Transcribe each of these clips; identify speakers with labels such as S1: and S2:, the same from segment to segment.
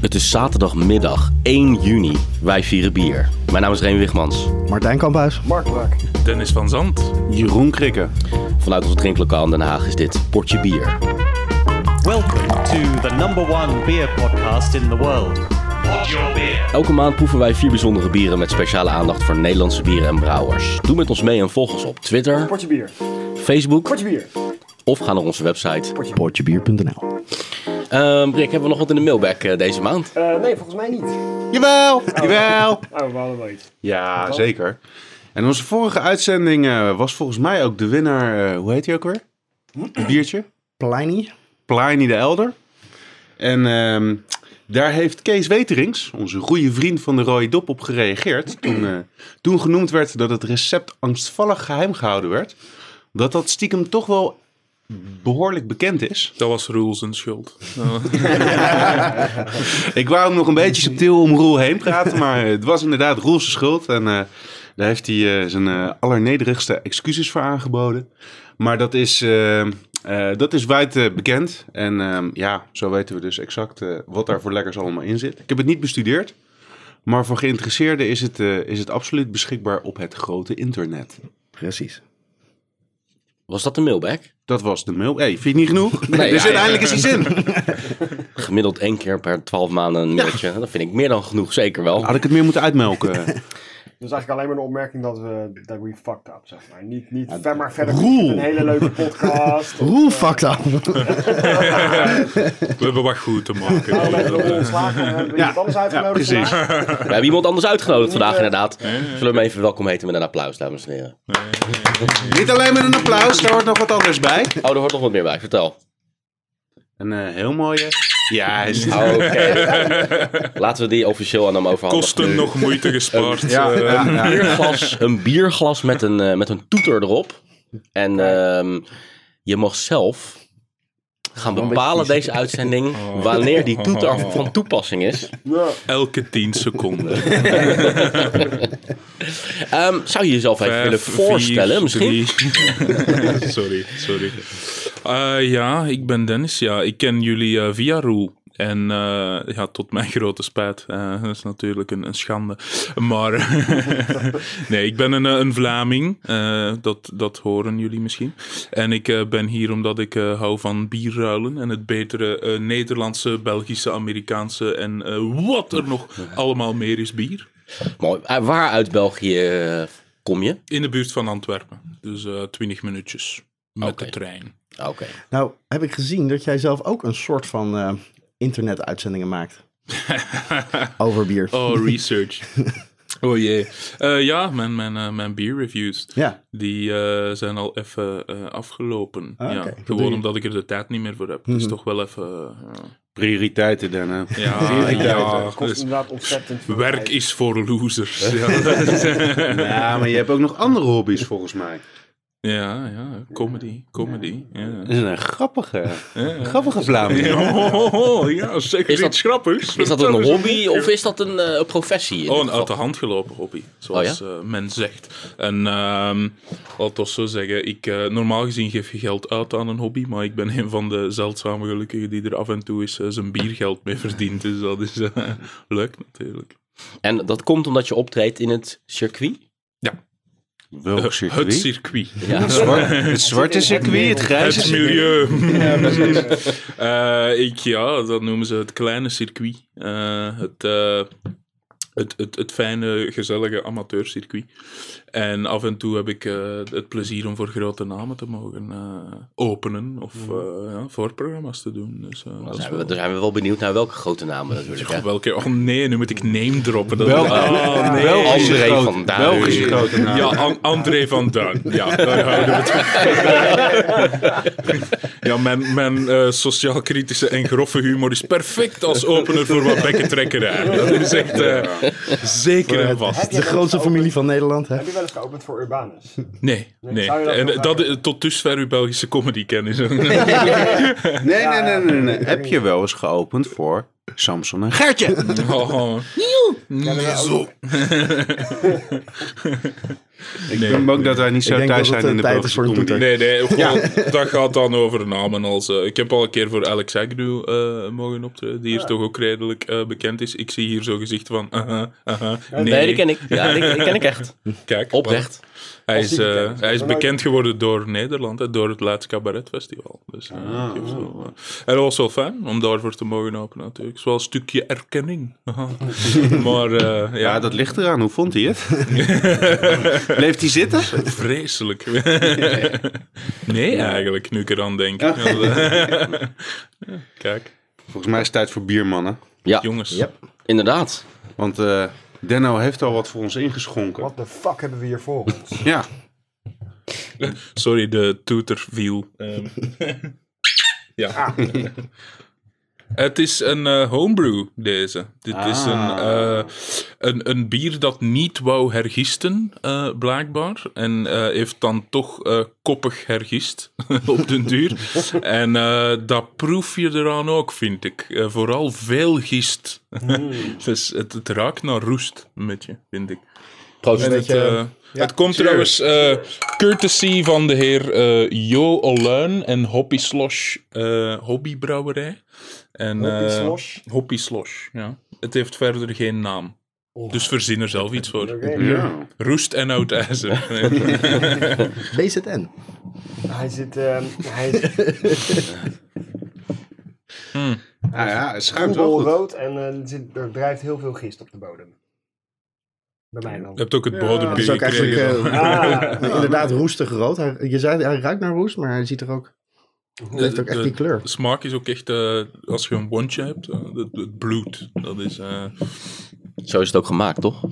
S1: Het is zaterdagmiddag 1 juni. Wij vieren bier. Mijn naam is Reen Wigmans.
S2: Martijn Kamphuis.
S3: Dennis van Zand.
S4: Jeroen Krikke.
S1: Vanuit ons drinklokaal in Den Haag is dit Portje Bier.
S5: Welcome to the number one beer podcast in the world. What's your beer?
S1: Elke maand proeven wij vier bijzondere bieren met speciale aandacht voor Nederlandse bieren en brouwers. Doe met ons mee en volg ons op Twitter,
S6: Potje bier.
S1: Facebook
S6: Potje bier.
S1: of ga naar onze website.
S2: Portjebier.nl
S1: Ehm Rick, hebben we nog wat in de mailbag eh, deze maand?
S6: Eh, nee, volgens mij niet.
S4: Jawel, jawel.
S6: Oh, we hadden nooit.
S4: Ja, zeker. Oh. En onze vorige uitzending eh, was volgens mij ook de winnaar, eh, hoe heet hij ook weer? Een biertje?
S2: Pleini.
S4: Pliny de Elder. En ehm, daar heeft Kees Weterings, onze goede vriend van de Rode Dop, op gereageerd. Toen, eh, toen genoemd werd dat het recept angstvallig geheim gehouden werd. Dat dat stiekem toch wel behoorlijk bekend is.
S3: Dat was Roel zijn schuld.
S4: Ik wou hem nog een beetje subtiel om Roel heen praten, maar eh, het was inderdaad Roel's schuld. En eh, daar heeft hij eh, zijn eh, allernederigste excuses voor aangeboden. Maar dat is, eh, eh, dat is wijd eh, bekend. En ehm, ja, zo weten we dus exact eh, wat daar voor lekkers allemaal in zit. Ik heb het niet bestudeerd. Maar voor geïnteresseerden is het, eh, is het absoluut beschikbaar op het grote internet.
S2: Precies.
S1: Was dat de mailbag?
S4: Dat was de mail. Hey, vind je het niet genoeg?
S1: Nee, ja,
S4: dus
S1: ja.
S4: uiteindelijk is hij zin.
S1: Gemiddeld één keer per 12 maanden een mailtje. Dat vind ik meer dan genoeg, zeker wel.
S4: Had ik het meer moeten uitmelken.
S6: Dus eigenlijk alleen maar een opmerking dat we dat we fucked up, zeg maar. Niet, niet ver maar verder. Een hele leuke podcast.
S2: Roel, fuck up.
S3: We hebben wat goed te maken.
S6: We hebben we ontslagen. We hebben eh, iemand anders uitgenodigd.
S4: precies.
S6: vandaag.
S1: We hebben iemand anders uitgenodigd vandaag, inderdaad. Zullen we hem even welkom heten met een applaus, dames en heren.
S4: niet alleen met een applaus, daar hoort nog wat anders bij.
S1: Oh, er hoort nog wat meer bij. Vertel.
S4: Een eh, heel mooie. Ja, hij is
S1: Oh, Oké. Laten we die officieel aan hem overhandigen.
S3: Kosten
S1: Nu.
S3: nog moeite gespaard.
S4: Ja,
S3: Eh,
S4: ja, ja.
S1: Een bierglas, een bierglas met een, eh, met een toeter erop. En ehm, je mag zelf gaan bepalen deze uitzending wanneer die toeter van toepassing is.
S6: Ja.
S3: Elke 10 seconden.
S1: Ehm, zou je jezelf even willen
S3: Vijf,
S1: voorstellen
S3: vier,
S1: misschien?
S3: drie. sorry, sorry. Eh, ja, ik ben Dennis. Ja, ik ken jullie eh, via Roel. En eh, ja, tot mijn grote spijt. Eh, dat is natuurlijk een, een schande. Maar nee, ik ben een, eh, een Vlaming. Eh, dat, dat horen jullie misschien. En ik eh, ben hier omdat ik eh, hou van bierruilen. En het betere eh, Nederlandse, Belgische, Amerikaanse en eh, wat er nog allemaal meer is bier.
S1: Mooi. Eh, waar uit België eh, kom je?
S3: In de buurt van Antwerpen. Dus eh 20 minuutjes met
S1: Oké.
S3: de trein.
S1: Ah, Oké.
S2: Nou, heb ik gezien dat jij zelf ook een soort van eh, internet-uitzendingen maakt. Over bier.
S3: Oh, research. oh jee. Eh, ja, mijn, mijn, eh, mijn bierreviews.
S2: Ja,
S3: Die eh, zijn al even eh, afgelopen.
S2: Ah,
S3: ja,
S2: oké. Wat doe
S3: Gewoon
S2: je? Mhm.
S3: omdat ik er de tijd niet meer voor heb. Dus toch wel even. eh,
S4: Prioriteiten, Dennis.
S3: ja, ja,
S6: Het kost
S3: dus
S6: inderdaad ontzettend veel
S3: werk
S6: tijd.
S3: is voor losers. ja, dat is-
S4: Ja, maar je hebt ook nog andere hobby's volgens mij.
S3: ja, ja, comedy. Comedy. Ja,
S4: Dat is een grappige, grappige Vlaming.
S3: Oh, oh, oh, ja zeker.
S1: Is dat-
S3: iets grappigs.
S1: Is dat
S3: Vertel
S1: een
S3: eens.
S1: hobby of is dat een eh, professie? in
S3: Oh,
S1: dit
S3: een
S1: geval? Oh
S3: uit de hand gelopen hobby, zoals eh, men zegt. En ehm laat ons zo zeggen, ik, eh, normaal gezien geef je geld uit aan een hobby, maar ik ben een van de zeldzame gelukkigen die er af en toe eens eh, zijn biergeld mee verdient. Dus dat is eh, leuk natuurlijk.
S1: En dat komt omdat je optreedt in het circuit?
S4: Welk
S3: Het
S4: circuit?
S3: circuit.
S1: Ja.
S4: Zwart- het zwarte circuit, het grijze
S3: Het
S4: circuit.
S3: milieu. Eh, ik, ja, dat noemen ze het kleine circuit. Eh, het, eh, het, het, het fijne, gezellige amateurcircuit. En af en toe heb ik eh, het plezier om voor grote namen te mogen eh, openen of
S4: Mm.
S3: eh, ja, voorprogramma's te doen. Dus, eh, dat
S1: Dan
S3: is
S1: zijn,
S3: wel...
S1: we, dan zijn we wel benieuwd naar welke grote namen natuurlijk. hè.
S3: Oh, welke? Oh nee, nu moet ik name droppen. Dat
S4: Wel-
S3: oh, nee.
S4: Belgische
S1: André
S4: grote-
S1: van Duin.
S4: Belgische grote naam.
S3: Ja, An- André van Duin. Ja, daar houden we het Ja, mijn, mijn eh, sociaal-kritische en grove humor is perfect als opener voor wat bekkentrekkerij. Dat is echt eh, zeker en vast.
S6: Heb je
S2: de grootste familie van Nederland, hè?
S6: Heb je wel eens geopend voor Urbanus?
S3: Nee, nee.
S6: zou je dat
S3: En
S6: wel
S3: dat, eh,
S6: zeggen?
S3: tot dusver uw Belgische comedy-kennis.
S4: Nee, nee, nee, nee, nee. Heb je wel eens geopend voor Samson en Gertje?
S3: Oh,
S6: Ja, dat wel.
S3: zo.
S4: Ik ben bang dat wij niet zo
S2: Ik denk
S4: thuis
S2: dat
S4: zijn
S2: het, eh,
S4: in de
S2: tijd
S4: Belgische
S2: is voor een
S4: comedy.
S2: toeter.
S3: Nee, nee, gewoon, dat gaat dan over namen als... eh, ik heb al een keer voor Alex Agnew eh, mogen optreden, die hier toch ook redelijk eh, bekend is. Ik zie hier zo'n gezicht van... aha, aha, nee.
S1: Nee, die ken ik. Ja, die, die ken ik echt.
S3: Kijk,
S1: Oprecht.
S3: voilà. Hij is,
S6: die
S3: eh,
S6: bekend is.
S3: hij is
S6: Maar nou-
S3: bekend geworden door Nederland, hè, door het laatste cabaretfestival. Dus, eh, geef zo, eh. En dat was wel fijn om daarvoor te mogen openen natuurlijk. Het is wel een stukje erkenning. Haha. maar eh, ja,
S4: Ja, dat ligt eraan. Hoe vond hij het? Bleef hij zitten?
S3: Vreselijk. nee, eigenlijk, nu ik eraan denk. Ja, Kijk,
S4: Volgens mij is het tijd voor bier, mannen.
S1: Ja,
S3: jongens.
S2: Yep.
S1: inderdaad.
S4: Want eh, Denno heeft al wat voor ons ingeschonken.
S6: What the fuck hebben we hier voor ons?
S4: Ja,
S3: Sorry, de toeter viel. Ehm, ja. Het is een eh, homebrew, deze. Dit is een, eh, een, een bier dat niet wou hergisten, eh, blijkbaar. En eh, heeft dan toch eh, koppig hergist, op den duur. en eh, dat proef je eraan ook, vind ik. Eh, vooral veel gist. dus het, het raakt naar roest, een beetje, vind ik.
S1: Proost.
S3: En het, eh, het komt trouwens eh, courtesy van de heer eh, Jo Oluin en Hoppy Slosh eh, Hobbybrouwerij. En, eh,
S6: Hoppy Slosh?
S3: Hoppy Slosh, ja. Het heeft verder geen naam. Dus verzin er zelf iets voor.
S6: Oké.
S3: Roest en oud ijzer.
S2: BZN.
S6: Hij zit... ehm, hij is
S4: ah, ja het schuimt wel goed.
S6: rood en eh, er zit, er drijft heel veel gist op de bodem. Bij mij
S3: Je
S6: dan. Ah.
S3: hebt ook het bodembier
S2: Dat is ook eigenlijk
S3: gekregen.
S2: eh, inderdaad roestig rood. Hij, je zei, hij ruikt naar roest, maar hij ziet er ook... Hij heeft ook echt
S3: de-
S2: die kleur.
S3: De smaak is ook echt, eh, als je een wondje hebt, eh, het, het bloed. Dat is eh,
S1: Zo is het ook gemaakt, toch?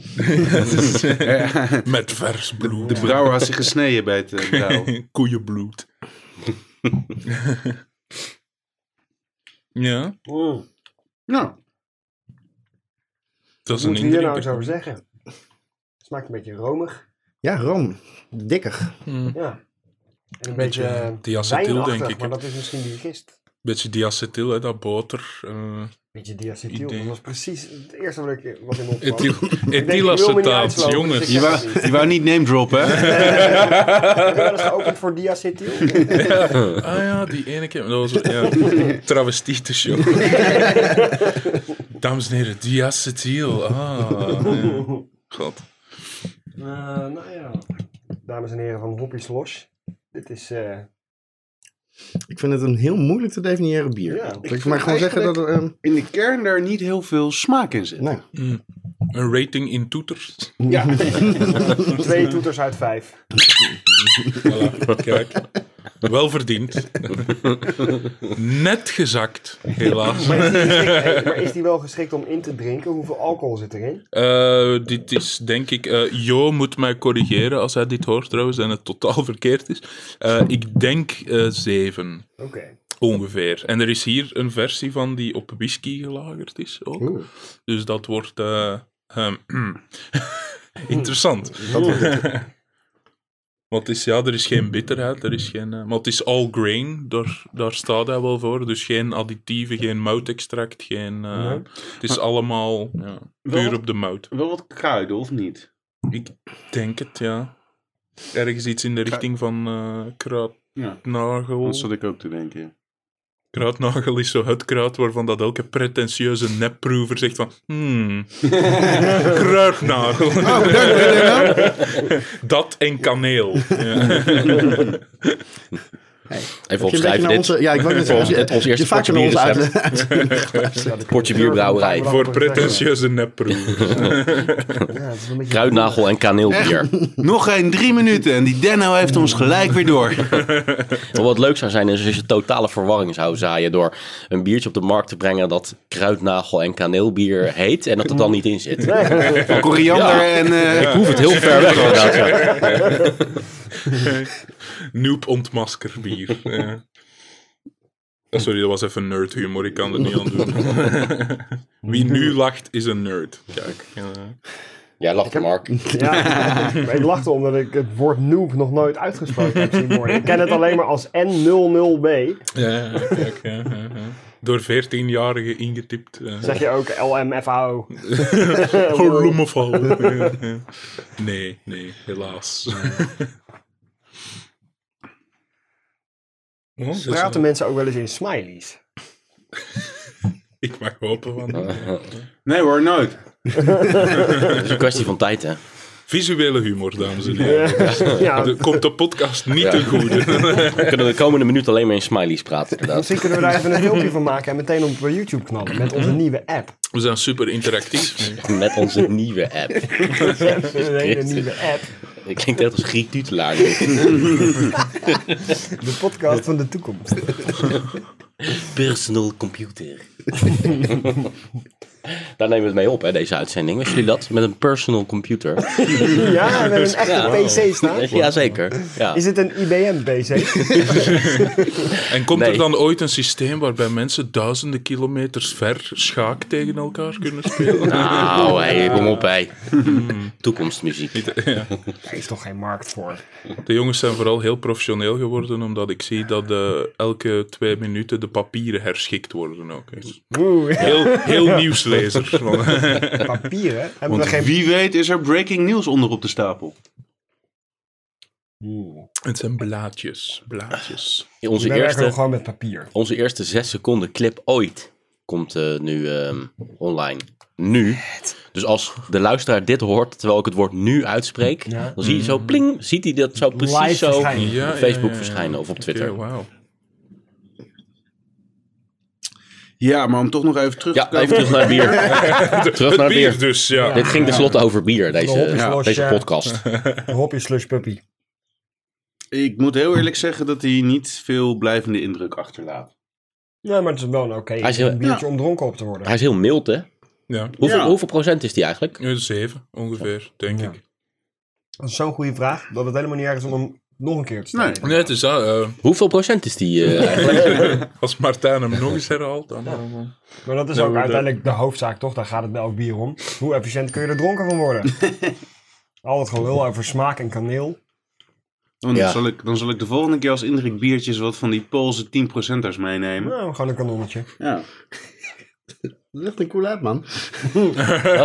S3: met vers bloed.
S4: De brouwer had zich gesneden bij het eh, brouwen.
S3: Koeienbloed. ja,
S6: Mm.
S4: Nou,
S3: dat
S6: Wat
S3: is een
S6: moeten we hier nou
S3: indruk.
S6: eens over zeggen? Smaakt een beetje romig.
S2: Ja, room. Dikker.
S6: Ja. En een beetje, eh,
S3: diacetyl,
S6: wijnachtig,
S3: denk ik,
S6: Maar
S3: hè?
S6: dat is misschien die gist.
S3: Beetje diacetyl, hè, dat boter. eh
S6: Beetje diacetyl.
S3: Idee.
S6: Dat was precies het eerste wat ik wat in me opkwam.
S3: etyl-
S6: Ik denk, ik wil me niet
S3: Ethylacetaat,
S6: uitslopen,
S3: jongens.
S6: dus ik zeg het niet.
S4: je wou niet name drop, hè?
S6: Heb je wel eens geopend voor diacetyl?
S3: Ah ja, die ene keer. Dat was ja, travestie te show. Dames en heren, diacetyl. Ah, ja. God.
S6: Eh, nou ja. Dames en heren van Hoppy Slosh. Dit is... eh,
S2: Ik vind het een heel moeilijk te definiëren bier.
S6: Ja.
S2: ik mag maar gewoon zeggen dat er... ehm,
S4: In de kern daar niet heel veel smaak in zit.
S2: nee.
S3: Een rating in toeters.
S6: twee toeters uit vijf.
S3: Voilà, kijk. Wel verdiend. Net gezakt, helaas.
S6: Maar is, die geschikt- maar is die wel geschikt om in te drinken? Hoeveel alcohol zit erin?
S3: Eh, dit is denk ik. eh, jo moet mij corrigeren als hij dit hoort trouwens en het totaal verkeerd is. Eh, ik denk eh, zeven
S6: Oké.
S3: ongeveer. En er is hier een versie van die op whisky gelagerd is ook.
S2: Oeh.
S3: Dus dat wordt eh, ehm, interessant. Want het is, ja, er is geen bitterheid, er is geen, eh, maar het is all grain, daar, daar staat hij wel voor. Dus geen additieven, geen moutextract, geen, eh,
S6: Nee.
S3: het is allemaal ja, puur op de mout.
S4: Wel wat kruiden, of niet?
S3: Ik denk het, ja. Ergens iets in de richting van eh
S4: Ja.
S3: kruidnagel.
S4: Dat zat ik ook te denken. ja.
S3: Kruidnagel is zo het kruid waarvan dat elke pretentieuze nepproever zegt van... Hmm, kruidnagel. dat en kaneel. eh, Ja.
S1: Even
S2: Heb je een beetje
S1: opschrijven
S2: naar
S1: dit.
S2: onze, ja, ik wou net zeggen, als je,
S1: Het- ons eerste
S2: je vaak naar
S1: potje
S2: onze
S1: bier
S2: uit.
S1: Portje bierbrouwerij.
S3: Voor pretentieuze nepproevers.
S6: Ja, het is een beetje-
S1: Kruidnagel en kaneelbier.
S4: Nog geen drie minuten en die Denno heeft ons gelijk weer door.
S1: Maar wat leuk zou zijn is als je totale verwarring zou zaaien door een biertje op de markt te brengen dat kruidnagel en kaneelbier heet en dat het dan niet in zit.
S4: Koriander en... eh,
S1: Ik hoef het heel ver weg inderdaad. ja.
S3: Noep ontmasker bier. Ja. Oh, Sorry, dat was even nerd humor. Ik kan er niet aan doen. Wie nu lacht, is een nerd. Kijk. ja.
S1: Jij lacht Mark.
S6: Ja, maar ik lachte omdat ik het woord noob nog nooit uitgesproken heb zien worden. Ik ken het alleen maar als N00B.
S3: Ja, ja, ja, kijk, ja, ja, ja. door 14-jarigen ingetipt. eh.
S6: Zeg je ook LMFAO?
S3: Oh, lommefal. nee, nee, helaas. Oh, dus,
S6: Praten
S3: eh,
S6: mensen ook wel eens in smileys?
S3: ik mag hopen van.
S4: Nee hoor, nooit.
S1: Het is een kwestie van tijd, hè?
S3: Visuele humor, dames en heren.
S6: ja,
S3: Dat komt de podcast niet
S1: Ja.
S3: ten goede.
S1: We kunnen de komende minuut alleen maar in smileys praten, inderdaad.
S6: misschien kunnen we daar even een filmpje van maken en meteen op YouTube knallen met onze nieuwe app.
S3: We zijn super interactief. nu.
S1: Met onze nieuwe app.
S6: Een hele nieuwe app.
S1: Ik klinkt echt als Griek Tutelaar. nu.
S6: De podcast van de toekomst.
S1: Personal computer. Daar nemen we het mee op, hè, deze uitzending. Wisten jullie dat? Met een personal computer.
S6: Ja, met een echte PC staan.
S1: Jazeker. Ja.
S6: Is dit een IBM-PC?
S3: En komt
S1: Nee.
S3: er dan ooit een systeem waarbij mensen duizenden kilometers ver schaak tegen elkaar kunnen spelen?
S1: Nou, hey, kom op, hé. Toekomstmuziek.
S6: Daar is toch geen markt voor?
S3: De jongens zijn vooral heel professioneel geworden, omdat ik zie dat eh, elke twee minuten de papieren herschikt worden ook. Dus
S6: Oeh,
S3: Heel, heel nieuwslezer. Van,
S6: papieren. Hebben we
S4: Want
S6: geen...
S4: wie weet is er breaking news onder op de stapel.
S3: Het zijn blaadjes, blaadjes.
S1: Onze
S6: We werken nog
S1: eerste,
S6: gewoon met papier.
S1: onze eerste zes seconden clip ooit komt eh, nu ehm, online. Nu. Dus als de luisteraar dit hoort, terwijl ik het woord nu uitspreek,
S6: Ja. Mm.
S1: dan zie je zo pling, ziet hij dat zo precies
S6: Live
S1: zo
S6: verschijnen.
S1: op Facebook verschijnen of op Twitter.
S3: Oké, wauw.
S4: Ja, maar om toch nog even terug
S1: ja,
S4: te komen.
S1: even terug naar het bier. terug naar
S3: Het
S1: het bier.
S3: bier dus, ja.
S1: Dit ging tenslotte over bier,
S6: De
S1: deze,
S6: hop is los,
S1: deze
S6: ja.
S1: podcast.
S6: Hopje slush puppy.
S4: Ik moet heel eerlijk zeggen dat hij niet veel blijvende indruk achterlaat.
S6: Ja, maar het is wel een oké
S1: Hij is heel-
S6: een biertje om dronken op te worden.
S1: Hij is heel mild, hè?
S3: ja.
S1: Hoeveel,
S4: Ja.
S1: hoeveel procent is die eigenlijk?
S3: Eh, Zeven, ongeveer, denk ik.
S6: Dat is zo'n goede vraag, dat het helemaal niet erg is om hem nog een keer te stellen.
S4: Nee.
S3: Nee, het is dat. eh,
S1: Hoeveel procent is die eh, eigenlijk?
S3: als Martijn hem nog eens herhaalt, dan... eh,
S6: Maar dat is ook uiteindelijk de hoofdzaak, toch? Daar gaat het bij elk bier om. Hoe efficiënt kun je er dronken van worden? Altijd gewoon heel over smaak en kaneel.
S4: Want
S1: Ja.
S4: dan, zal ik, dan zal ik de volgende keer als Indrik biertjes wat van die Poolse 10%ers meenemen.
S6: Nou, gewoon een kanonnetje.
S4: Ja.
S2: Dat ligt een cool uit, man.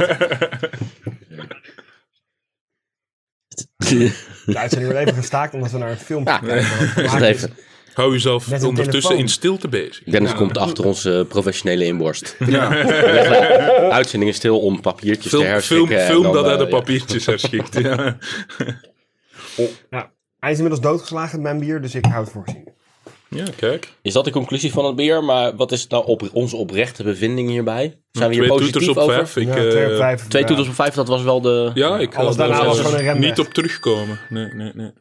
S6: De uitzending wordt even gestaakt omdat we naar een filmpje
S1: Ja,
S6: kijken. wat gemaakt
S1: Wacht
S6: is.
S1: even.
S3: Hou jezelf
S6: Met een
S3: ondertussen
S6: telefoon.
S3: in stilte bezig.
S1: Dennis komt achter onze professionele inborst. Uitzending is stil om papiertjes te
S3: Film,
S1: herschikken.
S3: film,
S1: en
S3: film
S1: dan,
S3: dat
S1: eh,
S3: hij de
S1: ja.
S3: papiertjes herschikt. ja.
S6: Nou, hij is inmiddels doodgeslagen met mijn bier, dus ik hou het voor gezien.
S3: ja, kijk.
S1: Is dat de conclusie van het bier? Maar wat is nou op, onze oprechte bevinding hierbij? Zijn we hier
S3: Twee toeters
S1: positief
S3: op
S1: over?
S3: vijf. Ik,
S6: Ja, twee op
S3: eh,
S6: vijf,
S1: Twee
S6: ja.
S1: toeters op vijf, dat was wel de...
S3: Ja, ik
S6: Alles
S3: ga er
S6: daarna was
S3: zelfs
S6: gewoon een remweg.
S3: niet op terugkomen. Nee, nee, nee.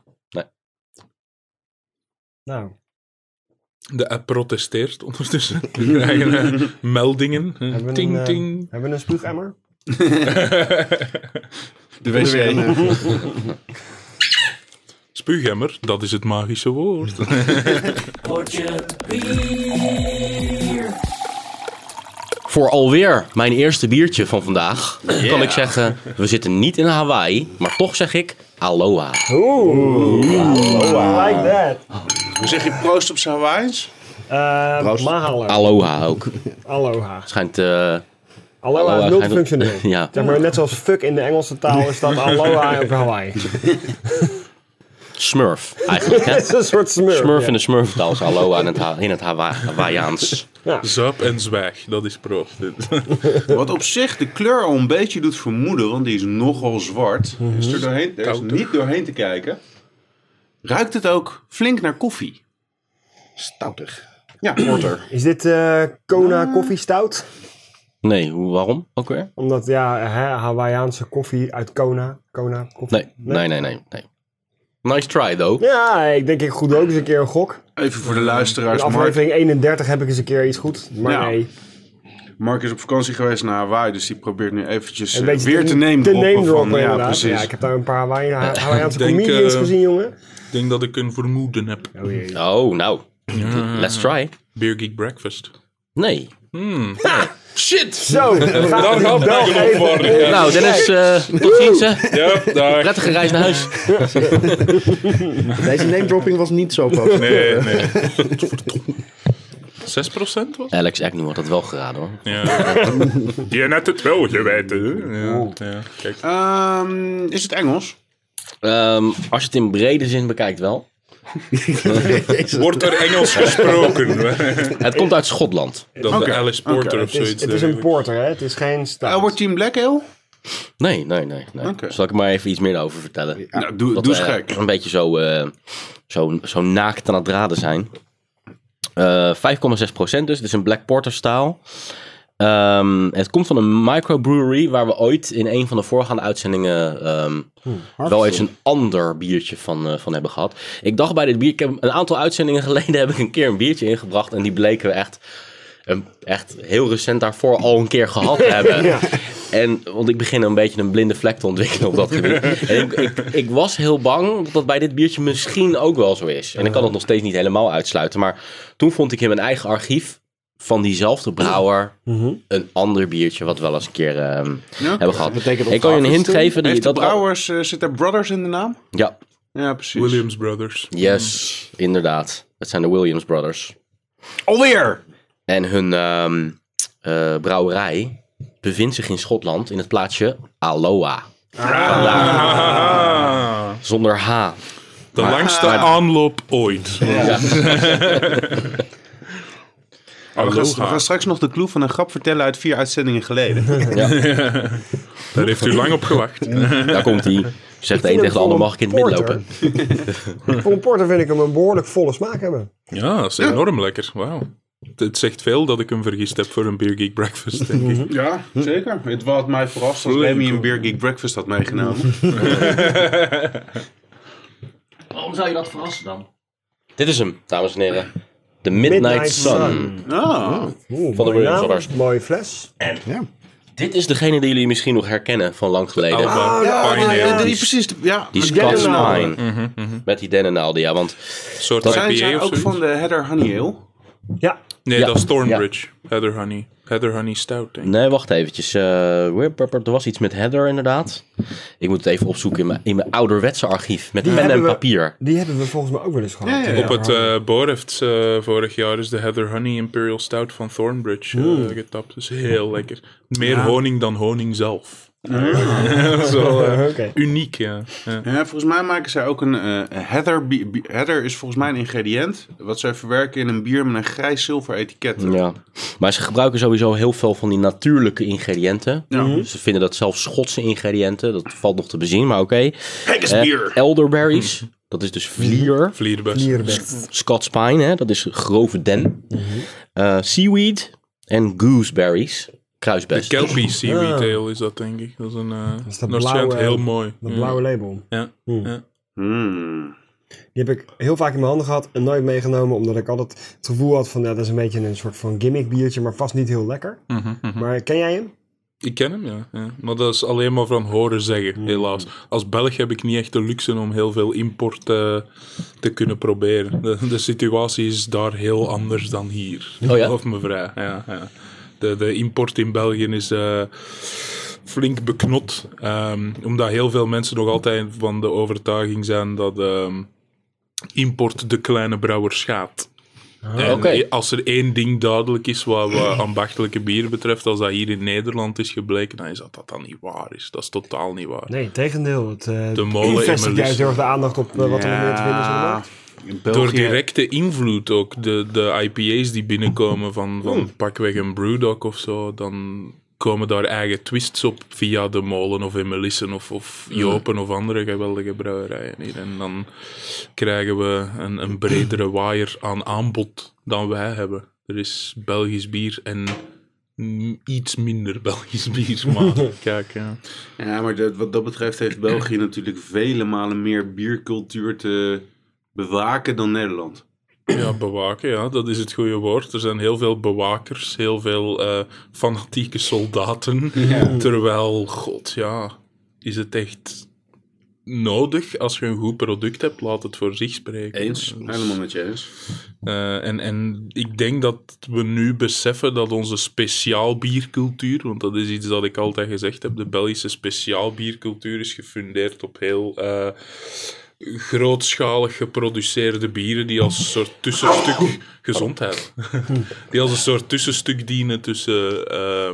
S6: Nou,
S3: De app protesteert ondertussen. We krijgen eh, meldingen. Eh,
S6: hebben we een,
S3: ting,
S6: eh,
S3: ting.
S6: hebben we een spuugemmer?
S4: De wc.
S3: Spuugemmer, dat is het magische woord.
S1: Voor alweer mijn eerste biertje van vandaag... kan ik zeggen, we zitten niet in Hawaii... maar toch zeg ik aloha.
S6: I like that.
S4: Hoe zeg je proost op zijn Hawaïs?
S6: Eh
S2: Proost.
S6: Mahalo.
S1: Aloha ook.
S6: Aloha.
S1: Schijnt... eh
S6: Aloha
S1: Aloha
S6: is multifunctioneel.
S1: schijnt- ja.
S6: Zeg maar, net zoals fuck in de Engelse taal is dat aloha op Hawaii.
S1: Smurf, eigenlijk. Hè?
S6: Het is een soort smurf.
S1: Smurf
S6: ja.
S1: in de smurftaal is aloha in het, ha- in het Hawa- Hawaiiaans.
S3: Zuip en zwijg, dat is proost.
S4: Wat op zich de kleur al een beetje doet vermoeden, want die is nogal zwart. Is er doorheen, er is
S3: Kouter.
S4: niet doorheen te kijken. Ruikt het ook flink naar koffie?
S2: Stoutig.
S4: Ja, porter.
S6: Is dit eh Kona koffie stout?
S1: Nee, hoe- waarom ook weer?
S6: Omdat, ja, hè, Hawaiiaanse koffie uit Kona. Kona koffie.
S1: Nee, nee, nee, nee. nee. Nice try, though.
S6: Ja, ik denk ik goed ook eens een keer een gok.
S4: Even voor de
S6: In
S4: luisteraars. Dus Mark, Nou,
S6: aflevering 31 heb ik eens een keer iets goed. Maar
S4: Ja.
S6: nee.
S4: Mark is op vakantie geweest naar Hawaii, dus die probeert nu eventjes
S6: Een
S4: eh,
S6: beetje
S4: weer te nemen.
S6: De name droppen,
S4: van, ja,
S6: inderdaad.
S4: precies.
S6: Ja, ik heb daar een paar Hawaii- Hawaiiaanse
S3: Ik denk,
S6: comedians
S3: eh,
S6: gezien, jongen.
S3: Ik denk dat ik een vermoeden heb.
S6: Oh jee.
S1: Oh, nou. Let's try.
S3: Beer Geek Breakfast.
S1: Nee.
S6: Zo, we gaan
S3: Daar
S6: het
S3: gaat
S6: wel
S3: het eigenlijk
S6: geven.
S3: op worden. Ja,
S1: Nou, Dennis, eh tot ziens. hè.
S3: ja daar.
S1: Prettige reis naar huis.
S2: Deze name dropping was niet zo positief.
S3: Nee, nee. 6% was?
S1: Alex Agnew had dat wel geraden hoor.
S3: Ja. Die net het wel geweten. hè? Ja, ja. Kijk.
S4: Ehm, is het Engels?
S1: Ehm, als je het in brede zin bekijkt wel.
S2: Jezus.
S3: Wordt er Engels gesproken?
S1: Het komt uit Schotland.
S3: Dat
S4: Oké,
S3: de Alice Porter
S4: oké.
S3: of
S6: Het is,
S3: zoiets.
S6: het is een
S3: eh, dergelijks.
S6: porter, hè? Het is geen stout.
S4: Eh, wordt Team Black Ale?
S1: Nee, nee, nee. nee.
S4: Oké.
S1: Zal ik er maar even iets meer over vertellen?
S4: Nou, doe,
S1: Dat
S4: doe
S1: we,
S4: eens
S1: eh,
S4: gek.
S1: Een beetje zo, eh, zo, zo naakt aan het raden zijn. Eh 5,6% dus. Het is een Black Porter staal. Ehm, het komt van een microbrewery waar we ooit in een van de voorgaande uitzendingen ehm, wel eens een ander biertje van, eh, van hebben gehad. Ik dacht bij dit bier, ik heb een aantal uitzendingen geleden heb ik een keer een biertje ingebracht en die bleken we echt, een, echt heel recent daarvoor al een keer gehad te hebben. En, want ik begin een beetje een blinde vlek te ontwikkelen op dat gebied. En ik, ik, ik was heel bang dat dat bij dit biertje misschien ook wel zo is. En ik kan het nog steeds niet helemaal uitsluiten. Maar toen vond ik in mijn eigen archief van diezelfde brouwer een ander biertje wat we wel eens een keer ehm, hebben gehad.
S2: betekent
S1: Ik kan je een hint
S2: opgehaald
S1: geven. Die,
S4: Heeft de
S1: dat
S4: Brouwers, eh, zit daar Brothers in de naam?
S1: Ja,
S4: Ja, precies.
S3: Williams Brothers.
S1: yes, inderdaad. Het zijn de Williams Brothers.
S4: Alweer!
S1: En hun ehm, eh, brouwerij bevindt zich in Schotland in het plaatsje Aloha.
S3: Ah,
S1: Zonder H.
S3: de langste aanloop ooit.
S4: We gaan, we
S3: Aloha.
S4: gaan straks nog de clue van een grap vertellen uit vier uitzendingen geleden.
S3: Daar heeft u lang op gewacht.
S1: Daar komt hij. Zegt de een tegen
S6: vind
S1: de
S6: hem
S1: ander,
S6: wel
S1: mag ik in het midden lopen?
S6: Voor een porter vind ik hem een behoorlijk volle smaak hebben.
S3: Ja, dat is enorm lekker. Wauw. Het zegt veel dat ik hem vergist heb voor een Beer Geek Breakfast, denk ik.
S4: ja, zeker. Het was mij verrast als Remy een Beer Geek Breakfast had meegenomen.
S1: Waarom zou je dat verrassen dan? Dit is hem, dames en heren. De Midnight,
S6: Midnight
S1: Sun.
S6: Sun.
S4: Ah,
S1: Van de
S6: Oeh, mooie
S1: Williams
S6: naam,
S1: Brothers.
S6: Mooie fles.
S1: Dit is degene die jullie misschien nog herkennen van lang geleden.
S3: Alba
S4: ja, ja,
S3: Pioneer.
S4: ja, die- precies. Ja,
S1: Die
S4: maar
S1: Scots
S4: Dennen Ale.
S1: Pine. Met die dennenaalden, ja. Want
S3: soort
S1: Dat-
S4: Zijn zij
S3: IPA of
S4: ook
S3: zoiets?
S4: van de Heather Honey Ale?
S6: Ja,
S3: Nee,
S1: Ja.
S3: dat is Thornbridge. Heather Honey. Heather Honey Stout, denk ik.
S1: Nee, wacht eventjes. Eh, wip, wip, wip, er was iets met Heather inderdaad. Ik moet het even opzoeken in mijn, in mijn ouderwetse archief. Met pen
S6: hebben
S1: en
S6: we-
S1: papier.
S6: die hebben we volgens mij ook wel eens gehad.
S4: Ja, ja, ja.
S3: Op het eh Boreft eh, vorig jaar is de Heather Honey Imperial Stout van Thornbridge eh,
S4: Hmm.
S3: getapt. Dat is heel lekker. Meer honing dan honing zelf. dat is wel eh,
S6: Oké.
S3: uniek, ja. ja.
S4: Ja, volgens mij maken zij ook een eh, heather. bi- bi- Heather is volgens mij een ingrediënt wat zij verwerken in een bier met een grijs zilver etiket.
S1: Ja. Maar ze gebruiken sowieso heel veel van die natuurlijke ingrediënten.
S6: Mhm.
S1: Ze vinden dat zelfs Schotse ingrediënten. Dat valt nog te bezien, maar oké. Eh,
S4: bier.
S1: elderberries.
S6: Mhm.
S1: Dat is dus vlier.
S3: Vlierbest.
S6: Dierenbest.
S1: Scots pine, hè, dat is grove den.
S6: Mhm.
S1: Eh, seaweed en gooseberries. Kruisbest.
S3: Kelpie Seaweed Ale is dat, denk ik. Dat is een... eh dat
S6: is dat
S3: schijnt
S6: blauwe-
S3: heel mooi.
S6: Dat
S3: Ja.
S6: blauwe label.
S3: Ja. ja.
S4: Hmm.
S6: Die heb ik heel vaak in mijn handen gehad en nooit meegenomen, omdat ik altijd het gevoel had van, ja, dat is een beetje een soort van gimmick biertje, maar vast niet heel lekker.
S3: Mhm,
S6: Maar ken jij hem?
S3: Ik ken hem, ja. ja. Maar dat is alleen maar van horen zeggen, helaas. Als Belg heb ik niet echt de luxe om heel veel import eh, te kunnen proberen. De, de situatie is daar heel anders dan hier.
S1: Oh ja?
S3: Geloof me vrij. Ja, ja. De, de import in België is eh, flink beknot. ehm, omdat heel veel mensen nog altijd van de overtuiging zijn dat ehm, import de kleine brouwer schaadt. En
S1: Ah. oké.
S3: i- Als er één ding duidelijk is wat, wat ambachtelijke bieren betreft, als dat hier in Nederland is gebleken, dan is dat dat dan niet waar is. Dat is totaal niet waar.
S6: Nee, tegendeel. Het, eh
S3: De molen
S6: investigt
S3: in
S6: juist
S3: Melissa.
S6: heel erg de aandacht op eh, wat er nog meer te vinden is in de
S4: Ja,
S6: markt.
S4: in
S3: Door
S4: België-
S3: directe invloed ook, de, de IPA's die binnenkomen van, van pakweg een Brewdog of zo, dan komen daar eigen twists op via de molen of Emelissen of, of Jopen of andere geweldige brouwerijen hier. En dan krijgen we een, een bredere waaier aan aanbod dan wij hebben. Er is Belgisch bier en mm, iets minder Belgisch bier, maar kijk, ja.
S4: Ja, maar dat, wat dat betreft heeft België natuurlijk vele malen meer biercultuur te bewaken dan Nederland.
S3: Ja, bewaken, ja, dat is het goede woord. Er zijn heel veel bewakers, heel veel eh, fanatieke soldaten. Terwijl, god ja, is het echt nodig als je een goed product hebt? Laat het voor zich spreken.
S4: Eens?
S3: Dus,
S4: Helemaal met je eens.
S3: eh, en, en ik denk dat we nu beseffen dat onze speciaalbiercultuur, want dat is iets dat ik altijd gezegd heb, de Belgische speciaalbiercultuur is gefundeerd op heel eh, grootschalig geproduceerde bieren die als een soort tussenstuk gezondheid. die als een soort tussenstuk dienen tussen eh,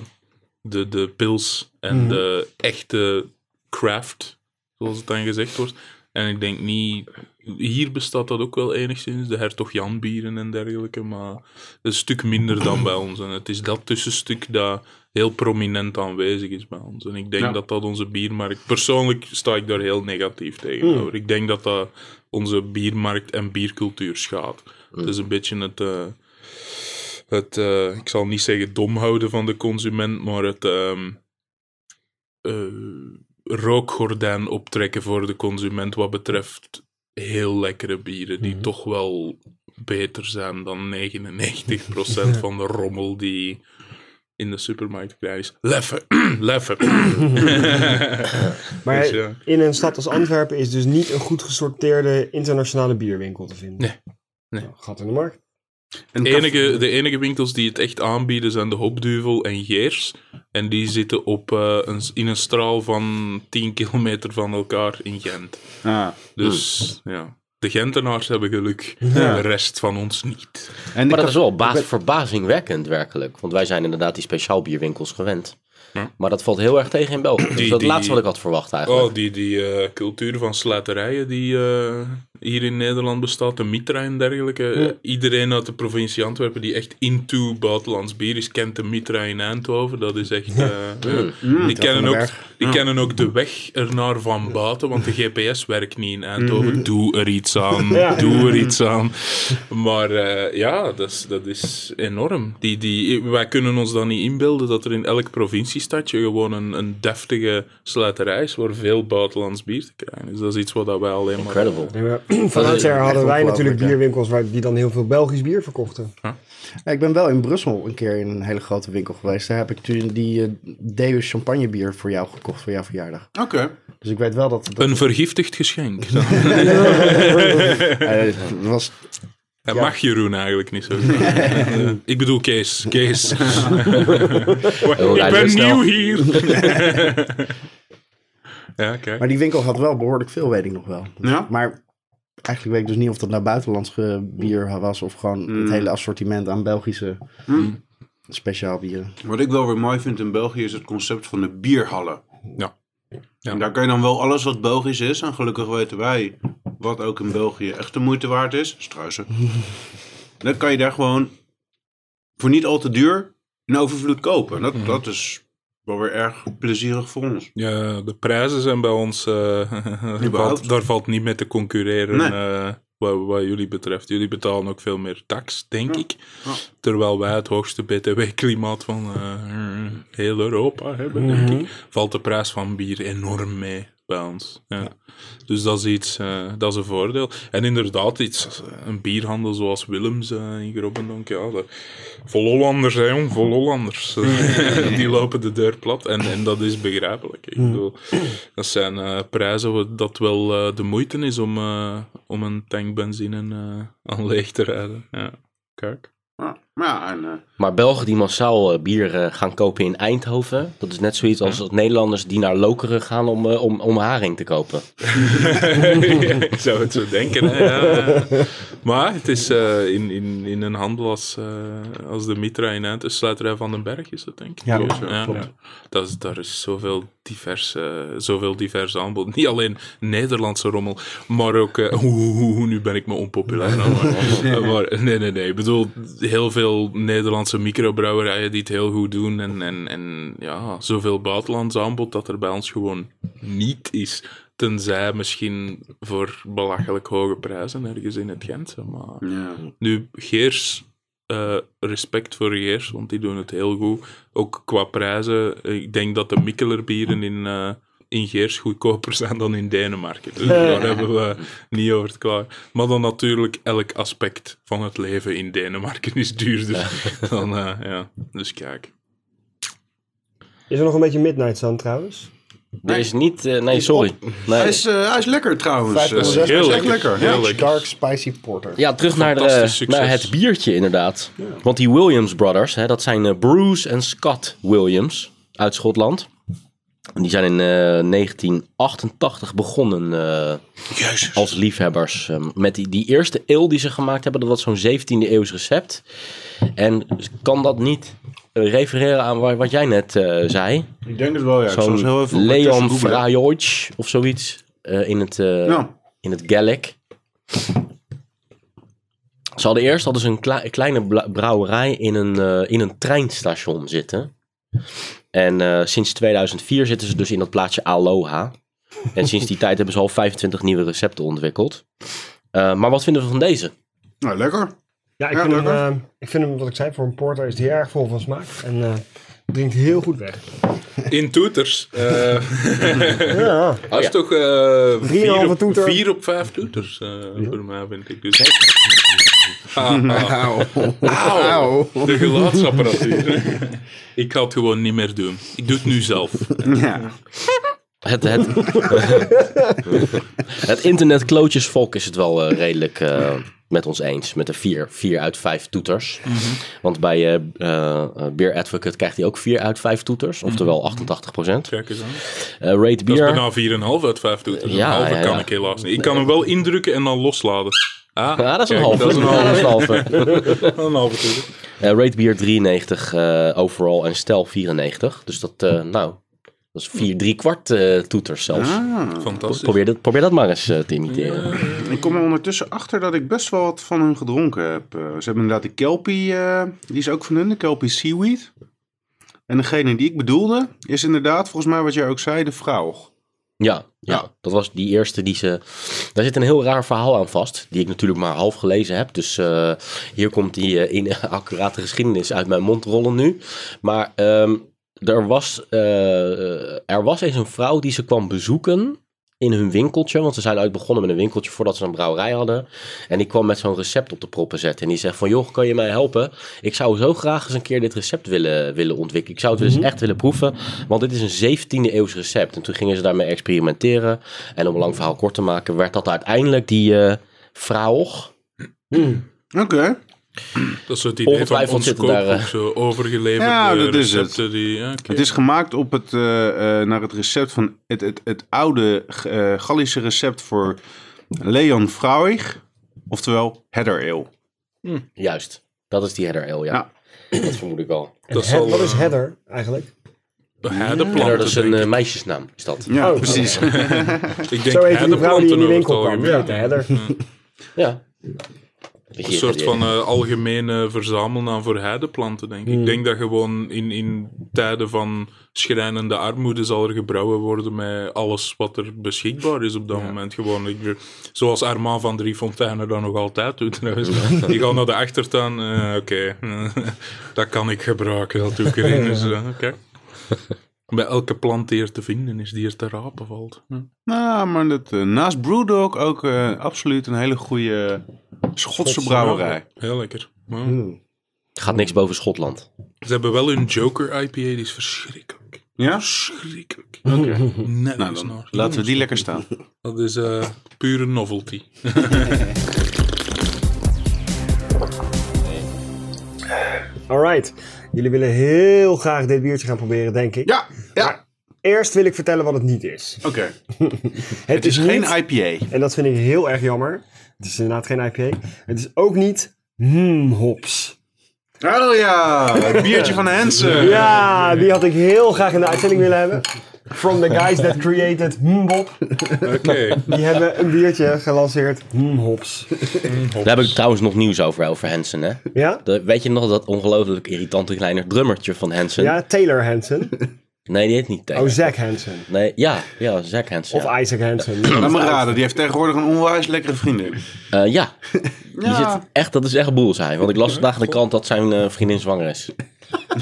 S3: de, de pils en de echte craft, zoals het dan gezegd wordt. En ik denk niet. Hier bestaat dat ook wel enigszins, de hertog Jan bieren en dergelijke, maar een stuk minder dan bij ons. En het is dat tussenstuk dat heel prominent aanwezig is bij ons. En ik denk
S4: Ja.
S3: dat dat onze biermarkt... Persoonlijk sta ik daar heel negatief tegenover. Ik denk dat dat onze biermarkt en biercultuur schaadt. Het is een beetje het... eh, het eh, ik zal niet zeggen dom houden van de consument, maar het... ehm, eh, rookgordijn optrekken voor de consument wat betreft heel lekkere bieren die toch wel beter zijn dan 99% van de rommel die in de supermarkt te krijgen is. Leffen, leffen.
S6: Maar
S3: Dus ja.
S6: in een stad als Antwerpen is dus niet een goed gesorteerde internationale bierwinkel te vinden.
S3: Nee. Nee.
S6: Nou, gat in de markt.
S4: En
S3: De
S4: kaf-
S3: enige, de enige winkels die het echt aanbieden zijn de Hopduvel en Geers. En die zitten op, eh, een, in een straal van 10 kilometer van elkaar in Gent.
S4: Ah.
S3: Dus ja, de Gentenaars hebben geluk, de rest van ons niet.
S1: Maar
S4: En de
S1: dat
S4: kaf-
S1: is wel baas- verbazingwekkend werkelijk. Want wij zijn inderdaad die speciaalbierwinkels gewend. Maar dat valt heel erg tegen in België. Dus Dat is
S3: Die-
S1: het
S3: die-
S1: laatste wat ik had verwacht eigenlijk.
S3: Oh, die, die eh, cultuur van slijterijen die eh, hier in Nederland bestaat, de Mitra en dergelijke. Eh, Iedereen uit de provincie Antwerpen die echt into buitenlands bier is, kent de Mitra in Eindhoven. Dat is echt... eh, eh, die kennen
S2: den
S3: ook,
S2: Berg.
S3: die kennen ook de weg ernaar van buiten, want de GPS werkt niet in Eindhoven. Doe er iets aan,
S6: Ja.
S3: doe er iets aan. Maar eh, ja, dat is, dat is enorm. Die, die, wij kunnen ons dan niet inbeelden dat er in elk provinciestadje gewoon een, een deftige slijterij is waar veel buitenlands bier te krijgen is. Dat is iets wat dat wij alleen maar...
S1: Incredible.
S6: Nee, maar Van oudsher hadden wij natuurlijk bierwinkels waar, die dan heel veel Belgisch bier verkochten.
S2: Ja, ik ben wel in Brussel een keer in een hele grote winkel geweest. Daar heb ik toen die eh, Deus champagnebier voor jou gekocht voor jouw verjaardag.
S4: Oké.
S2: Dus ik weet wel dat... dat
S3: Een vergiftigd geschenk. Dat
S2: eh, dat was
S3: mag Jeroen eigenlijk niet zo. Ik bedoel Kees. Kees. Ik ben nieuw hier. ja, kijk.
S2: Maar die winkel had wel behoorlijk veel, weet ik nog wel.
S4: Ja?
S2: Maar eigenlijk weet ik dus niet of dat naar buitenlands eh, bier was of gewoon het hele assortiment aan Belgische speciaal bieren.
S4: Wat ik wel weer mooi vind in België is het concept van de bierhallen.
S3: Ja. Ja.
S4: En daar kan je dan wel alles wat Belgisch is. En gelukkig weten wij wat ook in België echt de moeite waard is. Struisen. dan kan je daar gewoon voor niet al te duur in overvloed kopen. En dat, dat is wel weer erg plezierig voor ons.
S3: Ja, de prijzen zijn bij ons. eh,
S4: Überhaupt.
S3: valt, daar valt niet mee te concurreren.
S4: Nee.
S3: eh, wat, wat jullie betreft. Jullie betalen ook veel meer tax, denk ik.
S4: Ja.
S3: Terwijl wij het hoogste BTW-klimaat van eh, heel Europa hebben,
S4: Mhm.
S3: denk ik. Valt de prijs van bier enorm mee bij ons. Ja. Dus dat is iets, eh, dat is een voordeel. En inderdaad, iets, als, eh, een bierhandel zoals Willems eh, in Grobbendonk, ja, dat- vol Hollanders, hè, jong, vol Hollanders. Die lopen de deur plat en, en dat is begrijpelijk. Ik
S2: Mm.
S3: bedoel, dat zijn eh, prijzen wat- dat wel eh, de moeite is om, eh, om een tank benzine eh, aan leeg te rijden. Ja, kijk.
S4: Ja, maar ja, en, eh,
S1: Maar Belgen die massaal eh, bier eh, gaan kopen in Eindhoven, dat is net zoiets als dat Nederlanders die naar Lokeren gaan om, eh, om, om haring te kopen.
S3: Ik zou het zo denken. Hè? ja. Maar het is eh, in, in, in een handel als, eh, als de Mitra in Eindhoven, Sluiterij van den Berg is dat denk ik.
S2: Ja,
S3: Dus,
S2: klopt, klopt.
S3: Dat is, daar is zoveel divers, eh, zoveel divers aanbod. Niet alleen Nederlandse rommel, maar ook... eh, hoe, hoe, hoe, hoe, nu ben ik me onpopulair. nou, maar, maar, nee, nee, nee. Ik bedoel, heel veel Nederlandse microbrouwerijen die het heel goed doen. En, en, en ja, zoveel buitenlands aanbod dat er bij ons gewoon niet is. Tenzij misschien voor belachelijk hoge prijzen ergens in het Gent. hè, Maar
S4: ja.
S3: nu, Geers, eh, respect voor Geers, want die doen het heel goed. Ook qua prijzen. Ik denk dat de Mikkelerbieren in, eh, in Geers goedkoper zijn dan in Denemarken. Dus daar hebben we niet over het klaar. Maar dan natuurlijk, elk aspect van het leven in Denemarken is duurder. Dan, eh, ja. Dus kijk.
S6: Is er nog een beetje Midnight Sun trouwens?
S1: Er is niet... eh, nee, sorry.
S4: Hij,
S1: Nee.
S4: is, eh, hij is lekker trouwens.
S2: Vijf-
S4: Eh,
S3: Dat is
S2: Dat is
S3: heel
S4: echt
S3: lekker.
S4: lekker.
S3: Heel
S4: Ja.
S3: lekker.
S2: Dark Spicy Porter.
S1: Ja, terug naar, de,
S3: Fantastisch succes.
S1: naar het biertje inderdaad. Want die Williams Brothers, hè, dat zijn eh, Bruce en Scott Williams uit Schotland. Die zijn in eh, 1988 begonnen eh, als liefhebbers. eh, met die, die eerste ale die ze gemaakt hebben, dat was zo'n 17e eeuws recept. En kan dat niet eh, refereren aan wa- wat jij net eh, zei?
S4: Ik denk het wel, ja. Ik zal eens heel even
S1: Zo'n Leon Frajoic of zoiets eh, in, het, eh,
S4: Ja.
S1: in het Gaelic. Ze hadden eerst hadden ze een kle- kleine bla- brouwerij in een, eh, in een treinstation zitten. En eh, sinds 2004 zitten ze dus in dat plaatsje Aloha. En sinds die tijd hebben ze al 25 nieuwe recepten ontwikkeld. Eh, maar wat vinden we van deze?
S4: Nou, lekker.
S6: Ja, ik,
S4: Ja,
S6: vind hem,
S4: lekker.
S6: eh, ik vind hem, wat ik zei, voor een porter is die erg vol van smaak. En eh, drinkt heel goed weg.
S3: In toeters. Eh,
S6: Ja,
S3: dat is
S1: ja.
S3: toch eh
S6: en een halve
S3: vier, op,
S6: toeter.
S3: vier op vijf toeters eh, voor mij, vind ik. Dus, Ah, ah.
S4: Auw.
S3: De geluidsapparatuur. ik ga het gewoon niet meer doen. Ik doe het nu zelf.
S4: Ja.
S1: Het, het, het internetklootjesvolk is het wel eh, redelijk eh, met ons eens. Met de 4 vier uit 5 toeters. Want bij eh, eh, eh, Beer Advocate krijgt hij ook 4 uit 5 toeters. Oftewel 88 procent. Eh,
S3: Kijk eens aan.
S1: Rate
S3: Dat is
S1: Beer.
S3: bijna 4,5 uit 5 toeters.
S1: Ja,
S3: een halve
S1: ja,
S3: kan
S1: ja.
S3: ik helaas niet. Ik kan hem wel indrukken en dan losladen. Ah,
S1: Ja, dat is een halve.
S3: kijk, Dat is een
S1: Ja, dat is
S3: halve,
S1: een halve.
S3: een halve toeter.
S1: Eh, Rate Beer 93 eh, overall en Stel 94. Dus dat, eh, nou, dat is 4 drie kwart eh, toeters zelfs.
S4: Ah.
S3: Fantastisch.
S1: Probeer dat, probeer dat maar eens eh, te imiteren.
S4: Ik kom er ondertussen achter dat ik best wel wat van hun gedronken heb. Eh, Ze hebben inderdaad de Kelpie, eh, die is ook van hun, de Kelpie Seaweed. En degene die ik bedoelde, is inderdaad, volgens mij wat jij ook zei, de vrouw.
S1: Ja, ja, dat was die eerste die ze. Daar zit een heel raar verhaal aan vast, die ik natuurlijk maar half gelezen heb. Dus eh, hier komt die eh, inaccurate geschiedenis uit mijn mond rollen nu. Maar ehm, er, was, eh, er was eens een vrouw die ze kwam bezoeken in hun winkeltje. Want ze zijn ooit begonnen met een winkeltje voordat ze een brouwerij hadden. En die kwam met zo'n recept op de proppen zetten. En die zegt van, joh, kan je mij helpen? Ik zou zo graag eens een keer dit recept willen, willen ontwikkelen. Ik zou het dus echt willen proeven. Want dit is een 17e eeuws recept. En toen gingen ze daarmee experimenteren. En om een lang verhaal kort te maken, werd dat uiteindelijk die... eh vrouw.
S4: Oké.
S3: Dat is het idee van
S1: Ongetwijfeld
S3: onze
S1: zitten daar, eh,
S3: kookboek, zo overgeleverde
S4: Ja, dat is het.
S3: recepten. Die, ja, oké.
S4: Het is gemaakt op het, eh, eh, naar het recept van het, het, het oude eh, Gallische recept voor Leon Vrouwig, oftewel Heather Ale.
S1: Juist, dat is die header ale, ja.
S4: Ja.
S1: Dat vermoed ik wel.
S6: En
S3: Dat
S6: he-
S3: zal,
S6: wat is
S3: eh,
S6: header eigenlijk?
S3: Heideplanten,
S1: Header, dat is een
S3: denk
S1: eh,
S3: ik.
S1: meisjesnaam, is dat.
S4: Ja, Oh. precies.
S3: Ik denk
S6: Zo heet die vrouw die
S3: heideplanten
S6: in de
S3: over het
S6: winkel kwam.
S3: algemeen.
S6: Ja. De header.
S1: Ja.
S3: Een soort van eh, algemene verzamelnaam voor heideplanten, denk ik.
S6: Hmm.
S3: Ik denk dat gewoon in, in tijden van schrijnende armoede zal er gebrouwen worden met alles wat er beschikbaar is op dat moment. Gewoon, ik, bedoel, zoals Armand van Driefonteinen dat nog altijd doet trouwens. Die gaat naar de achtertuin, eh, oké, dat kan ik gebruiken, dat doe ik erin. Dus, eh, kijk. Bij elke plant die er te vinden is, die er te rapen valt. Ja.
S4: nou, maar dat, eh, naast Brewdog ook eh, absoluut een hele goede Schotse brouwerij.
S3: Heel lekker. Ja.
S1: Gaat niks boven Schotland.
S3: Ze hebben wel hun Joker IPA, die is verschrikkelijk.
S4: Ja?
S3: Verschrikkelijk. Net
S4: Nou,
S3: als
S4: dan
S3: naar.
S4: laten we die lekker staan.
S3: Dat is eh, pure novelty.
S6: Alright. Jullie willen heel graag dit biertje gaan proberen, denk ik.
S4: Ja, ja.
S6: Eerst wil ik vertellen wat het niet is.
S4: Oké.
S6: Het,
S4: Het is geen
S6: niet-
S4: IPA.
S6: En dat vind ik heel erg jammer. Het is inderdaad geen IPA. Het is ook niet hmm hops.
S4: Oh ja, het biertje van Hensen.
S6: Ja, Ah, die had ik heel graag in de uitzending willen hebben. From the guys that created hmm hop.
S3: Oké.
S6: Die hebben een biertje gelanceerd. Hmm hops.
S1: Daar heb ik trouwens nog nieuws over, over Hansen, hè.
S6: Ja?
S1: De- weet je nog dat ongelooflijk irritante kleine drummertje van Hansen?
S6: Ja, Taylor Hansen.
S1: Nee, die heet niet Taylor.
S6: Oh, Zack Hansen.
S1: Nee, ja, ja, Zack Hansen.
S6: Of
S1: ja.
S6: Isaac Hansen.
S4: Laat me raden, die heeft tegenwoordig een onwijs lekkere vriendin.
S1: Eh, ja. Die zit echt, dat is echt boelzaai. Want ik las vandaag in de krant dat zijn eh, vriendin zwanger is.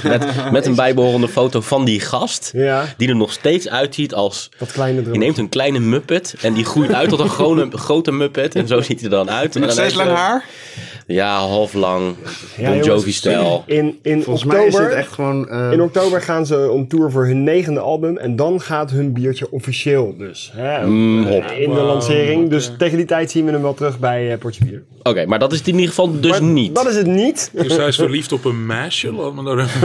S1: Met, met een bijbehorende foto van die gast.
S6: Ja.
S1: Die er nog steeds uitziet als...
S6: Dat kleine
S1: Je
S6: drum.
S1: neemt een kleine muppet en die groeit uit tot een grote, grote muppet. En zo ziet hij er dan uit. En
S4: Nog
S1: dan
S4: steeds
S1: denk
S4: lang
S1: je,
S4: haar?
S1: Ja, half lang.
S6: Ja,
S1: Bon
S6: jongens,
S1: Jovi-stijl.
S6: In, in
S2: Volgens mij
S6: oktober,
S2: is dit echt gewoon... eh,
S6: in oktober gaan ze om tour voor hun negende album. En dan gaat hun biertje officieel dus. Hè,
S1: hop.
S6: In de lancering. Dus tegen die tijd zien we hem wel terug bij eh Portje Bier.
S1: Oké, maar dat is het in ieder geval dus
S6: Maar
S1: niet.
S6: Dat is het niet.
S3: Dus hij is verliefd op een meisje, laat me daar houden.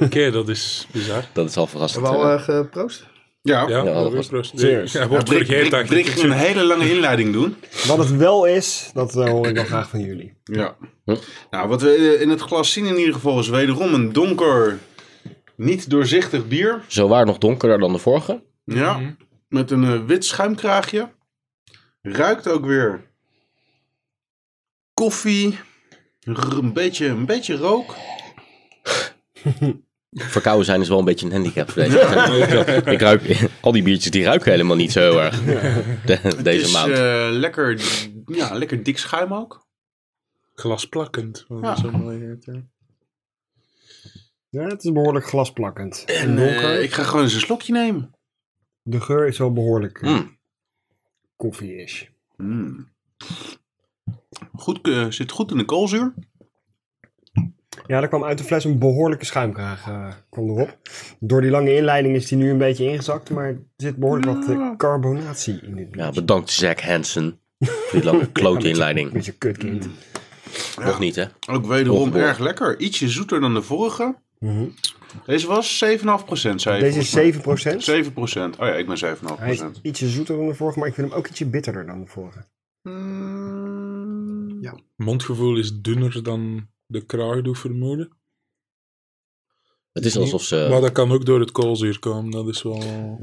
S3: Oké, dat is bizar.
S1: Dat is al verrassend.
S2: Wel
S1: eh.
S2: eh, geproost.
S4: Ja.
S3: Ja,
S1: dat
S3: alweer
S1: was-
S3: proost.
S6: Cheers.
S3: Hij wordt
S4: Brik,
S3: vergeten.
S4: Brik, Brik
S3: eigenlijk.
S4: ging een hele lange inleiding doen.
S6: Wat het wel is, dat eh, hoor ik wel graag van jullie.
S4: Ja.
S1: Hm.
S4: Nou, wat we eh, in het glas zien in ieder geval is wederom een donker, niet doorzichtig bier.
S1: Zo waar nog donkerder dan de vorige.
S4: Ja.
S6: Mhm.
S4: Met een eh, wit schuimkraagje. Ruikt ook weer koffie. R- een, beetje, een beetje rook.
S1: Verkouden zijn is wel een beetje een handicap voor deze. ik ruik, al die biertjes die ruiken helemaal niet zo heel erg. De-
S4: Het
S1: deze
S4: is
S1: maand.
S4: eh, lekker, ja, lekker dik schuim ook.
S3: Glasplakkend.
S6: Oh,
S4: Ja.
S3: Ja. Zo mooi heet, ja.
S6: eh. Ja, het is behoorlijk glasplakkend.
S4: En
S6: donker.
S4: eh, ik ga gewoon eens een slokje nemen.
S6: De geur is wel behoorlijk eh,
S1: Mm.
S6: koffie-ish.
S4: Mm. Goed, eh, zit goed in de koolzuur.
S6: Ja, er kwam uit de fles een behoorlijke schuimkraag eh, kwam erop. Door die lange inleiding is die nu een beetje ingezakt, maar er zit behoorlijk wat eh, carbonatie in dit bier.
S1: Ja, bedankt Zack Hansen. Voor die lange klote
S6: Een
S1: inleiding.
S6: beetje kutkind.
S1: Nog niet, hè?
S4: Ook wederom
S1: Ongeboren.
S4: erg lekker. Ietsje zoeter dan de vorige.
S6: Mhm.
S4: Deze was 7,5% zei je
S6: Deze
S4: volgens mij.
S6: is 7%.
S4: 7%. Oh ja, ik ben 7,5%.
S6: Hij is ietsje zoeter dan de vorige, maar ik vind hem ook ietsje bitterder dan de vorige.
S4: Mm,
S3: Mondgevoel is dunner dan de kraag doet vermoeden.
S1: Het is alsof
S3: Maar
S1: ze...
S3: dat kan ook door het koolzuur komen. Dat is wel...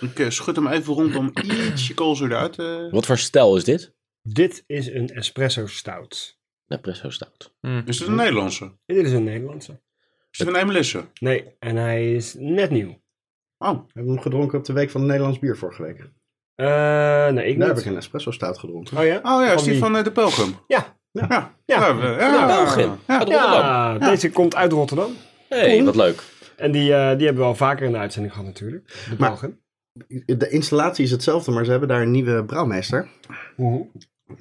S4: Ik eh, schud hem even rond om ietsje koolzuur eruit eh. te...
S1: Wat voor stijl is dit?
S6: Dit is een espresso stout.
S1: Espresso stout.
S4: Is dit een Nederlandse?
S6: En dit is een Nederlandse.
S4: Is dit een Emelisse?
S6: Nee, en hij is net nieuw.
S4: Oh,
S2: We hebben hem gedronken op de week van het Nederlands bier vorige week.
S6: Eh, nee, ik
S2: Daar heb
S6: niet.
S2: ik een espresso stout gedronken.
S6: Oh ja?
S4: oh ja, is die
S6: wie?
S4: van eh, de Pelgrim?
S6: Ja.
S4: Ja. Ja.
S6: Ja.
S4: Ja, we- ja.
S1: De Belgin.
S4: Ah. Ja.
S1: Uit Rotterdam.
S6: Ja, deze komt uit Rotterdam.
S1: hey, wat leuk.
S6: En die, eh, die hebben we al vaker in de uitzending gehad natuurlijk. De
S2: Maar-
S6: Belgen.
S2: De installatie is hetzelfde, maar ze hebben daar een nieuwe brouwmeester.
S6: Mhm.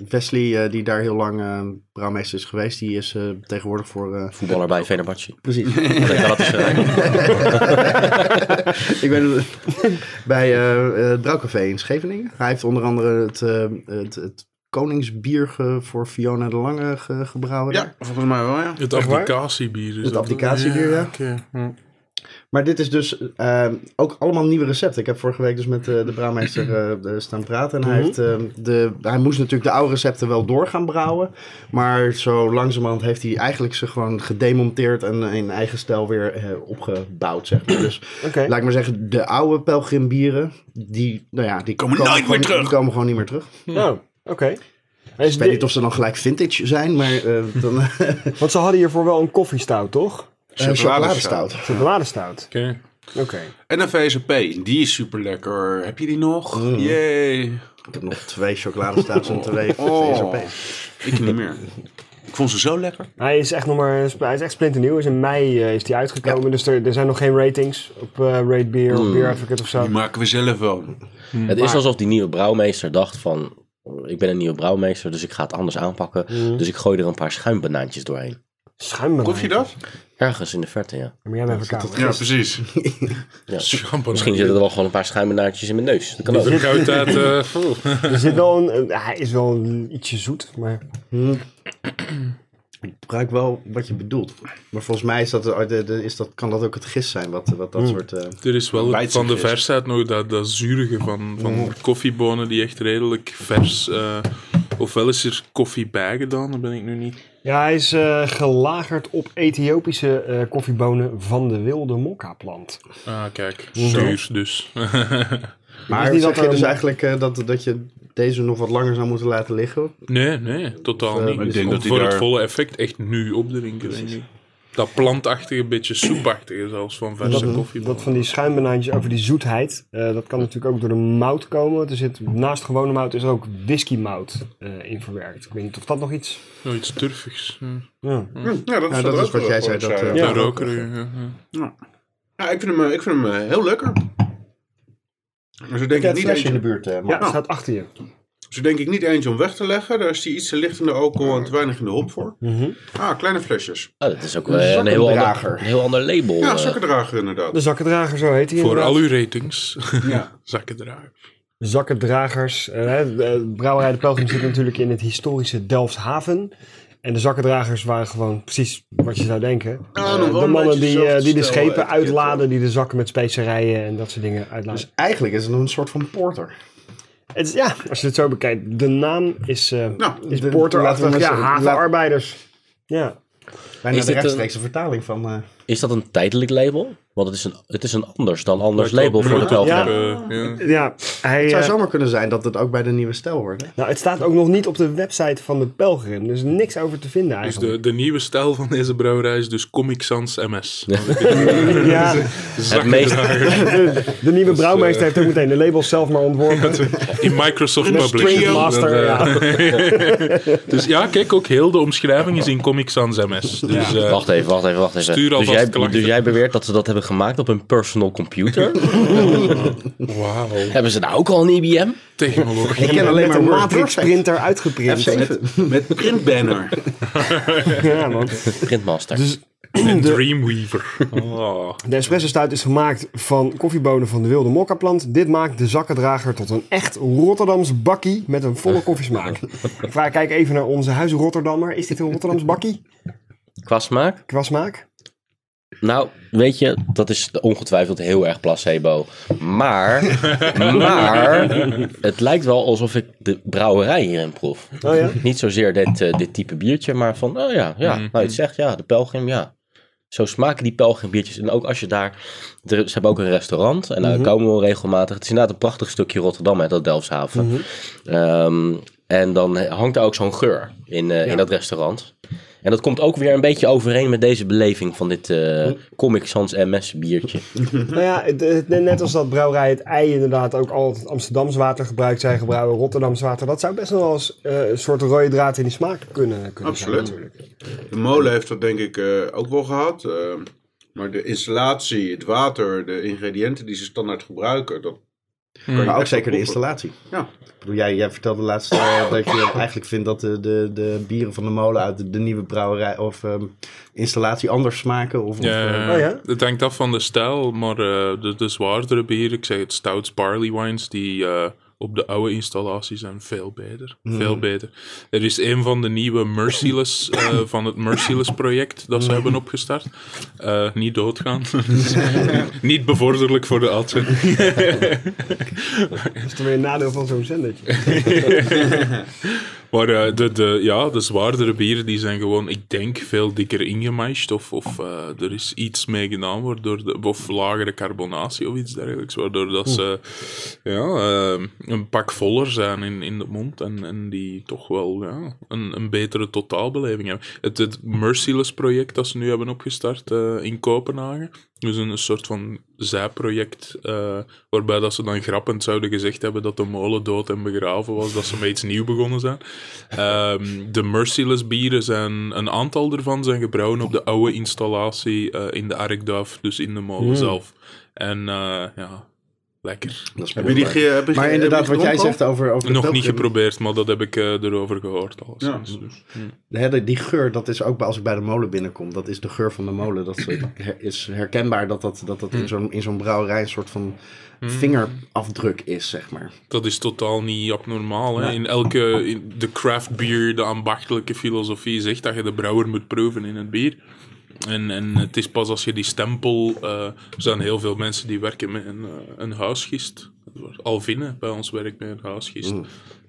S2: Wesley, eh, die daar heel lang eh, brouwmeester is geweest, die is eh, tegenwoordig voor... eh,
S1: Voetballer bij Venerbatje.
S2: precies.
S1: Dat is... eh,
S2: ik ben bij eh, het Brouwcafé in Scheveningen. Hij heeft onder andere het, eh, het, het Koningsbier ge- voor Fiona de Lange ge- gebrouwen. daar.
S4: ja, volgens mij wel, ja.
S3: Het
S6: Echt waar?
S3: abdicatiebier. is
S2: Het
S3: Dus dat.
S4: eh,
S2: abdicatiebier, ja.
S3: oké.
S2: Maar dit is dus eh, ook allemaal nieuwe recepten. Ik heb vorige week dus met eh, de brouwmeester eh, eh, staan praten. En hij,
S4: Mhm.
S2: heeft, eh, de, hij moest natuurlijk de oude recepten wel door gaan brouwen. Maar zo langzamerhand heeft hij eigenlijk ze gewoon gedemonteerd en in eigen stijl weer eh, opgebouwd, zeg maar. Dus
S6: Oké.
S2: laat ik maar zeggen, de oude pelgrimbieren, die, nou ja, die
S4: Komen nooit
S2: gewoon,
S4: meer terug.
S2: die komen gewoon niet meer terug.
S6: Nou, oké. En is
S2: Ik weet
S6: dit-
S2: niet of ze dan gelijk vintage zijn, maar eh dan eh,
S6: Want ze hadden hiervoor wel een koffiestout, toch?
S2: chocoladestout.
S6: Chocoladestout.
S3: Oké.
S6: Oké.
S4: En een VSP, die is super lekker. Heb je die nog? Yay.
S2: Ik heb nog twee chocoladestouts en twee
S4: Oh.
S2: SRP.
S4: Ik niet meer. Ik vond ze zo lekker.
S6: Hij is echt nog maar, hij is echt splinternieuw. Is in mei eh, is die uitgekomen, dus er, er zijn nog geen ratings op eh Rate Beer of Beer Advocate of zo.
S4: Die maken we zelf wel.
S1: Het is alsof die nieuwe brouwmeester dacht van... Ik ben een nieuwe brouwmeester, dus ik ga het anders aanpakken. Dus ik gooi er een paar schuimbanaantjes doorheen.
S6: Schuim
S4: Proef je dat?
S1: Ergens in de verte, ja.
S6: Maar jij bent verkouden.
S4: Ja, precies.
S3: Champagne.
S1: Misschien zitten er wel gewoon een paar schuimbanaantjes in mijn neus. Dat kan ook.
S3: Verkoudheid. eh, oh.
S6: Er zit wel een, een- hij is wel een- ietsje zoet, maar
S2: Ik gebruik wel wat je bedoelt. Maar volgens mij is dat, eh, de- de- is dat, kan dat ook het gist zijn, wat, wat dat soort... eh,
S3: Er is wel
S4: Bijtzicht
S3: van de
S4: is.
S3: versheid nog dat, dat zurige van, van koffiebonen die echt redelijk vers... eh, ofwel is er koffie bij gedaan, dat ben ik nu niet.
S6: Ja, hij is eh, gelagerd op Ethiopische eh, koffiebonen van de wilde mokka-plant.
S3: Ah, kijk. Zuur dus.
S2: maar
S6: niet
S2: zeg
S6: dat
S2: je dus
S6: een-
S2: eigenlijk eh, dat, dat je deze nog wat langer zou moeten laten liggen?
S3: Nee, nee, totaal
S2: eh,
S3: niet.
S4: ik denk
S3: Om
S4: dat die
S3: voor het
S4: daar-
S3: volle effect echt nu opdrinken, denk ik. Dat plantachtige, beetje soepachtige zelfs van
S6: Dat,
S3: verse koffie.
S6: dat van die schuimbanaantjes over die zoetheid, eh, dat kan natuurlijk ook door de mout komen. Er zit, naast gewone mout is er ook whiskymout eh, in verwerkt. Ik weet niet of dat nog iets...
S3: Oh, Iets turfigs. hm.
S6: Ja.
S4: Ja, dat,
S2: Ja, dat is wat jij zei. Dat, eh,
S6: Ja.
S3: Een rokerige, ja, ja.
S4: Ja, ik vind hem, eh, ik vind hem eh, heel lekker. Maar zo denk, ik niet eentje,
S2: buurt, eh,
S6: ja,
S2: maar
S3: Nou.
S6: het staat achter je.
S4: zo denk ik niet eentje om weg te leggen. Daar is die iets te licht in de alcohol en te weinig in de hop voor.
S6: Mhm.
S4: Ah, kleine flesjes.
S1: Oh, dat is ook wel een heel ander,
S2: zakkendrager.
S1: een heel ander label.
S4: Ja,
S1: eh.
S4: zakkendrager inderdaad.
S2: dus-
S6: De zakkendrager, zo heet hij
S3: Voor
S6: inderdaad.
S3: al uw ratings.
S4: Ja.
S3: Zakken draaien.
S6: zakkendragers. eh, hè, de, eh, brouwerij De Pelgrim zit natuurlijk in het historische Delfshaven. En de zakkendragers waren gewoon precies wat je zou denken.
S4: Ah,
S6: Eh,
S4: nog wel
S6: de
S4: een
S6: mannen
S4: beetje
S6: die, eh, die de
S4: zelfstel, eh,
S6: schepen
S4: etiket,
S6: uitladen, die de zakken met specerijen en dat soort dingen uitladen.
S2: Dus eigenlijk is het een soort van porter.
S6: Het is- ja, als je het zo bekijkt. De naam is, eh
S4: Nou,
S6: is
S2: de- laten
S6: porterachtig.
S2: we
S6: Ja,
S2: maar zo-
S6: havenarbeiders. Ja.
S2: Bijna
S1: Is dit
S2: de
S1: een-
S2: rechtstreekse vertaling van... eh,
S1: Is dat een tijdelijk label? Want het is een, het is een anders dan anders
S3: Lijkt
S1: label
S3: wel
S1: voor de
S3: brood op,
S1: Belgen.
S3: eh, ja.
S6: ja hij,
S2: het
S6: eh,
S2: zou zomaar kunnen zijn dat het ook bij de nieuwe stijl hoort. hè?
S6: nou, het staat ook nog niet op de website van de Pelgrim. Dus niks over te vinden
S3: Dus
S6: eigenlijk.
S3: de, de nieuwe stijl van deze brouwerij is dus Comic Sans MS.
S6: ja,
S1: Het meest,
S6: de, de nieuwe brouwmeester heeft ook meteen de labels zelf maar ontworpen.
S3: In Microsoft Publishing.
S6: String Master,
S3: Dat, eh, dus ja, kijk, ook heel de omschrijving is in Comic Sans MS. Dus, eh,
S1: Wacht even, wacht even, wacht even.
S3: Stuur
S1: dus,
S3: alvast
S1: jij,
S3: klachten.
S1: dus jij beweert dat ze dat hebben gemaakt op hun personal computer?
S3: Wauw.
S1: hebben ze nou ook al een IBM?
S2: Ik
S3: Technologie.
S2: ken alleen
S6: Met
S2: maar
S6: een
S2: Word
S6: matrix
S2: Perfect.
S6: printer uitgeprint.
S2: F7.
S4: Met printbanner.
S6: Ja, man.
S1: Printmaster.
S6: Dus
S3: En Dreamweaver. Oh.
S6: De espresso stout is gemaakt van koffiebonen van de wilde mokkaplant. Dit maakt de zakkendrager tot een echt Rotterdams bakkie met een volle koffiesmaak. Ik vraag, kijk even naar onze huis Rotterdammer. Is dit een Rotterdams bakkie
S1: Qua smaak?
S6: qua smaak?
S1: Nou, weet je, dat is ongetwijfeld heel erg placebo. Maar, maar, het lijkt wel alsof ik de brouwerij hierin proef.
S6: Oh ja?
S1: Niet zozeer dit, eh, dit type biertje, maar van, oh ja, ja, nou je het zegt, ja, de pelgrim, ja. Zo smaken die pelgrimbiertjes. En ook als je daar, er- ze hebben ook een restaurant en daar
S6: Mhm.
S1: komen we wel regelmatig. Het is inderdaad een prachtig stukje Rotterdam, hè, dat Delfshaven.
S6: Mhm.
S1: Ehm, en dan hangt daar ook zo'n geur in, eh, in dat restaurant. En dat komt ook weer een beetje overeen met deze beleving van dit eh, Comic Sans MS biertje.
S6: Nou ja, het- het- net als dat brouwerij het ei inderdaad ook altijd Amsterdams water gebruikt. Zij gebruiken Rotterdams water. Dat zou best nog wel eens eh, een soort rode draad in die smaak kunnen, kunnen
S4: Absoluut.
S6: zijn natuurlijk.
S4: De molen heeft dat denk ik eh, ook wel gehad. eh, maar de installatie, het water, de ingrediënten die ze standaard gebruiken. Dat,
S2: Maar ook zeker de installatie.
S4: ja.
S2: Ik bedoel, jij, jij vertelde laatst eh, dat je eigenlijk vindt dat de, de, de bieren van de molen uit de, de nieuwe brouwerij of ehm, installatie anders smaken. Of, of, eh,
S3: Ja,
S6: Oh ja?
S3: Het hangt af van de stijl, maar eh, de, de zwaardere bieren, ik zeg het stouts, barley wines, die eh, op de oude installatie zijn veel beter.
S2: Hmm.
S3: Veel beter. Er is een van de nieuwe Merciless, eh, van het Merciless project dat ze
S2: Hmm.
S3: hebben opgestart. Eh, niet doodgaan. niet bevorderlijk voor de uitzending.
S6: Dat is dan weer een nadeel van zo'n zendertje.
S3: Maar eh, de, de, ja, de zwaardere bieren die zijn gewoon, ik denk, veel dikker ingemeischt. Of, of eh, er is iets mee gedaan, waardoor de, of lagere carbonatie of iets dergelijks. Waardoor dat ze ja, eh, een pak voller zijn in, in de mond. En, en die toch wel ja, een, een betere totaalbeleving hebben. Het, het Merciless project dat ze nu hebben opgestart eh, in Kopenhagen. Dus een, een soort van zijproject, eh, waarbij dat ze dan grappend zouden gezegd hebben dat de molen dood en begraven was, dat ze met iets nieuw begonnen zijn. Ehm, de Merciless bieren zijn, een aantal ervan zijn gebrouwen op de oude installatie eh, in de Arkduif, dus in de molen zelf. En eh, ja, lekker.
S2: dat is
S4: Heb je die, ge- heb je ge-
S2: maar
S4: heb
S2: inderdaad,
S4: je die
S2: wat jij
S4: gedronken
S2: zegt over, over de
S3: Nog niet
S2: Belgium,
S3: geprobeerd, maar dat heb ik eh, erover gehoord. alleszins.
S4: Ja.
S3: Dus,
S2: hè, de- die geur, dat is ook bij- als ik bij de molen binnenkom. Dat is de geur van de molen. Dat is- her- is herkenbaar dat dat, dat, dat
S4: Mm.
S2: in zo'n in zo'n brouwerij een soort van vingerafdruk is, zeg maar.
S3: Dat is totaal niet abnormaal. Hè? In elke, in de craft beer, de ambachtelijke filosofie zegt dat je de brouwer moet proeven in het bier. En, en het is pas als je die stempel. eh, er zijn heel veel mensen die werken met een, eh, een huisgist. Alvine bij ons werkt met een huisgist.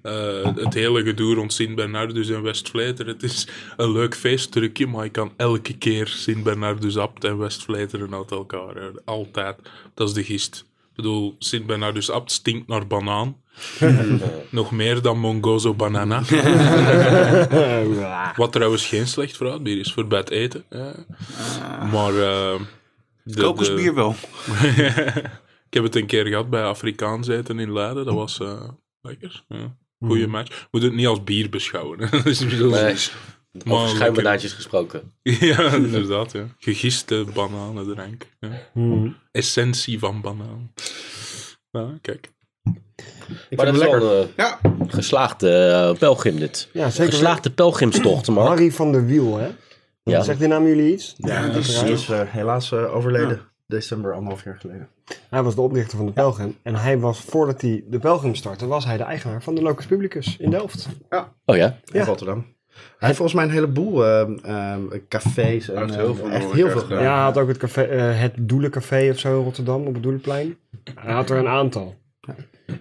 S3: Eh, het hele gedoe rond Sint-Bernardus en Westvleteren. Het is een leuk feestdrukje, maar je kan elke keer Sint-Bernardus Abt en Westvleteren uit elkaar. hè. Altijd. Dat is de gist. Ik bedoel, Sint-Bernardus Abt stinkt naar banaan. Nog meer dan Mongozo Banana. Wat trouwens geen slecht fruitbier is voor bij het eten. hè. Maar... eh, de-
S4: Kokosbier wel.
S3: ik heb het een keer gehad bij Afrikaans eten in Leiden. Dat was eh, lekker. Ja. Goeie match. Moet het niet als bier beschouwen. hè. Dat is niet zo-
S1: Nee.
S3: Maar
S1: Over
S3: lekker.
S1: schuimbanaantjes gesproken.
S3: Ja, inderdaad. Ja. Gegiste bananendrank. Ja. Essentie van banaan. Ja, kijk.
S1: Maar dat is
S2: lekker.
S1: wel een
S4: Ja,
S1: geslaagde eh, pelgrim dit.
S6: Ja, zeker.
S1: Geslaagde pelgrimstocht, man.
S6: Harry van der Wiel, hè?
S1: Ja.
S6: Zegt die naam jullie iets?
S2: Ja, die is, die is, eh, helaas eh, overleden. December, anderhalf jaar geleden.
S6: Hij was de oprichter van de Pelgrim. En hij was, voordat hij de Pelgrim startte, was hij de eigenaar van de Locus Publicus in Delft.
S1: Oh ja?
S2: In
S6: Ja.
S2: Rotterdam. Hij heeft volgens mij een heleboel ehm, ehm, cafés. En,
S4: Hij heeft
S2: eh,
S4: heel veel
S2: echt
S4: door
S2: heel
S4: elkaar
S2: veel
S4: gedaan.
S6: Ja, hij had ook het, café, eh, het Doelencafé of zo in Rotterdam op het Doelenplein. Hij had er een aantal.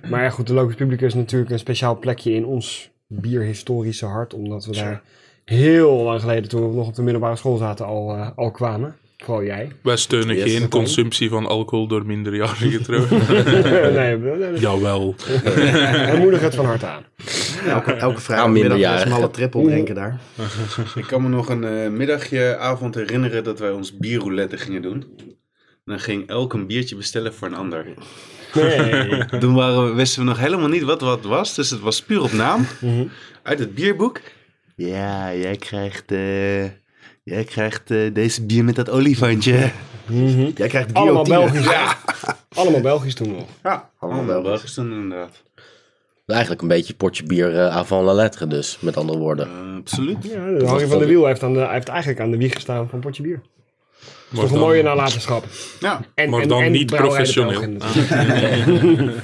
S6: Maar ja, goed, de Locus Publica is natuurlijk een speciaal plekje in ons bierhistorische hart. Omdat we daar heel lang geleden, toen we nog op de middelbare school zaten, al, eh, al kwamen. Vooral jij.
S3: Wij steunen
S1: Yes,
S3: geen
S1: dat
S3: consumptie van alcohol door minderjarigen trouwens.
S6: nee, we- we-
S3: Jawel.
S6: we moedigen het van harte aan.
S2: Elke,
S4: Nou,
S2: elke vrijdagmiddag
S1: minderjarigen.
S2: een smalle trippel drinken daar.
S4: Ik kan me nog een eh, middagje, avond herinneren dat wij ons bierroulette gingen doen. En dan ging elk een biertje bestellen voor een ander.
S6: Nee.
S4: Toen waren we, wisten we nog helemaal niet wat wat was, dus het was puur op naam. Uit het bierboek. Ja, jij krijgt, eh, jij krijgt eh, deze bier met dat olifantje.
S6: Mhm.
S2: Jij krijgt
S6: Allemaal
S2: guillotine.
S6: Belgisch. Allemaal Belgisch toen nog.
S4: Ja, allemaal
S2: wel.
S4: wel. Belgisch dan inderdaad.
S1: Eigenlijk een beetje potje bier eh, avant la lettre dus, met andere woorden.
S4: Eh, absoluut.
S6: Ja, de Harry van der Wiel heeft, aan de, hij heeft eigenlijk aan de wieg gestaan van Potje Bier. Dat is toch een mooie nalatenschap.
S4: Ja.
S6: En,
S3: Maar dan niet
S6: Brouwerij de
S3: professioneel. Ah.
S6: Belgen natuurlijk.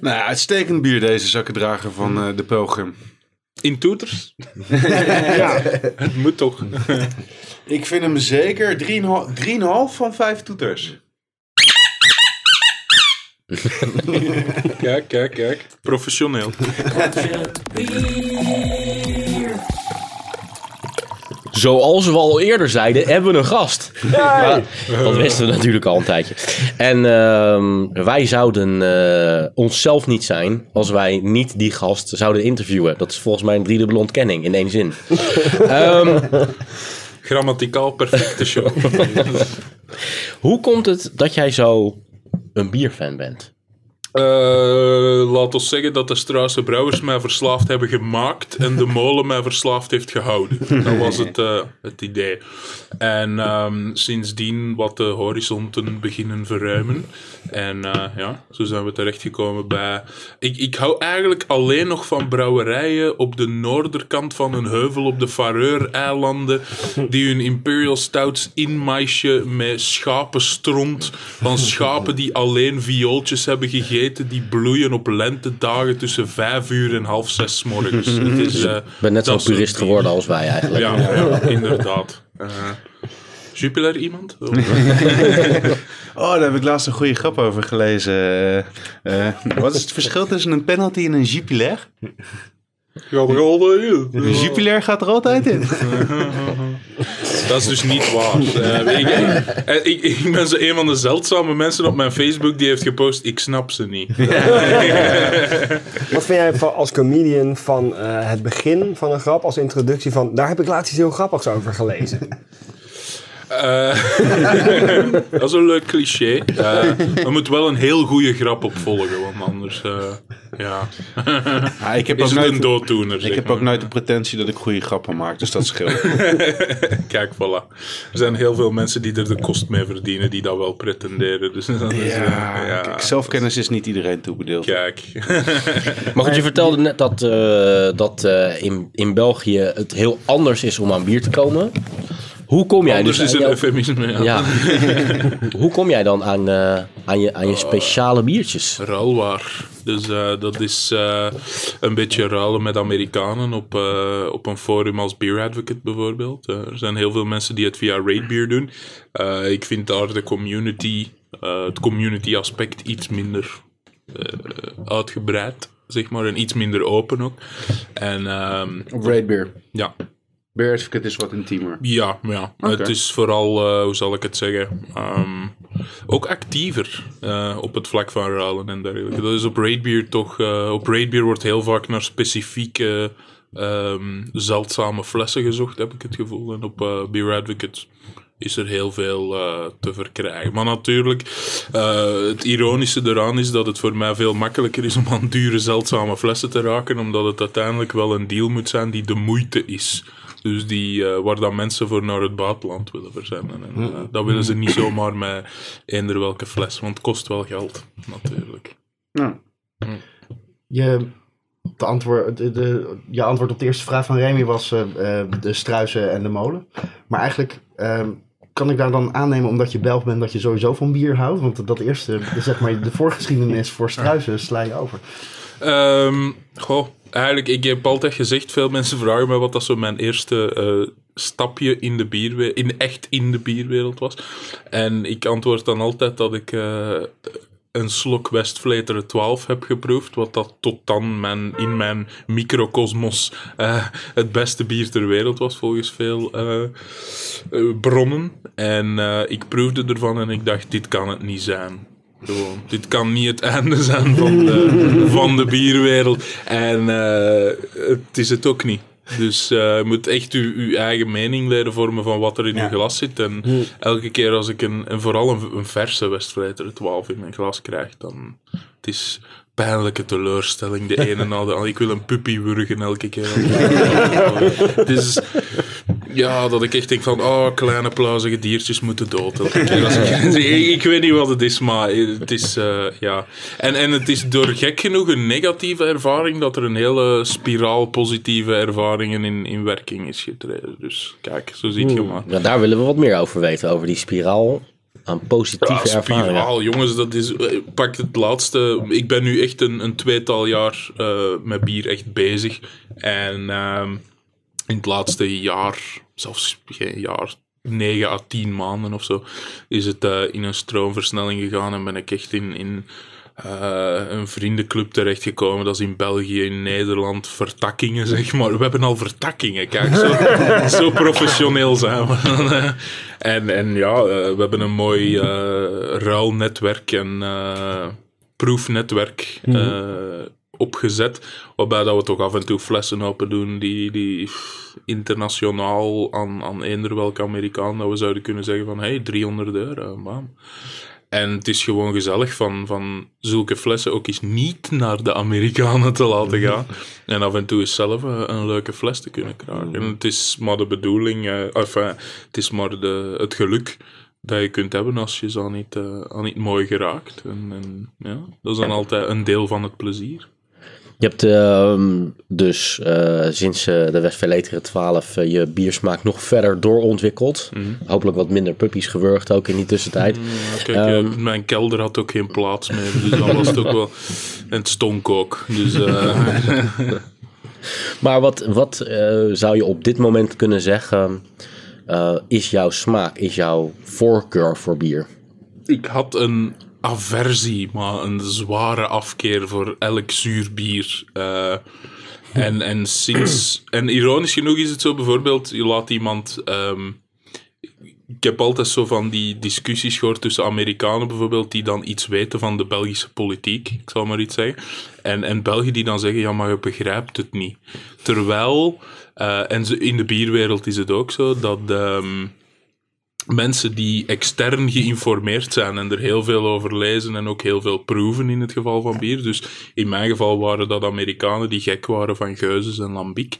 S4: Nou, ja, uitstekend bier deze zakkendrager van eh, de Pelgrim.
S3: In toeters?
S6: ja,
S3: Het moet toch.
S4: Ik vind hem zeker 3,5 3,5 van 5 toeters.
S3: Kijk, kijk, kijk. Professioneel.
S1: Zoals we al eerder zeiden, hebben we een gast. Maar dat wisten we natuurlijk al een tijdje. En ehm, wij zouden eh, onszelf niet zijn als wij niet die gast zouden interviewen. Dat is volgens mij een driedubbele ontkenning in één zin. Ehm,
S3: Grammaticaal perfecte show.
S1: hoe komt het dat jij zo een bierfan bent?
S3: Eh, laat ons zeggen dat de Struise Brouwers mij verslaafd hebben gemaakt en de molen mij verslaafd heeft gehouden. Dat was het, eh, het idee. En ehm, sindsdien wat de horizonten beginnen verruimen. En eh, ja, zo zijn we terechtgekomen bij... Ik, ik hou eigenlijk alleen nog van brouwerijen op de noorderkant van een heuvel op de Faroe-eilanden die hun Imperial Stouts inmaisje met schapenstront van schapen die alleen viooltjes hebben gegeten die bloeien op lentedagen tussen vijf uur en half zes 's morgens. Het is, eh,
S1: Ik ben net
S3: dat
S1: zo'n
S3: soort
S1: purist
S3: bier.
S1: geworden als wij eigenlijk.
S3: Ja, ja, inderdaad. Eh, Jupiler iemand? Oh.
S4: Oh, daar heb ik laatst een goede grap over gelezen. Eh, eh, wat is het verschil tussen een penalty en een jupiler? Een jupiler gaat er altijd in.
S3: Dat is dus niet waar. Eh, ik, eh, ik, ik ben zo een van de zeldzame mensen op mijn Facebook die heeft gepost, ik snap ze niet.
S6: wat vind jij van, als comedian van eh, het begin van een grap, als introductie van... Daar heb ik laatst iets heel grappigs over gelezen.
S3: Eh, dat is een leuk cliché. Eh, er moet wel een heel goede grap op volgen, want anders eh, ja.
S4: Ah, ik heb
S3: is
S4: ook
S3: het een
S4: nooit...
S3: dooddoener. zeg
S4: Ik heb
S3: maar.
S4: ook nooit de pretentie dat ik goede grappen maak, dus dat scheelt.
S3: Kijk, voilà. Er zijn heel veel mensen die er de kost mee verdienen, die dat wel pretenderen. Dus dat is, eh, ja,
S4: Kijk, zelfkennis is niet iedereen toebedeeld.
S3: Kijk.
S1: Maar goed, je vertelde net dat, eh, dat eh, in, in België het heel anders is om aan bier te komen. Hoe kom jij
S3: Anders
S1: dus
S3: is
S1: aan
S3: een
S1: jouw-
S3: eufemisme. Ja.
S1: Ja. Hoe kom jij dan aan, eh, aan, je, aan je speciale biertjes?
S3: Ruilwaar. Dus eh, dat is eh, een beetje ruilen met Amerikanen op, eh, op een forum als Beer Advocate bijvoorbeeld. Eh, er zijn heel veel mensen die het via Ratebeer doen. Eh, ik vind daar de community, eh, het community aspect iets minder eh, uitgebreid, zeg maar, en iets minder open ook. En ehm,
S4: Op Raidbeer.
S3: ja,
S4: Beer Advocate is wat intiemer.
S3: ja, maar ja. het is vooral, eh, hoe zal ik het zeggen, ehm, ook actiever eh, op het vlak van ruilen en dergelijke. Dat is op Raidbeer toch, eh, op Raidbeer wordt heel vaak naar specifieke ehm, zeldzame flessen gezocht, heb ik het gevoel. En op eh, Beer Advocate is er heel veel eh, te verkrijgen. Maar natuurlijk, eh, het ironische eraan is dat het voor mij veel makkelijker is om aan dure, zeldzame flessen te raken, omdat het uiteindelijk wel een deal moet zijn die de moeite is. Dus die, eh, waar dan mensen voor naar het buitenland willen verzenden. En, eh, dat willen ze niet zomaar met eender welke fles, want het kost wel geld, natuurlijk.
S2: Je, de antwoord, de, de- je antwoord op de eerste vraag van Remy was eh, eh, de struisen en de molen. Maar eigenlijk ehm, kan ik daar dan aannemen, omdat je Belg bent, dat je sowieso van bier houdt. Want dat eerste, zeg maar, de voorgeschiedenis voor struisen sla je over.
S3: Ehm goh, eigenlijk, ik heb altijd gezegd, veel mensen vragen me wat dat zo mijn eerste eh, stapje in de bierwereld, in, echt in de bierwereld was. En ik antwoord dan altijd dat ik eh, een slok Westvleteren 12 heb geproefd, wat dat tot dan mijn, in mijn microcosmos eh, het beste bier ter wereld was, volgens veel eh, eh, bronnen. En eh, ik proefde ervan en ik dacht, dit kan het niet zijn. Gewoon, dit kan niet het einde zijn van de, van de bierwereld. En eh, het is het ook niet. Dus eh, je moet echt uw, uw eigen mening leren vormen van wat er in uw glas zit. En elke keer als ik een, en vooral een, een verse Westfleter 12 in mijn glas krijg, dan het is pijnlijke teleurstelling. De ene na de andere. Ik wil een puppy wurgen elke keer. Het is ja, dat ik echt denk van, oh, kleine pluizige diertjes moeten dood. elke keer als ik, ik, ik weet niet wat het is, maar het is, eh, ja. En, en het is door gek genoeg een negatieve ervaring dat er een hele spiraal positieve ervaringen in, in werking is getreden. Dus kijk, zo ziet je maar.
S1: Ja, daar willen we wat meer over weten, over die spiraal aan positieve
S3: Ja,
S1: ervaringen.
S3: spiraal, jongens, dat is. eh, Pak het laatste. Ik ben nu echt een, een tweetal jaar eh, met bier echt bezig. En ehm, in het laatste jaar, zelfs geen jaar, 9 à 10 maanden of zo, is het eh, in een stroomversnelling gegaan en ben ik echt in. in eh, een vriendenclub terechtgekomen. Dat is in België, in Nederland. Vertakkingen, zeg maar. We hebben al vertakkingen, kijk. Zo, zo professioneel zijn we. en, en ja, eh, we hebben een mooi eh, ruilnetwerk en eh, proefnetwerk eh, opgezet. Waarbij dat we toch af en toe flessen open doen die, die internationaal aan, aan eender welke Amerikaan dat we zouden kunnen zeggen van hey, 300 euro, man. En het is gewoon gezellig van, van zulke flessen ook eens niet naar de Amerikanen te laten gaan. En af en toe eens zelf een, een leuke fles te kunnen krijgen. En het is maar de bedoeling, eh, enfin, het is maar de, het geluk dat je kunt hebben als je ze al niet, eh, al niet mooi geraakt. En, en ja, dat is dan altijd een deel van het plezier.
S1: Je hebt ehm, dus eh, sinds eh, de Westverleteren 12 eh, je biersmaak nog verder doorontwikkeld. Hopelijk wat minder puppies gewurgd ook in die tussentijd.
S3: Kijk, eh, mijn kelder had ook geen plaats meer, dus dan was het ook wel... En het stonk ook, dus... eh,
S1: Maar wat, wat eh, zou je op dit moment kunnen zeggen? eh, is jouw smaak, is jouw voorkeur voor bier?
S3: ik had een aversie, maar een zware afkeer voor elk zuur bier. Eh, en, en, sinds, en ironisch genoeg is het zo, bijvoorbeeld, je laat iemand... ehm, ik heb altijd zo van die discussies gehoord tussen Amerikanen bijvoorbeeld, die dan iets weten van de Belgische politiek, ik zal maar iets zeggen. En, en Belgen die dan zeggen, ja, maar je begrijpt het niet. Terwijl, eh, en ze- in de bierwereld is het ook zo, dat... ehm, mensen die extern geïnformeerd zijn en er heel veel over lezen en ook heel veel proeven in het geval van bier. Dus in mijn geval waren dat Amerikanen die gek waren van geuzes en lambiek,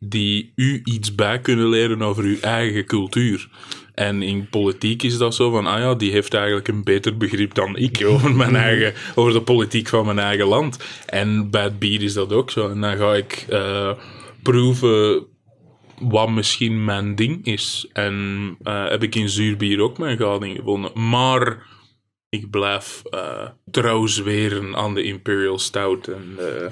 S3: die u iets bij kunnen leren over uw eigen cultuur. En in politiek is dat zo van, ah ja, die heeft eigenlijk een beter begrip dan ik over, mijn eigen, over de politiek van mijn eigen land. En bij het bier is dat ook zo. En dan ga ik eh, proeven wat misschien mijn ding is. En eh, heb ik in zuurbier ook mijn gading gevonden. Maar ik blijf eh, trouw zweren aan de Imperial Stout en, eh,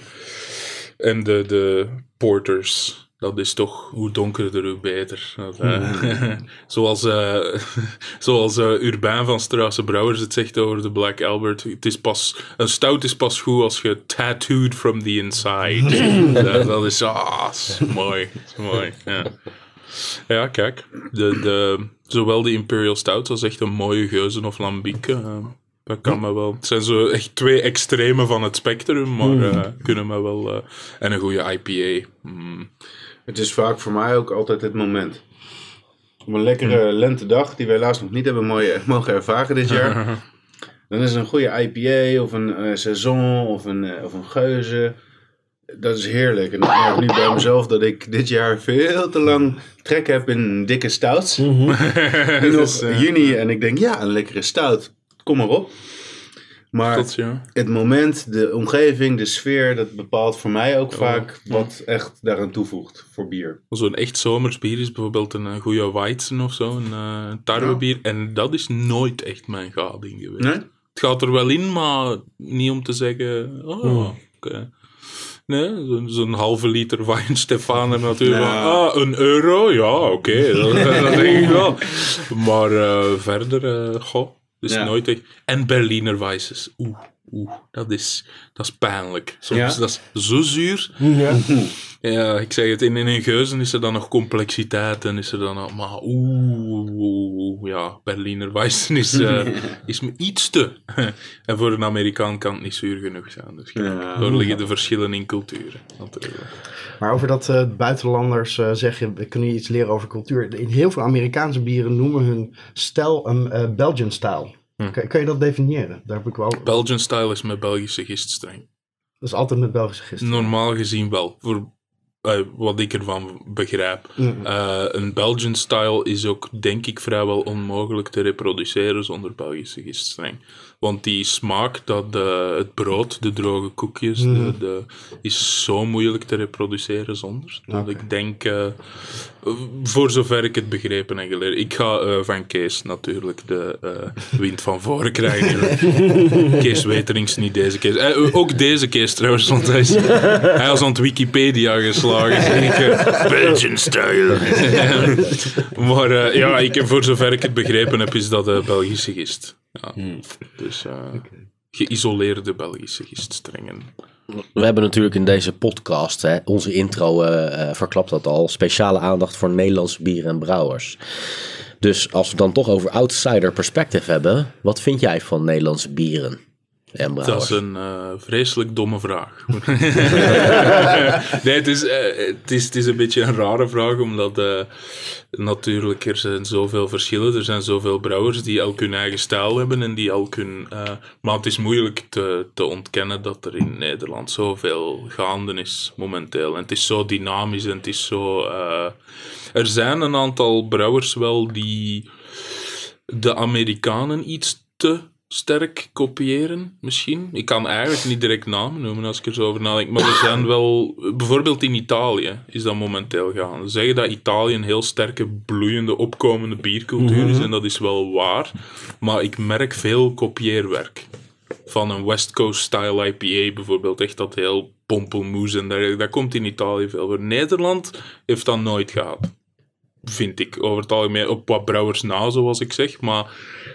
S3: en de, de Porters. Dat is toch hoe donkerder, hoe beter. Dat, eh, zoals eh, zoals eh, Urbain van Straße Brouwers het zegt over de Black Albert. Het is pas, een stout is pas goed als je tattooed from the inside. dat, dat is, ah, is mooi. is mooi ja. Ja, kijk. De, de, zowel de Imperial Stout als echt een mooie geuzen of lambiek. eh, dat kan me wel. Het zijn zo echt twee extremen van het spectrum, maar eh, kunnen me wel. eh, en een goede IPA. Mm.
S4: Het is vaak voor mij ook altijd het moment. Op een lekkere lentedag, die we helaas nog niet hebben mooi- eh, mogen ervaren dit jaar. Dan is een goede IPA of een eh saison of een, eh, of een geuze. Dat is heerlijk. En ik merk nu bij mezelf dat ik dit jaar veel te lang trek heb in dikke stouts. Nu nog juni en ik denk, ja, een lekkere stout. Kom maar op. Maar
S3: Tot, ja.
S4: het moment, de omgeving, de sfeer, dat bepaalt voor mij ook vaak wat echt daaraan toevoegt voor bier.
S3: Zo'n echt zomersbier is bijvoorbeeld een, eh, goede Weizen of zo, een eh, tarwebier. En dat is nooit echt mijn gading geweest.
S4: Nee? Hmm.
S3: Het gaat er wel in, maar niet om te zeggen. Oh, oké. Nee, zo'n- zo'n halve liter wijn Stefan en natuurlijk. Ah, een euro? Ja, oké. dat, dat denk ik wel. Maar eh, verder, eh, goh, dat is
S4: Ja.
S3: nooit echt. En Berliner Weisses. Oeh, oeh, dat is, dat is pijnlijk. Soms
S4: Ja?
S3: dat is zo zuur.
S6: Ja.
S3: Ja, ik zeg het, in, in een geuzen is er dan nog complexiteit en is er dan nog, maar oeh, oeh, oeh, ja, Berliner Weissen is, eh, is me iets te. en voor een Amerikaan kan het niet zuur genoeg zijn. Dus kijk,
S4: Ja.
S3: daar liggen de verschillen in culturen. Natuurlijk.
S2: Maar over dat eh, buitenlanders eh, zeggen, we kunnen iets leren over cultuur. In heel veel Amerikaanse bieren noemen hun stijl een eh, Belgian style. Kan, kan je dat definiëren? Daar heb ik wel. Dat
S3: Belgian style is met Belgische gist streng.
S2: is altijd met Belgische gist.
S3: Normaal gezien wel, voor eh, wat ik ervan begrijp. Eh, een Belgian style is ook, denk ik, vrijwel onmogelijk te reproduceren zonder Belgische giststreng. Want die smaak, dat eh, het brood, de droge koekjes, de, de- is zo moeilijk te reproduceren zonder. Dat ik denk, eh, voor zover ik het begrepen en geleerd Ik ga eh, van Kees natuurlijk de eh, wind van voren krijgen. Kees Weterings, niet deze Kees. Eh, ook deze Kees trouwens, want hij is, hij is aan het Wikipedia geslagen. Zeg ik, eh, Belgian style. maar eh, ja, ik, heb- voor zover ik het begrepen heb, is dat eh, Belgische gist. Ja. Dus eh, geïsoleerde Belgische giststrengen.
S1: We hebben natuurlijk in deze podcast, hè, onze intro eh, eh, verklapt dat al, speciale aandacht voor Nederlandse bieren en brouwers. Dus als we het dan toch over outsider perspective hebben, wat vind jij van Nederlandse bieren en
S3: Dat
S1: brouwers?
S3: is een eh, vreselijk domme vraag. nee, het is, eh, het, is, het is een beetje een rare vraag, omdat eh, natuurlijk er zijn zoveel verschillen. Er zijn zoveel brouwers die elk hun eigen stijl hebben en die elk hun... eh, maar het is moeilijk te, te ontkennen dat er in Nederland zoveel gaande is momenteel. En het is zo dynamisch en het is zo... eh, er zijn een aantal brouwers wel die de Amerikanen iets te sterk kopiëren, misschien. Ik kan eigenlijk niet direct namen noemen als ik er zo over nadenk. Maar er zijn wel, bijvoorbeeld in Italië is dat momenteel gaan. Ze zeggen dat Italië een heel sterke, bloeiende, opkomende biercultuur is. En dat is wel waar. Maar ik merk veel kopieerwerk van een West Coast style IPA bijvoorbeeld, echt dat heel pompelmoes en dergelijke, dat komt in Italië veel voor. Nederland heeft dat nooit gehad, vind ik, over het algemeen, op wat brouwers na, zoals ik zeg, maar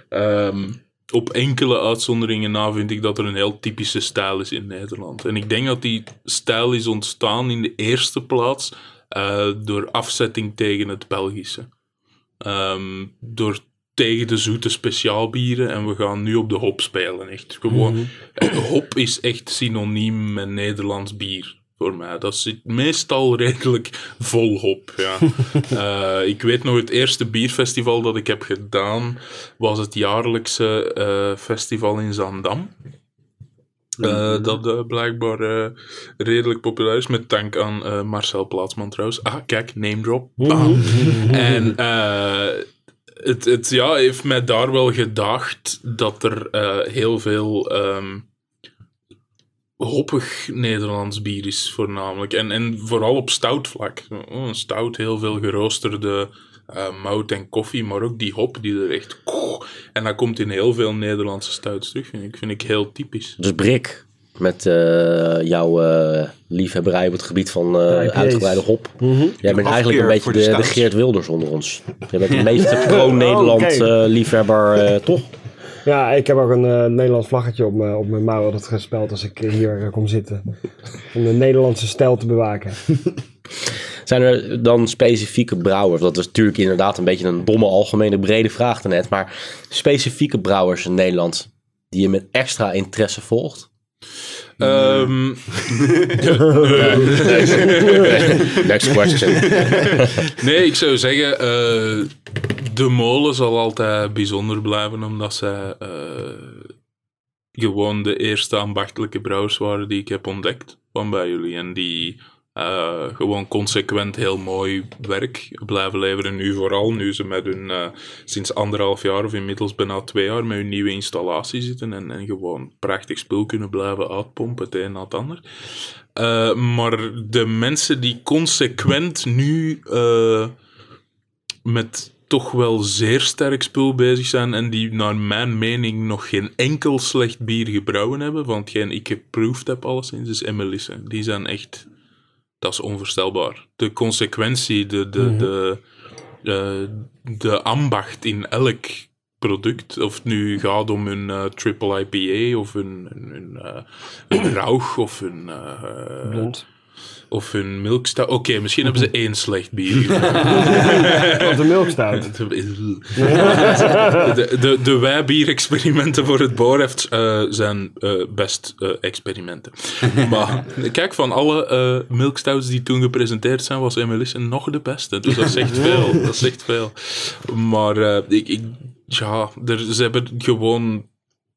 S3: ehm, op enkele uitzonderingen na vind ik dat er een heel typische stijl is in Nederland. En ik denk dat die stijl is ontstaan in de eerste plaats eh, door afzetting tegen het Belgische. Ehm, door tegen de zoete speciaalbieren en we gaan nu op de hop spelen. Echt. Gewoon, eh, Hop is echt synoniem met Nederlands bier. Voor mij. Dat zit meestal redelijk vol hop. Ja. Eh, ik weet nog, het eerste bierfestival dat ik heb gedaan was het jaarlijkse eh, festival in Zandam. Eh, dat eh, blijkbaar eh, redelijk populair is. Met dank aan eh, Marcel Plaatsman trouwens. Ah, kijk, name drop. Bam. En eh, het, het ja, heeft mij daar wel gedacht dat er eh, heel veel ehm, hoppig Nederlands bier is, voornamelijk. En, en vooral op stoutvlak. Oh, stout, heel veel geroosterde eh, mout en koffie, maar ook die hop die er echt... En dat komt in heel veel Nederlandse stouts terug, vind ik. Vind ik heel typisch.
S1: Dus Brik, met eh, jouw eh, liefhebberij op het gebied van eh,
S2: IPA's.
S1: uitgebreide hop. Jij bent eigenlijk
S4: Afkeer
S1: een beetje
S4: voor
S1: de,
S4: de
S1: de
S4: stouts.
S1: Geert Wilders onder ons. Jij bent de meeste pro-Nederland
S6: Oh,
S1: eh, liefhebber, eh, toch?
S6: ja, ik heb ook een eh, Nederlands vlaggetje op, mijn- op mijn mouw altijd gespeld als ik hier eh, kom zitten. Om de Nederlandse stijl te bewaken.
S1: Zijn er dan specifieke brouwers? Dat is natuurlijk inderdaad een beetje een domme algemene brede vraag daarnet. Maar specifieke brouwers in Nederland die je met extra interesse volgt?
S3: Ehm,
S1: Next question.
S3: Nee, ik zou zeggen, eh, de molen zal altijd bijzonder blijven, omdat zij eh, gewoon de eerste ambachtelijke brouwers waren die ik heb ontdekt van bij jullie. En die eh, gewoon consequent heel mooi werk blijven leveren. Nu vooral, nu ze met hun eh, sinds anderhalf jaar of inmiddels bijna twee jaar met hun nieuwe installatie zitten en, en gewoon prachtig spul kunnen blijven uitpompen, het een na het ander. Eh, maar de mensen die consequent nu eh, met toch wel zeer sterk spul bezig zijn en die naar mijn mening nog geen enkel slecht bier gebrouwen hebben, want hetgeen ik geproefd heb alleszins, is Emelisse. Die zijn echt, dat is onvoorstelbaar. De consequentie, de, de, de, eh, de ambacht in elk product, of het nu gaat om hun eh, triple IPA, of hun, hun, hun, eh, hun rauch, of hun... eh,
S6: Blond.
S3: of hun milkstout. Oké, misschien hebben ze één slecht bier. gebrouwen.
S6: Want de melk stout.
S3: De, de, de wijbier-experimenten voor het boorheft eh, zijn eh, best eh, experimenten. Maar kijk, van alle eh milkstouts die toen gepresenteerd zijn, was Emelisse nog de beste. Dus dat zegt veel. Dat zegt veel. Maar eh, ik, ik, ja, er, ze hebben gewoon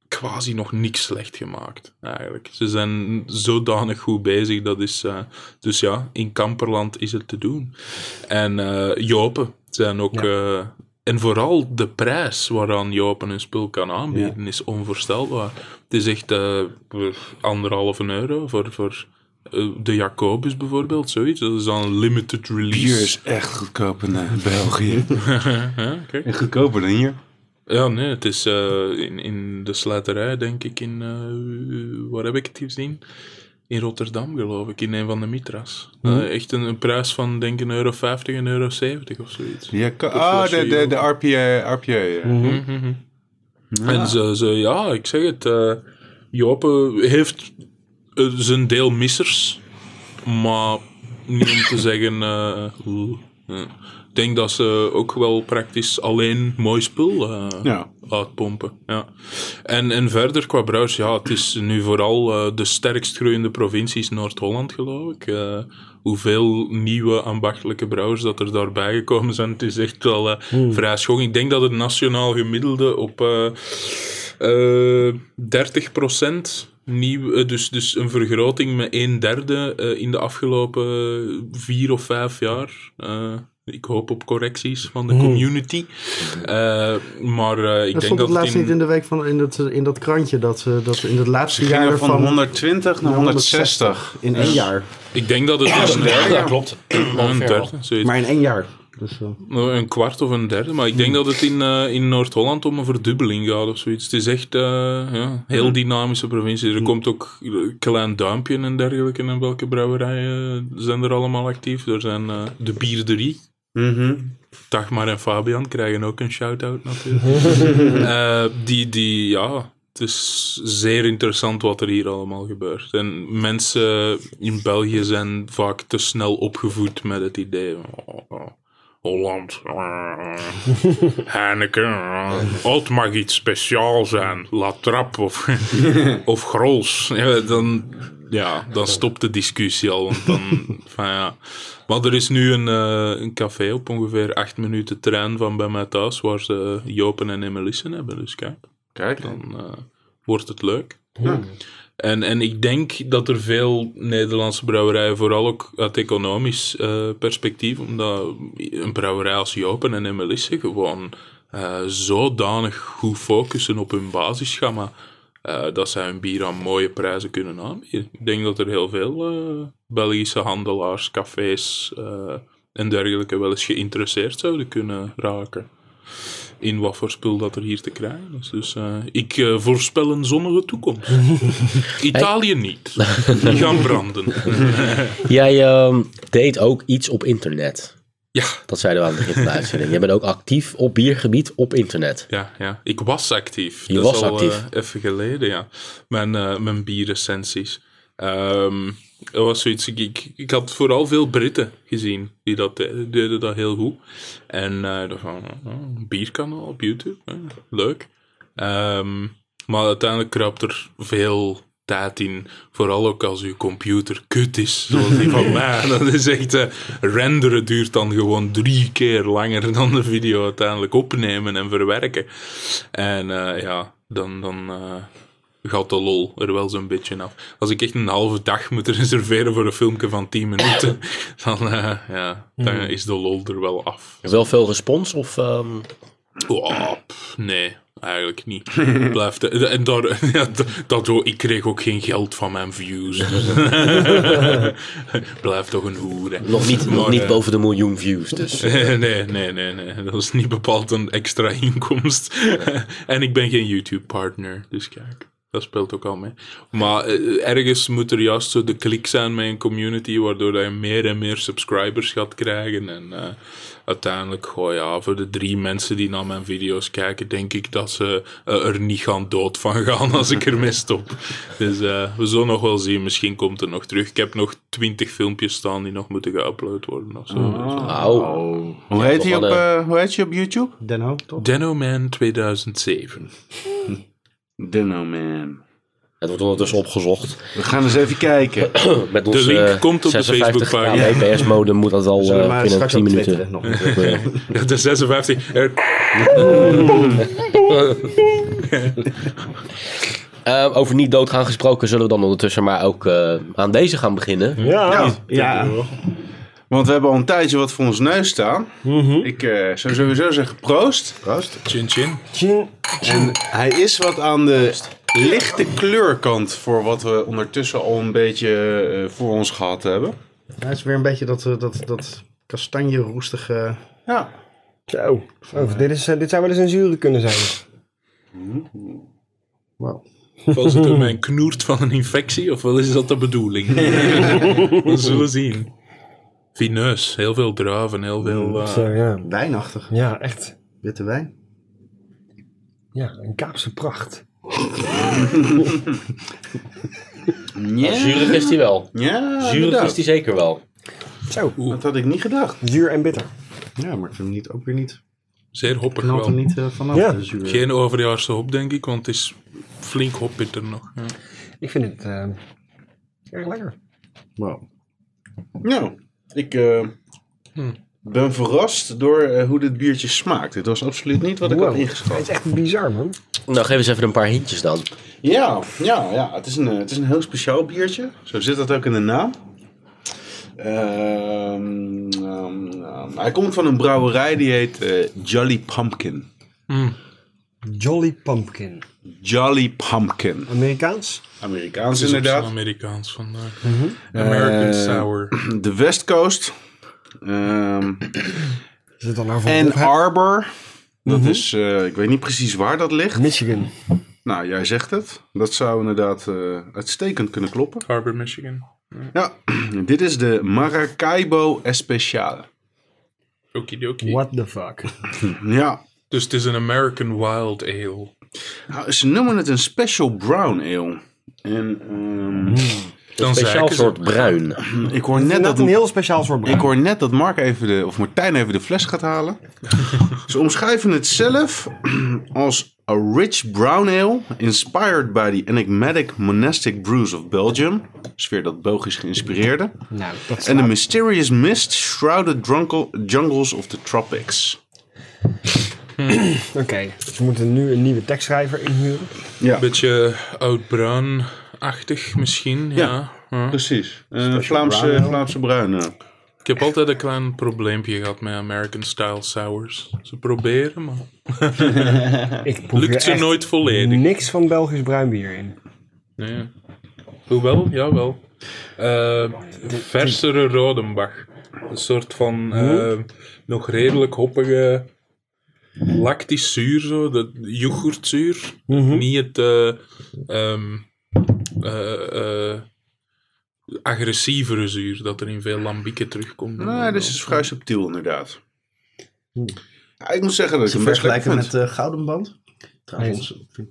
S3: quasi nog niks slecht gemaakt, eigenlijk. Ze zijn zodanig goed bezig, dat is... eh, dus ja, in Kamperland is het te doen. En eh, Jopen zijn ook... eh, en vooral de prijs waaraan Jopen een spul kan aanbieden, is onvoorstelbaar. Het is echt eh, anderhalve euro voor... voor eh, de Jacobus bijvoorbeeld, zoiets. Dat is dan een limited release.
S4: Bier is echt goedkoop in eh, België.
S3: Hè, kijk.
S4: En goedkoper dan hier.
S3: Ja, nee, het is eh, in, in de slijterij, denk ik, in... eh, waar heb ik het gezien? In Rotterdam, geloof ik, in een van de Mitras. Eh, echt een, een prijs van, denk ik, een euro 50, een euro 70 of zoiets.
S4: Ja, ko- oh, de, de, de RPA. RPA ja.
S3: En ze, ze, ja, ik zeg het, eh Joop eh, heeft eh, zijn deel missers, maar niet om te zeggen... eh, hoe, eh. Ik denk dat ze ook wel praktisch alleen mooi spul eh,
S4: Ja.
S3: uitpompen. Ja. En, en verder qua brouwers, ja, het is nu vooral eh, de sterkst groeiende provincies Noord-Holland, geloof ik. Eh, hoeveel nieuwe ambachtelijke brouwers dat er daarbij gekomen zijn, het is echt wel eh, vrij schoon. Ik denk dat het nationaal gemiddelde op eh, eh, 30% nieuw, eh, dus, dus een vergroting met een derde eh, in de afgelopen eh, vier of vijf jaar. Eh, ik hoop op correcties van de community. Eh, maar eh, ik
S2: Dat stond
S3: denk dat
S2: het
S3: het
S2: laatst
S3: in-
S2: niet in de week van, in, dat, in dat krantje dat ze dat ze in het laatste
S4: Ze
S2: jaar
S4: gingen van
S2: ervan-
S4: 120 naar 160.
S2: in één jaar.
S3: Ik denk dat het is een
S1: Ja,
S3: derde,
S1: dat klopt.
S3: een
S1: Ongeveer wel.
S3: derde, zoiets.
S2: Maar in één jaar. Dus, eh, Hmm.
S3: Nou, Een kwart of een derde, maar ik denk dat het in, eh, in Noord-Holland om een verdubbeling gaat of zoiets. Het is echt eh, ja,
S2: Hmm.
S3: heel dynamische provincie. Er komt ook een Klein Duimpje en dergelijke. En welke brouwerijen zijn er allemaal actief? Er zijn eh, de Bierderie.
S4: Mhm.
S2: Mm-hmm.
S3: Dagmar en Fabian krijgen ook een shout-out natuurlijk. Eh, die, die, ja, het is zeer interessant wat er hier allemaal gebeurt. En mensen in België zijn vaak te snel opgevoed met het idee... oh, oh, Holland, eh, Heineken, eh, het mag iets speciaal zijn. La Trappe of, of Grols. Ja, dan, ja, dan stopt de discussie al. Want dan, van ja. Maar er is nu een, eh, een café op ongeveer acht minuten trein van bij mij thuis, waar ze eh, Jopen en Emelissen hebben. Dus kijk,
S4: Kijk dan.
S3: dan eh, wordt het leuk. En, en ik denk dat er veel Nederlandse brouwerijen, vooral ook uit economisch eh, perspectief, omdat een brouwerij als Jopen en Emelisse gewoon eh, zodanig goed focussen op hun basisgamma, eh, dat zij hun bier aan mooie prijzen kunnen aanbieden. Ik denk dat er heel veel eh, Belgische handelaars, cafés eh, en dergelijke wel eens geïnteresseerd zouden kunnen raken in wat voor spul dat er hier te krijgen is. Dus eh, ik eh, voorspel een zonnige toekomst. Italië niet. Die gaan branden.
S1: Jij ehm, deed ook iets op internet.
S3: ja,
S1: Dat zeiden we aan het begin van de uitzending. Jij bent ook actief op biergebied op internet.
S3: ja, ja. Ik was actief.
S1: Je
S3: Dat
S1: was
S3: is al,
S1: actief.
S3: eh, even geleden, ja. Mijn, eh mijn bierrecensies. Ehm dat was zoiets... Ik, ik, ik had vooral veel Britten gezien die dat deden, deden dat heel goed. En eh dacht van, oh, een bierkanaal op YouTube, eh, leuk. Ehm, maar uiteindelijk kruipt er veel tijd in. Vooral ook als uw computer kut is, zoals die van mij. Dat is echt, eh, renderen duurt dan gewoon drie keer langer dan de video uiteindelijk opnemen en verwerken. En eh, ja, dan, dan eh, gaat de lol er wel zo'n beetje af. Als ik echt een halve dag moet reserveren voor een filmpje van 10 minuten, dan, eh, ja, dan is de lol er wel af.
S1: Wel veel respons of ehm,
S3: Oh, pff, nee, eigenlijk niet. Blijft, en daar, ja, da- daardoor, ik kreeg ook geen geld van mijn views. Dus. Blijf toch een hoer. hè.
S1: Nog niet, nog
S3: Maar,
S1: niet
S3: eh,
S1: boven de miljoen views, dus.
S3: nee, nee, nee, nee. Dat is niet bepaald een extra inkomst. en ik ben geen YouTube-partner, dus kijk. Dat speelt ook al mee. Maar eh, ergens moet er juist zo de klik zijn met een community, waardoor dat je meer en meer subscribers gaat krijgen. En eh, uiteindelijk, goh ja, voor de drie mensen die naar mijn video's kijken, denk ik dat ze eh, er niet gaan dood van gaan als ik ermee stop. Dus eh, we zullen nog wel zien, misschien komt het nog terug. Ik heb nog twintig filmpjes staan die nog moeten geüpload worden of zo. Dus, eh,
S1: Au.
S4: Hoe heet,
S1: toch
S4: hij op,
S1: wel
S4: eh, hoe heet je op YouTube?
S2: Denno, toch?
S3: Denoman 2007.
S4: Denno Man.
S1: Het wordt ondertussen opgezocht.
S4: We gaan eens even kijken.
S1: Met eh,
S3: De
S1: onze
S3: link komt op de
S1: 56
S3: Facebookpagina.
S1: kbps modem moet dat al
S2: Zullen we
S1: eh,
S2: maar
S1: binnen
S2: straks
S1: 10
S2: op
S1: minuten.
S2: twitteren nog. een keer.
S3: De 56. Er,
S1: Eh, over niet doodgaan gesproken zullen we dan ondertussen maar ook eh, aan deze gaan beginnen.
S6: Ja.
S4: Ja.
S2: ja,
S4: Want we hebben al een tijdje wat voor ons neus staan. Ik eh, zou sowieso zeggen proost.
S2: proost.
S3: chin chin.
S6: Tjing.
S4: En hij is wat aan de lichte kleurkant voor wat we ondertussen al een beetje eh, voor ons gehad hebben.
S2: Hij is weer een beetje dat, eh, dat, dat kastanje roestige...
S4: Ja.
S6: Zo. Oh, dit, is, eh, dit zou wel eens een zure kunnen zijn.
S2: Wow.
S3: Was het door mijn knoert van een infectie of wel is dat de bedoeling? We zullen zien. Vineus, heel veel druiven, heel
S2: Mm,
S3: veel. eh,
S6: Zo, ja.
S2: Wijnachtig.
S6: Ja, echt.
S2: Witte wijn.
S6: Ja, een Kaapse pracht.
S4: Ja,
S1: Zuurig is die wel.
S4: ja
S1: Zuurig is
S4: inderdaad.
S1: die zeker wel.
S6: Zo.
S4: Dat had ik niet gedacht.
S6: Zuur en bitter.
S2: Ja, maar ik vind hem niet, ook weer niet.
S3: zeer hoppig
S2: Knalt hem
S3: wel.
S2: niet eh, vanaf.
S6: Ja.
S2: de zuur.
S3: Geen overjaarse hop, denk ik, want het is flink hopbitter nog. Ja.
S6: Ik vind het eh, erg lekker.
S2: Wow.
S4: Nou, ik eh, ben verrast door eh, hoe dit biertje smaakt. Het was absoluut niet wat ik had
S6: Wow. Het
S4: ingeschat.
S6: is echt bizar, man.
S1: Nou, geef eens even een paar hintjes dan.
S4: Ja, ja, ja. Het is, een, eh, het is een heel speciaal biertje. Zo zit dat ook in de naam. Ehm, ehm, ehm, hij komt van een brouwerij die heet eh, Jolly Pumpkin.
S6: Jolly Pumpkin.
S4: Jolly Pumpkin.
S6: Amerikaans?
S4: Amerikaans
S3: Het is
S4: inderdaad.
S3: inderdaad. Amerikaans vandaag.
S2: Mhm.
S3: American
S4: Eh,
S3: Sour.
S4: De West Coast. Ehm,
S6: Is het dan nou van
S4: Ann
S6: Bob Hap-
S4: Arbor. Dat is, eh, ik weet niet precies waar dat ligt.
S6: Michigan.
S4: Nou, jij zegt het. Dat zou inderdaad eh, uitstekend kunnen kloppen.
S3: Harbor, Michigan.
S4: Ja, dit is de Maracaibo Especial.
S3: Okidoki.
S6: What the fuck?
S4: Ja,
S3: Dus het is een American Wild Ale.
S4: nou, ze noemen het een special brown ale. En ehm,
S3: Dan
S1: Speciaal
S3: zeiken ze.
S1: soort bruin.
S4: ik, hoor net
S6: Net
S4: dat,
S6: een heel speciaal soort
S4: ik
S6: brouwen.
S4: hoor net dat Mark even de, of Martijn even de fles gaat halen. ze omschrijven het zelf als a rich brown ale inspired by the enigmatic monastic brews of Belgium. Sfeer dat Belgisch geïnspireerde.
S6: Nou, dat
S4: En the mysterious mist shrouded drunkel- jungles of the tropics.
S6: Oké, dus we moeten nu een nieuwe tekstschrijver inhuren.
S4: Ja,
S3: Beetje oud-bruin-achtig misschien. Ja. ja.
S4: precies. Eh Vlaamse, Vlaamse bruine.
S3: Ik heb altijd een klein probleempje gehad met American Style Sours. Ze proberen, maar
S6: Ik proef
S3: lukt
S6: hier
S3: ze
S6: echt
S3: nooit volledig.
S6: niks van Belgisch bruin bier in.
S3: Nee. Hoewel, jawel. Eh versere Rodenbach. Een soort van eh, nog redelijk hoppige lactisch zuur, zo. Dat yoghurtzuur. Niet het eh, ehm, eh, eh, agressievere zuur dat er in veel lambieken terugkomt.
S4: Nou, dit is vrij subtiel inderdaal. Ja, ik moet zeggen dat ik
S2: Hm. Ze
S4: hem best lekker
S2: vergelijken
S4: vind.
S2: met eh Gouden Band. Trouwens, ik vind-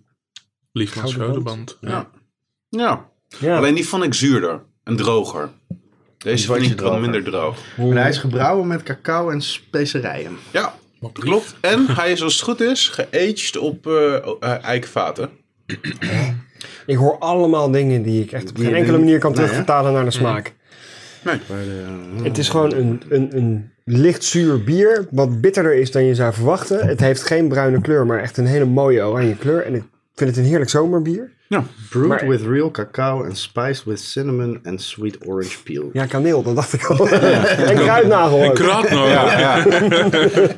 S3: Lief van schouderband. Ja.
S4: Ja. Ja.
S6: Ja,
S4: alleen die vond ik zuurder en droger. Deze
S2: was
S4: vind
S2: je
S4: ik wat
S2: droger.
S4: minder droog.
S2: En hij is gebrouwen met cacao en specerijen.
S4: Ja, klopt. En hij is als het goed is geaged op eh eh, eikvaten.
S6: ik hoor allemaal dingen die ik echt op
S2: Die
S6: geen
S2: je
S6: enkele
S2: denkt-
S6: manier kan
S2: Nee, hè?
S6: terugvertalen naar de smaak.
S4: Nee. eh,
S6: Het is gewoon een, een, een licht zuur bier, wat bitterder is dan je zou verwachten. Het heeft geen bruine kleur, maar echt een hele mooie oranje kleur. En het vind het een heerlijk zomerbier.
S2: Brewed
S6: Maar-
S2: with real cacao and spiced with cinnamon and sweet orange peel.
S6: Ja, kaneel, dat dacht ik al. en kruidnagel
S3: En
S6: ook.
S3: kruid nou.
S4: Oh,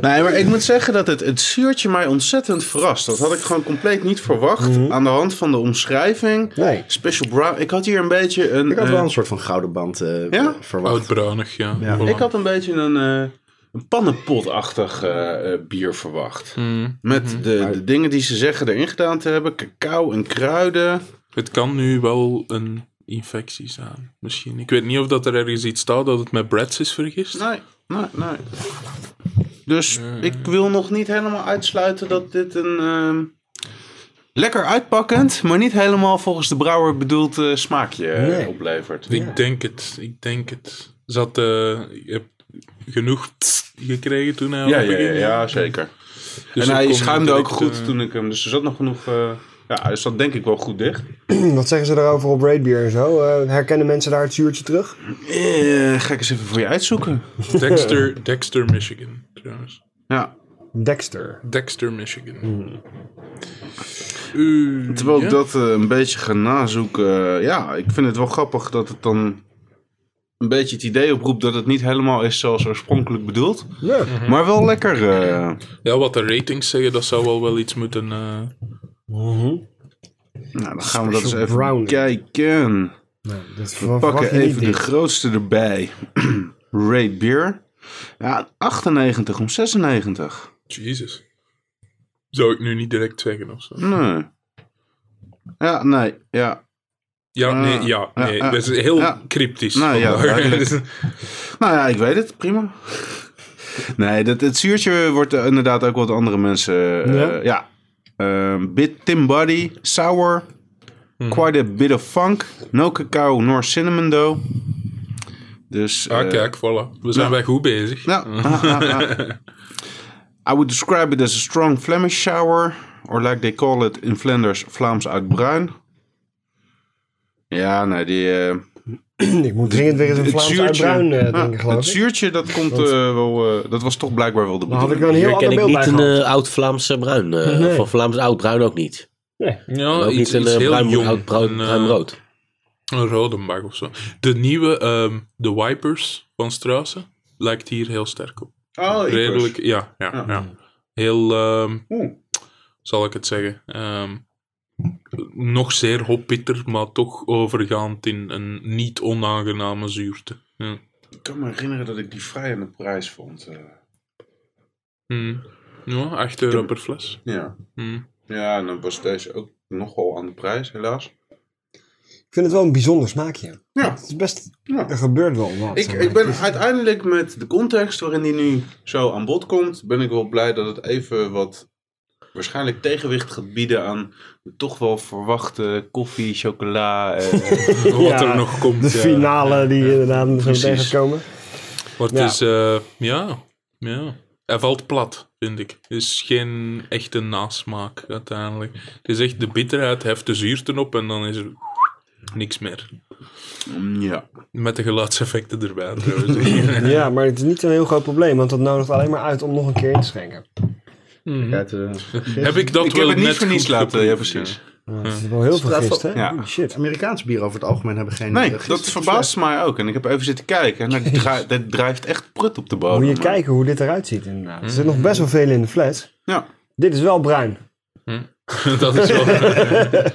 S4: Nee, maar ik moet zeggen dat het, het zuurtje mij ontzettend verrast. Dat had ik gewoon compleet niet verwacht.
S2: Mhm.
S4: Aan de hand van de omschrijving.
S6: Nee.
S4: Special Brown. Ik had hier een beetje een.
S2: Ik had wel
S4: eh,
S2: een soort van gouden band eh,
S4: Ja?
S3: Oh.
S2: verwacht.
S3: Oudbruinig, ja.
S2: Ja.
S3: Voilà.
S4: ik had een beetje een. eh, een pannenpotachtig eh, eh, bier verwacht.
S3: Mm.
S4: Met de, de dingen die ze zeggen erin gedaan te hebben. Cacao en kruiden.
S3: Het kan nu wel een infectie zijn, misschien. Ik weet niet of dat er ergens iets staat dat het met Brads is vergist.
S4: Nee, nee, nee. Dus ik wil nog niet helemaal uitsluiten dat dit een... ehm, lekker uitpakkend, maar niet helemaal volgens de brouwer bedoeld eh, smaakje eh,
S6: Nee.
S4: oplevert.
S3: Ik denk het, ik denk het. Zat, eh je hebt genoeg tss gekregen toen hij
S4: Ja,
S3: aan het
S4: ja, ja,
S3: begin-
S4: ja, zeker.
S3: Dus
S4: en
S3: er
S4: hij
S3: kon
S4: schuimde ook
S3: direct,
S4: goed
S3: eh,
S4: toen ik hem... Dus er zat nog genoeg... eh, ja, hij zat denk ik wel goed dicht.
S6: Hmm, Wat zeggen ze daarover op Raidbeer en zo? Eh, herkennen mensen daar het zuurtje terug?
S4: Eh, ga ik eens even voor je uitzoeken.
S3: Dexter, Dexter, Michigan, trouwens.
S4: Ja,
S6: Dexter. Hmm.
S3: Dexter, Michigan. Eh,
S4: terwijl ik
S3: ja.
S4: dat eh, een beetje ga nazoeken... eh, ja, ik vind het wel grappig dat het dan... Een beetje het idee oproept dat het niet helemaal is zoals oorspronkelijk bedoeld.
S6: Ja.
S4: Maar wel lekker. eh,
S3: Ja, wat de ratings zeggen, dat zou wel wel iets moeten... eh,
S6: Mhm.
S4: nou, dan gaan we dat eens
S6: Special
S4: even
S6: brownie.
S4: kijken.
S6: Nou, dat
S4: We
S6: ver-
S4: pakken
S6: verwacht je niet,
S4: even de
S6: dit.
S4: grootste erbij. Raid Beer. Ja, 98 om 96.
S3: Jezus. Zou ik nu niet direct zeggen of zo?
S4: Nee. Ja, nee. Ja.
S3: Ja,
S4: Ah,
S3: nee, ja,
S4: ja,
S3: nee.
S4: ja,
S3: dat is heel
S4: ja.
S3: cryptisch.
S4: Nou ja,
S3: vandaag.
S4: duidelijk. Nou ja, ik weet het. Prima. Nee, dat, het zuurtje wordt eh, inderdaad ook wat andere mensen...
S6: Ja?
S4: eh, ja. Ehm, bit Tim Buddy. Sour. Quite a bit of funk. No cacao, nor cinnamon dough. Dus...
S3: ah,
S4: eh,
S3: kijk, voilà. We zijn wel goed bezig.
S4: Ja. ah, ah, ah. I would describe it as a strong Flemish shower, or like they call it in Flanders, Vlaams uit bruin. Ja, nee, die, eh,
S6: Ik moet dringend weer eens een
S4: het
S6: Vlaams
S4: zuurtje.
S6: uit bruin eh,
S4: ah,
S6: drinken,
S4: het
S6: geloof ik.
S4: zuurtje, dat, komt, eh, wel, eh, dat was toch blijkbaar wel de
S6: Dan had ik
S4: bedoeling.
S6: wel een
S1: Hier
S6: heel
S1: ken
S6: ander
S1: ik
S6: beeld bij
S1: niet een
S6: gehad.
S1: eh, oud Vlaamse bruin. eh,
S6: Nee.
S1: Van Vlaams oud bruin ook niet.
S3: Ja,
S1: ook
S3: iets,
S1: niet een
S3: iets
S1: eh,
S3: heel
S1: bruin,
S3: jong.
S1: oud bruin,
S3: een, eh,
S1: bruin rood.
S3: Een Rodenbach of zo. De nieuwe, ehm, de Wipers van Straussen, lijkt hier heel sterk op.
S4: Oh, ik was-
S3: Redelijk, ja, ja, ja. Heel, ehm,
S4: Oeh.
S3: zal ik het zeggen, ehm, nog zeer hoppitter, maar toch overgaand in een niet onaangename zuurte. Ja.
S4: Ik kan me herinneren dat ik die vrij aan de prijs vond. eh.
S3: Hm. Ja, 8 euro per fles.
S4: ja.
S3: Hm.
S4: ja, en dan was deze ook nogal aan de prijs, helaas.
S6: Ik vind het wel een bijzonder smaakje.
S4: Ja.
S6: Het is best...
S4: Ja.
S6: Er gebeurt wel wat.
S4: Ik,
S6: zeg
S4: ik
S6: maar.
S4: ben uiteindelijk met de context waarin die nu zo aan bod komt, ben ik wel blij dat het even wat waarschijnlijk tegenwicht gaat bieden aan de toch wel verwachte koffie, chocola. eh,
S3: Wat
S6: Ja,
S3: er nog komt. eh,
S6: De
S3: ja.
S6: finale die inderdaad zo
S4: Precies.
S6: tegen gaat komen.
S3: Maar het
S6: Ja.
S3: is, eh, ja, ja. Hij valt plat, vind ik. Het is geen echte nasmaak uiteindelijk. Het is echt de bitterheid, heft de zuurte op en dan is er niks meer.
S4: mm, ja.
S3: Met de geluidseffecten erbij trouwens.
S6: Ja, maar het is niet een heel groot probleem, want dat nodigt alleen maar uit om nog een keer in te schenken.
S2: Kijk, eh,
S3: heb ik dat
S4: Ik
S3: wel
S4: heb het niet
S3: net
S4: voor niets
S3: goed
S4: laten. Ja,
S3: geproefd,
S4: precies.
S6: Ja, het is wel heel
S2: Straat
S6: vergist, hè?
S2: op-
S4: Ja.
S6: Holy Shit.
S2: Amerikaans bier over het algemeen hebben geen... eh,
S4: Nee, dat
S2: gisteren-
S4: verbaast mij ook. En ik heb even zitten kijken. En dat, dra- dat drijft echt prut op de bodem.
S6: Moet je kijken hoe dit eruit ziet, inderdaad. Er zit nog best wel veel in de fles.
S4: Ja.
S6: Dit is wel bruin.
S3: ja. dat is wel...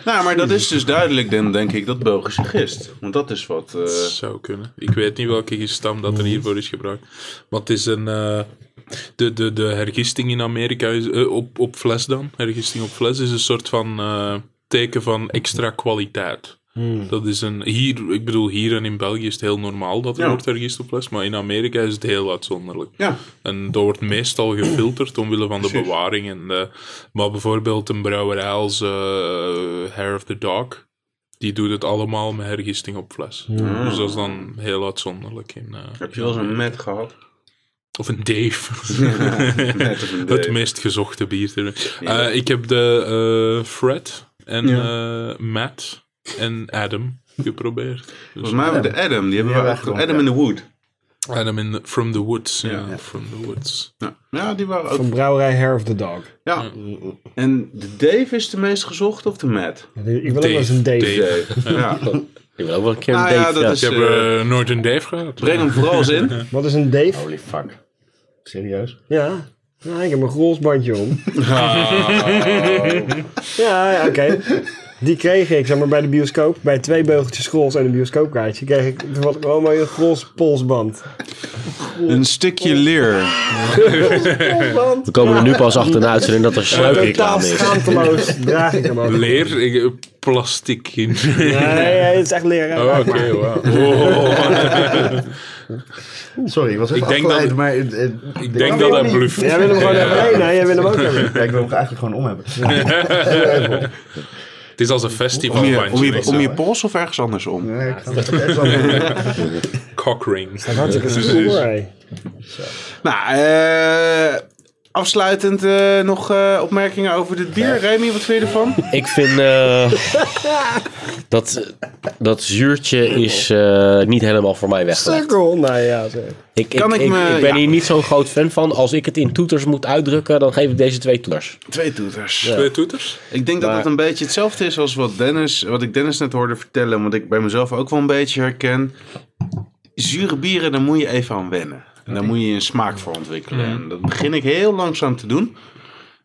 S4: Nou, maar dat is dus duidelijk, dan, denk ik, dat Belgische gist. Want dat is wat. eh,
S3: Dat zou kunnen. Ik weet niet welke gestam dat er hiervoor is gebruikt. Maar het is een... eh, de, de, de hergisting in Amerika, is, eh, op, op fles dan, hergisting op fles, is een soort van eh, teken van extra kwaliteit. Dat is een... Hier, ik bedoel, hier en in België is het heel normaal dat er
S4: Ja.
S3: wordt hergist op fles, maar in Amerika is het heel uitzonderlijk.
S4: ja.
S3: En dat wordt meestal gefilterd omwille van de bewaring. En de, maar bijvoorbeeld een brouwerij als eh, Hair of the Dog, die doet het allemaal met hergisting op fles. Dus dat is dan heel uitzonderlijk. In, eh,
S4: Heb je wel eens een met gehad?
S3: of een Dave.
S4: Net als een
S3: het
S4: Dave.
S3: meest gezochte bier. ter- Eh, ik heb de eh, Fred en eh, Matt en Adam geprobeerd. Dus-
S4: Volgens mij hebben we de Adam. Die hebben
S2: hebben
S4: we
S2: we
S4: achter-
S2: gewoon,
S4: Adam in the Wood.
S3: Dus Adam in the- From the Woods. Ja,
S4: Ja.
S3: From the Woods.
S4: Ja, ja die waren ook.
S6: Van brouwerij Hair of the Dog.
S4: Ja. En de Dave is de meest gezocht of de Matt?
S6: Ik wil ook wel eens een
S3: Dave,
S6: Dave.
S4: Dave. Ja.
S1: Ik wil ook wel een keer een
S4: Nou
S1: date.
S4: ja,
S1: Ja,
S4: dat is-
S3: Ik heb eh, nooit een Dave gehad.
S4: Breng hem vooral eens in.
S6: Wat is een Dave?
S1: Holy fuck.
S2: Serieus?
S6: Ja. Nou, ik heb mijn rolsbandje om.
S3: Ah.
S6: Ja, ja, oké. Die kreeg ik, zeg maar, bij de bioscoop. Bij twee beugeltjes scrolls en een bioscoopkaartje kreeg ik wat gewoon maar een gros polsband.
S4: Een stukje leer.
S1: We komen er nu pas achter na uitzending dat er
S6: Totaal
S1: sluikreclame is.
S6: schaamteloos draag ik hem ook.
S3: Leer, ik, plastic in.
S6: Nee, nee, het is echt leren.
S3: Oh, Oké, wauw. Wow.
S2: Sorry, ik was even
S3: Ik denk
S2: afgeleid,
S3: dat-
S2: maar... eh, eh,
S3: Ik denk dat hij bluft.
S6: Jij wil hem gewoon even heen, hè? Jij wil hem ook hebben.
S2: Ja, ik wil hem eigenlijk gewoon om hebben.
S3: Het is als een
S4: Om
S3: festival.
S4: je, om, je, om je pols of ergens anders om?
S2: Nee, ik ga het echt wel-
S3: cockring.
S6: Hartstikke stoer, hé.
S4: Nou, eh, afsluitend eh, nog eh, opmerkingen over dit bier. Remy, wat vind je ervan?
S1: Ik vind eh, dat, dat zuurtje is eh, niet helemaal voor mij weg.
S6: Sukkel, nou ja. zeg.
S1: Ik, ik,
S4: Kan ik
S1: ik-
S4: me-
S1: ik ben
S4: ja.
S1: hier niet zo'n groot fan van. Als ik het in toeters moet uitdrukken, dan geef ik deze twee toeters.
S4: Twee toeters.
S3: Twee toeters?
S4: Ik denk dat dat een beetje hetzelfde is als wat, Dennis, wat ik Dennis net hoorde vertellen. Wat ik bij mezelf ook wel een beetje herken. Zure bieren, daar moet je even aan wennen. En daar moet je een smaak voor ontwikkelen. En dat begin ik heel langzaam te doen.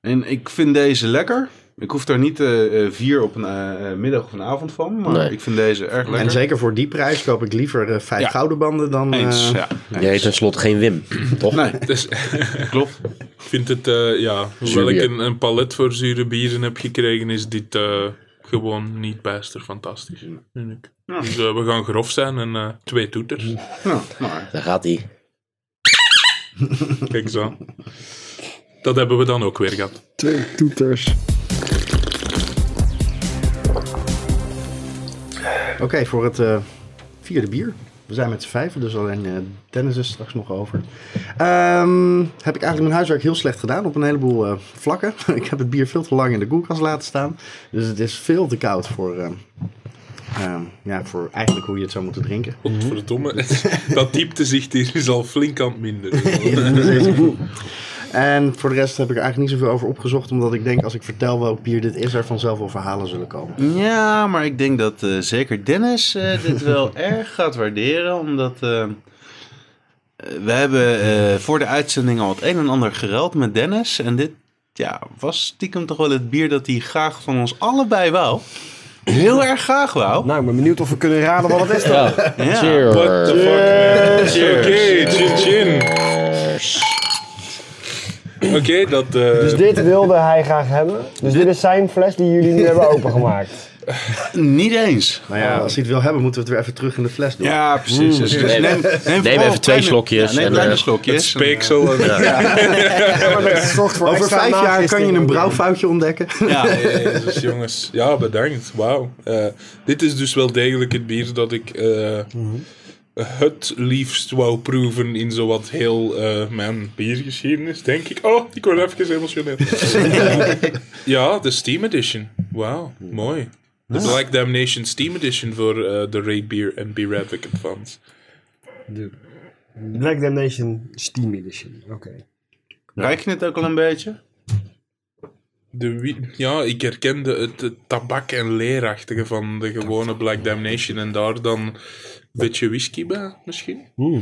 S4: En ik vind deze lekker. Ik hoef daar niet eh, eh, vier op een eh, eh, middag of een avond van. Maar
S1: Nee.
S4: ik vind deze erg lekker.
S2: En zeker voor die prijs koop ik liever eh, vijf
S4: Ja.
S2: gouden banden dan... eh,
S4: Eens, ja.
S1: Je heet tenslotte geen Wim, toch?
S4: Nee,
S3: Dus,
S4: klopt.
S3: ik vind het, eh, ja, hoewel
S1: Zuur
S3: ik
S1: bier.
S3: een, een palet voor zure bieren heb gekregen, is dit eh, gewoon niet bijster fantastisch. Vind ik. Dus eh, we gaan grof zijn en eh, twee toeters.
S4: Nou, nou,
S1: Daar gaat hij.
S3: Kijk zo. Dat hebben we dan ook weer gehad.
S6: Twee toeters.
S2: Oké, voor het eh, vierde bier. We zijn met z'n vijven, dus alleen eh, Dennis is straks nog over. Ehm, heb ik eigenlijk mijn huiswerk heel slecht gedaan op een heleboel eh, vlakken. ik heb het bier veel te lang in de koelkast laten staan. Dus het is veel te koud voor, eh, ehm, ja, voor eigenlijk hoe je het zou moeten drinken.
S3: Godverdomme. Dat dieptezicht hier is al flink aan het minder.
S2: En voor de rest heb ik er eigenlijk niet zoveel over opgezocht. Omdat ik denk, als ik vertel welk bier dit is, er vanzelf wel verhalen zullen komen.
S4: Ja, maar ik denk dat eh, zeker Dennis eh, dit wel erg gaat waarderen. Omdat eh, eh, we hebben eh, voor de uitzending al het een en ander geruild met Dennis. En dit ja, was stiekem toch wel het bier dat hij graag van ons allebei wou. Heel erg graag wou.
S6: Nou, ik ben benieuwd of we kunnen raden wat het is dan.
S1: Ja.
S4: Ja.
S1: Cheers.
S3: What the fuck, man. Oké, chin chin. Oké, dat... eh,
S6: Dus dit wilde hij graag hebben. Dus dit is zijn fles die jullie nu hebben opengemaakt.
S4: Niet eens.
S2: Nou ja, als hij het wil hebben, moeten we het weer even terug in de fles doen.
S4: Ja, precies. Dus, dus
S1: Neem- neem
S4: neem, vooral
S1: even twee
S4: kleine-
S1: slokjes
S4: Ja, neem
S1: en,
S4: kleine
S1: eh,
S3: het
S4: slokjes.
S3: speeksel. en-
S2: Over vijf jaar kan je een brouwfoutje ontdekken.
S4: Ja,
S3: Jezus, dus jongens. Ja, bedankt. Wauw. Eh, dit is dus wel degelijk het bier dat ik eh, het liefst wou proeven in zowat heel eh, mijn biergeschiedenis, denk ik. Oh, ik word even emotioneel. ja, de Steam Edition. Wauw, mooi. De Black Damnation Steam Edition voor eh, de Ray Beer en Beer Advocate fans.
S6: Black Damnation Steam Edition. Oké.
S4: Ruik je het ook al een beetje?
S3: De wie- ja, ik herkende het, het tabak- en leerachtige van de gewone Black Damnation en daar dan een beetje whisky bij, misschien?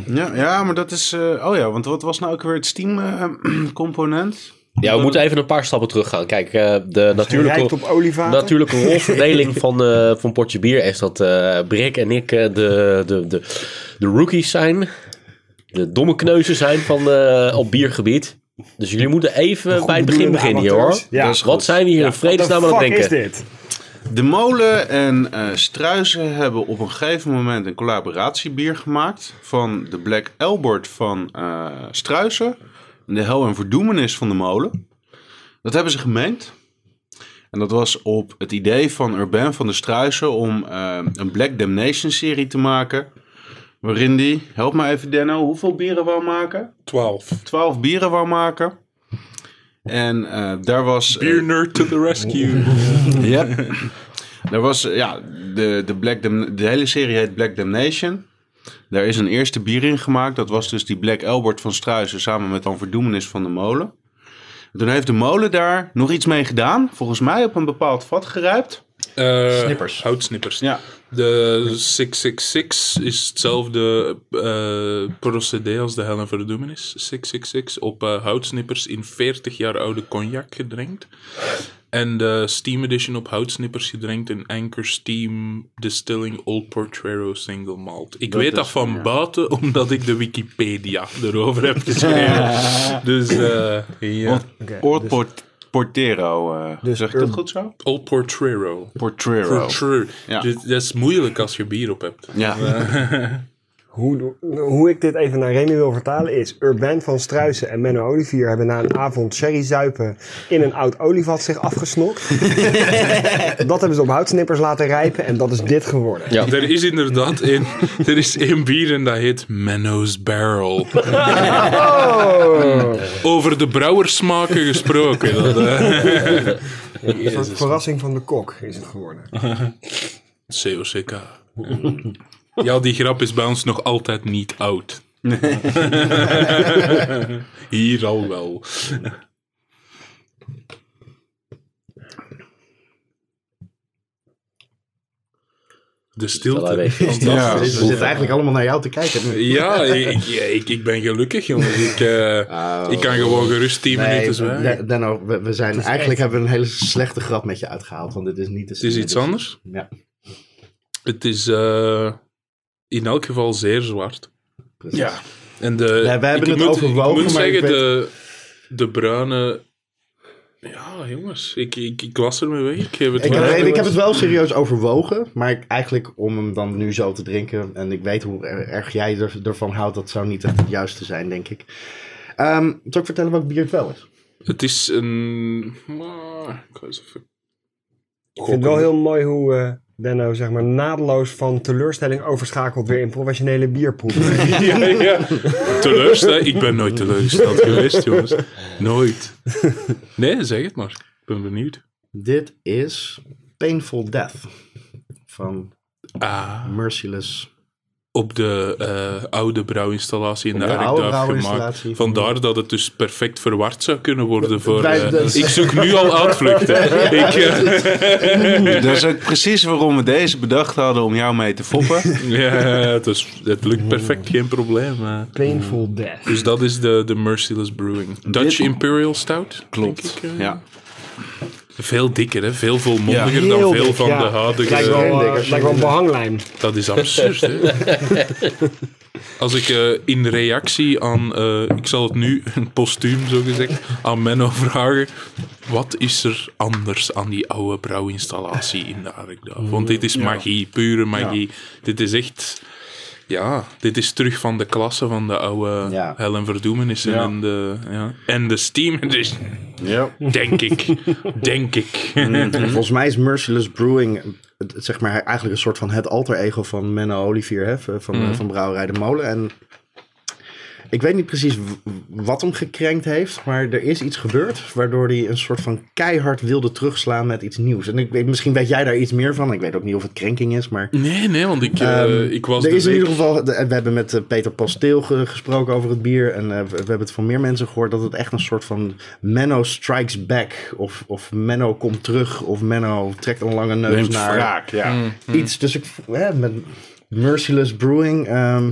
S4: Ja, ja maar dat is... eh, oh ja, want wat was nou ook weer het Steam-component?
S1: Ja, we moeten even een paar stappen teruggaan. Kijk, eh, de
S6: Rijkt
S1: natuurlijke,
S6: op olievaten.
S1: natuurlijke rolverdeling van, eh, van Potje Bier is dat eh, Brik en ik eh, de, de, de, de rookies zijn. De domme kneuzen zijn van, eh, op biergebied. Dus jullie moeten even bij het begin beginnen hier hoor.
S6: Ja.
S1: Dus wat zijn we hier in vredesnaam aan het
S6: What the fuck
S1: drinken?
S6: is dit?
S4: De Molen en eh Struisen hebben op een gegeven moment een collaboratiebier gemaakt. Van de Black Elbert van eh Struisen. En de Hel en Verdoemenis van de Molen. Dat hebben ze gemengd. En dat was op het idee van Urbain van de Struisen om eh, een Black Damnation serie te maken. Waarin die, help me even Denno, hoeveel bieren wou maken?
S3: 12.
S4: 12 bieren wou maken. En eh, daar was... eh,
S3: Beer nerd to the rescue.
S4: ja. Er was, eh, ja, de, de, Black Dam- de hele serie heet Black Damnation. Daar is een eerste bier in gemaakt. Dat was dus die Black Albert van Struisen samen met dan Verdoemenis van de Molen. Toen heeft de molen daar nog iets mee gedaan. Volgens mij op een bepaald vat gerijpt.
S3: Eh,
S2: Snippers.
S3: Houtsnippers.
S4: Ja,
S3: De 666 is hetzelfde eh procedé als de Hel en Verdoemenis. 666 op eh, houtsnippers in 40 jaar oude cognac gedrenkt. En de Steam Edition op houtsnippers gedrenkt in Anchor Steam Distilling Old Portrero Single Malt. Ik weet dat van buiten, omdat ik de Wikipedia erover heb geschreven. Dus eh ja.
S4: Old Port- Portero. eh,
S6: Dus
S4: zeg ik dat
S6: Urb-
S4: goed zo?
S3: Old Portrero.
S4: Portero.
S3: Portrero.
S4: Ja.
S3: Dus dat is moeilijk als je bier op hebt.
S4: Ja.
S6: Hoe, hoe ik dit even naar Remy wil vertalen is... Urban van Struisen en Menno Olivier hebben na een avond sherry zuipen... in een oud olievat zich afgesnokt. dat hebben ze op houtsnippers laten rijpen en dat is dit geworden.
S1: Ja.
S3: Er is inderdaad één, er is één bier en dat heet Menno's Barrel. Over de brouwersmaken gesproken. Dat, eh.
S6: Een soort verrassing van de kok is het geworden.
S3: COCK. Ja, die grap is bij ons nog altijd niet oud. Hier al wel.
S1: Wel
S3: De
S1: een
S3: stilte.
S1: beetje.
S3: Fantastisch.
S2: Dus We zitten eigenlijk allemaal naar jou te kijken. nu.
S3: Ja, ik, ik, ik ben gelukkig, jongens. Ik, eh,
S2: Oh.
S3: ik kan gewoon gerust 10 minuten zwijgen.
S2: Dan- Denno, we, we zijn, eigenlijk hebben we een hele slechte grap met je uitgehaald. Want dit is niet de dus-
S3: Het is iets anders.
S2: Ja,
S3: Het is eh, in elk geval zeer zwart.
S2: precies.
S4: Ja.
S3: En de,
S2: Ja, wij hebben
S3: ik
S2: het
S3: moet,
S2: overwogen,
S3: Ik moet
S2: maar ik
S3: zeggen,
S2: weet-
S3: de, de bruine... Ja, jongens. Ik, ik, ik was ermee weg. Ik geef het
S2: Ik,
S3: wel.
S2: heb, ik heb het wel serieus overwogen, maar ik- eigenlijk om hem dan nu zo te drinken. En ik weet hoe er- erg jij er, ervan houdt, dat zou niet echt het juiste zijn, denk ik. Ehm zal ik vertellen welk bier het wel is?
S3: Het is een... maar, ik ga eens even...
S6: Ik vind het wel heel mooi hoe eh Benno zeg maar, naadloos van teleurstelling overschakelt weer in professionele bierproeven.
S3: ja, ja. Teleursteld? Ik ben nooit teleurgesteld geweest, jongens. Nooit. Nee, zeg het maar. Ik ben benieuwd.
S2: Dit is Painful Death van
S3: Ah...
S2: Merciless.
S3: op de eh, oude brouwinstallatie in de,
S2: de
S3: Arkduif
S2: oude
S3: gemaakt.
S2: brouwinstallatie.
S3: Vandaar dat het dus perfect verward zou kunnen worden voor...
S2: Wij-
S3: eh,
S6: dus-
S2: dat-
S3: ik zoek nu al uitvluchten. ik, eh,
S4: Dat is ook precies waarom we deze bedacht hadden om jou mee te foppen.
S3: ja, het, is- het lukt perfect, geen probleem. eh.
S6: Painful death.
S3: Dus dat is de, de Merciless Brewing. Dutch
S4: Dit-
S3: Imperial Stout,
S4: Klopt.
S3: denk ik, eh.
S4: Ja.
S3: Veel dikker, hè? veel volmondiger
S6: Ja.
S3: dan
S6: Heel
S3: veel
S6: dik,
S3: van
S6: ja.
S3: de huidige...
S6: Lijkt wel, eh, lijkt wel behanglijm.
S3: Dat is absurd, hè? Als ik eh, in reactie aan, eh, ik zal het nu postuum zo gezegd, aan Menno vragen. Wat is er anders aan die oude brouwinstallatie in de Arkduif? Want dit is magie, pure magie. Dit is echt, ja, dit is terug van de klasse van de oude
S2: Ja.
S3: Hel en Verdoemenissen
S4: Ja.
S3: en, de, ja. en de Steam Edition.
S4: Ja.
S3: Denk ik, denk ik.
S2: Mm. Volgens mij is Merciless Brewing eh, zeg maar, eigenlijk een soort van het alter ego van Menno Olivier hè, van, van, van Brouwerij de Molen. En ik weet niet precies w- wat hem gekrenkt heeft, maar er is iets gebeurd waardoor hij een soort van keihard wilde terugslaan met iets nieuws. En ik weet, misschien weet jij daar iets meer van. Ik weet ook niet of het krenking is, maar
S3: Nee, nee, want ik, eh,
S2: Ehm,
S3: ik was
S2: er
S3: de
S2: is in
S3: week-
S2: ieder geval, de- we hebben met eh, Peter Pasteel ge- gesproken over het bier. En eh, we we hebben het van meer mensen gehoord dat het echt een soort van Menno strikes back. Of, of Menno komt terug. Of Menno trekt een lange neus
S4: Neemt
S2: naar
S4: wraak, ja.
S2: iets. Dus ik, eh, met Merciless Brewing. ehm,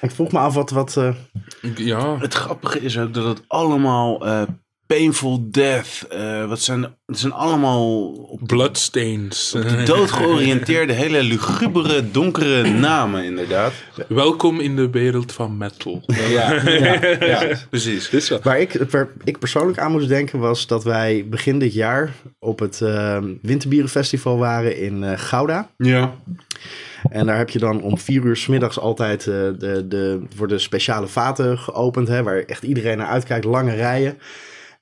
S2: Ik vroeg me af wat... wat eh,
S3: Ja,
S4: Het grappige is ook dat het allemaal eh, painful death, eh, wat zijn, het zijn allemaal op
S3: Bloodstains. Eh,
S4: de dood georiënteerde, hele lugubere, donkere namen inderdaad.
S3: Welkom in de wereld van metal.
S4: Ja, ja, precies.
S2: Waar ik, waar ik persoonlijk aan moest denken was dat wij begin dit jaar op het eh, Winterbierenfestival waren in eh, Gouda.
S4: Ja.
S2: En daar heb je dan om vier uur 's middags altijd eh, de, de, worden speciale vaten geopend, hè, waar echt iedereen naar uitkijkt, lange rijen.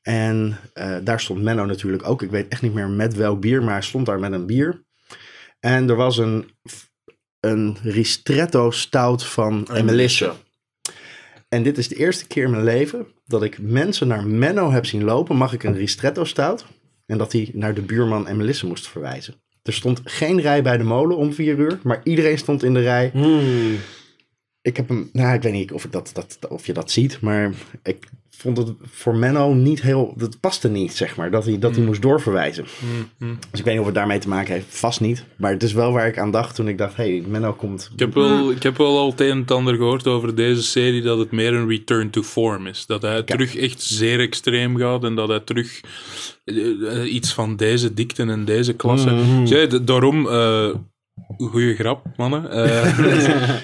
S2: En eh, daar stond Menno natuurlijk ook. Ik weet echt niet meer met welk bier, maar hij stond daar met een bier. En er was een, een ristretto stout van Emelisse. En dit is de eerste keer in mijn leven dat ik mensen naar Menno heb zien lopen. Mag ik een ristretto stout? En dat hij naar de buurman Emelisse moest verwijzen. Er stond geen rij bij de molen om vier uur, maar iedereen stond in de rij. Ik heb hem, nou, ik weet niet of, ik dat, dat, of je dat ziet, maar ik vond het voor Menno niet heel, dat paste niet, zeg maar, dat hij, dat hij moest doorverwijzen. Dus ik weet niet of het daarmee te maken heeft, vast niet. Maar het is wel waar ik aan dacht toen ik dacht, hé, hey, Menno komt.
S3: Ik heb, wel, ik heb wel al het een en het ander gehoord over deze serie dat het meer een return to form is. Dat hij terug echt zeer extreem gaat en dat hij terug eh, eh, iets van deze dikte en deze klasse. Zij, d- daarom, eh goede grap, mannen. Eh,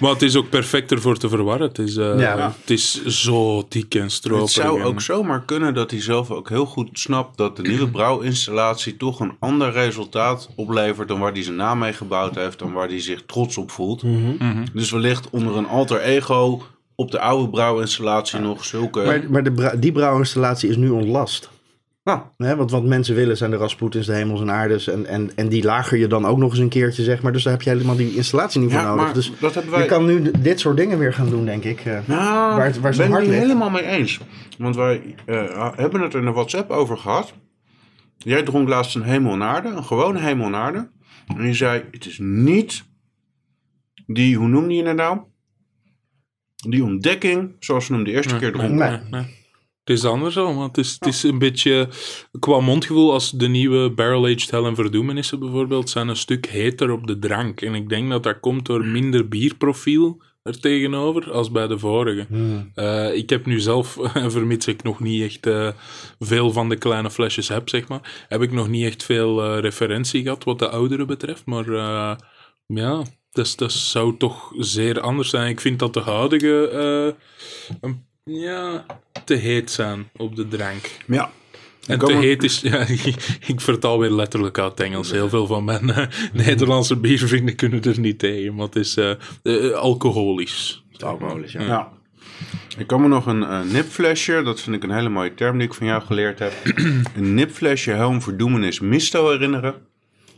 S3: maar het is ook perfect ervoor te verwarren. Het is, eh,
S2: Ja.
S3: het is zo dik en stroperig.
S4: Het zou
S3: en-
S4: ook zomaar kunnen dat hij zelf ook heel goed snapt dat de nieuwe brouwinstallatie toch een ander resultaat oplevert dan waar hij zijn naam mee gebouwd heeft, dan waar hij zich trots op voelt. Dus wellicht onder een alter ego op de oude brouwinstallatie nog zulke.
S2: Maar, maar de bra- die brouwinstallatie is nu ontlast.
S4: Nou,
S2: Hè, want wat mensen willen zijn de Rasputins, de hemels en aardes. En, en, en die lager je dan ook nog eens een keertje, zeg maar. Dus daar heb je helemaal die installatie niet voor
S4: Ja,
S2: nodig.
S4: maar
S2: dus
S4: dat hebben wij-
S2: je kan nu d- dit soort dingen weer gaan doen, denk ik. eh.
S4: Nou,
S2: Waar het- waar zijn
S4: ben
S2: hart
S4: ik niet
S2: ligt.
S4: helemaal mee eens. Want wij eh, hebben het er in de WhatsApp over gehad. Jij dronk laatst een hemel en aarde, een gewone hemel en aarde. En je zei, het is niet die, hoe noemde je het nou? Die ontdekking, zoals we hem de eerste keer dronken.
S2: Nee.
S3: Het is anders al, want het is, het is een beetje qua mondgevoel als de nieuwe Barrel Aged Hell en Verdoemenissen bijvoorbeeld zijn een stuk heter op de drank. En ik denk dat dat komt door minder bierprofiel er tegenover als bij de vorige. Eh, ik heb nu zelf, vermits ik nog niet echt eh, veel van de kleine flesjes heb, zeg maar, heb ik nog niet echt veel eh, referentie gehad wat de ouderen betreft. Maar eh, ja, dat, dat zou toch zeer anders zijn. Ik vind dat de huidige... eh, een- ja, te heet zijn op de drank.
S4: Ja.
S3: En
S4: kan
S3: te
S4: me-
S3: heet is... Ja, ik vertaal weer letterlijk uit het Engels. Heel veel van mijn eh, Nederlandse biervrienden kunnen er niet tegen. Maar het is eh, eh, alcoholisch.
S2: Alcoholisch, ja.
S4: Ja. Ik kan me nog een eh, nipflesje, dat vind ik een hele mooie term die ik van jou geleerd heb. een nipflesje Helm Verdoemenis Misto herinneren.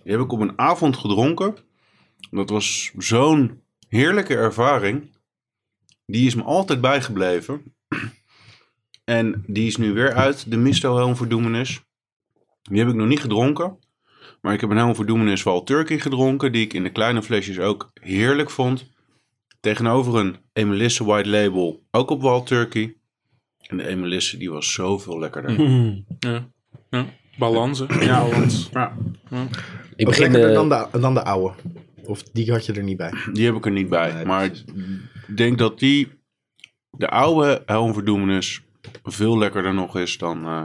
S4: Die heb ik op een avond gedronken. Dat was zo'n heerlijke ervaring. Die is me altijd bijgebleven. en die is nu weer uit, de Misto Helm Verdoemenis. Die heb ik nog niet gedronken. Maar ik heb een Helm Verdoemenis Wal Turkey gedronken, die ik in de kleine flesjes ook heerlijk vond. Tegenover een Emelisse White Label, ook op Wild Turkey. En de Emelisse, die was zoveel lekkerder.
S2: Mm.
S3: Ja. ja. Balans, hè. Balans.
S4: Ja,
S1: Ik
S2: Ook
S1: begin,
S2: lekkerder
S1: eh,
S2: dan, de, dan de oude. Of die had je er niet bij.
S4: die heb ik er niet bij.
S2: Nee,
S4: maar ik denk dat die, de oude Helm Verdoemenis, veel lekkerder nog is dan eh,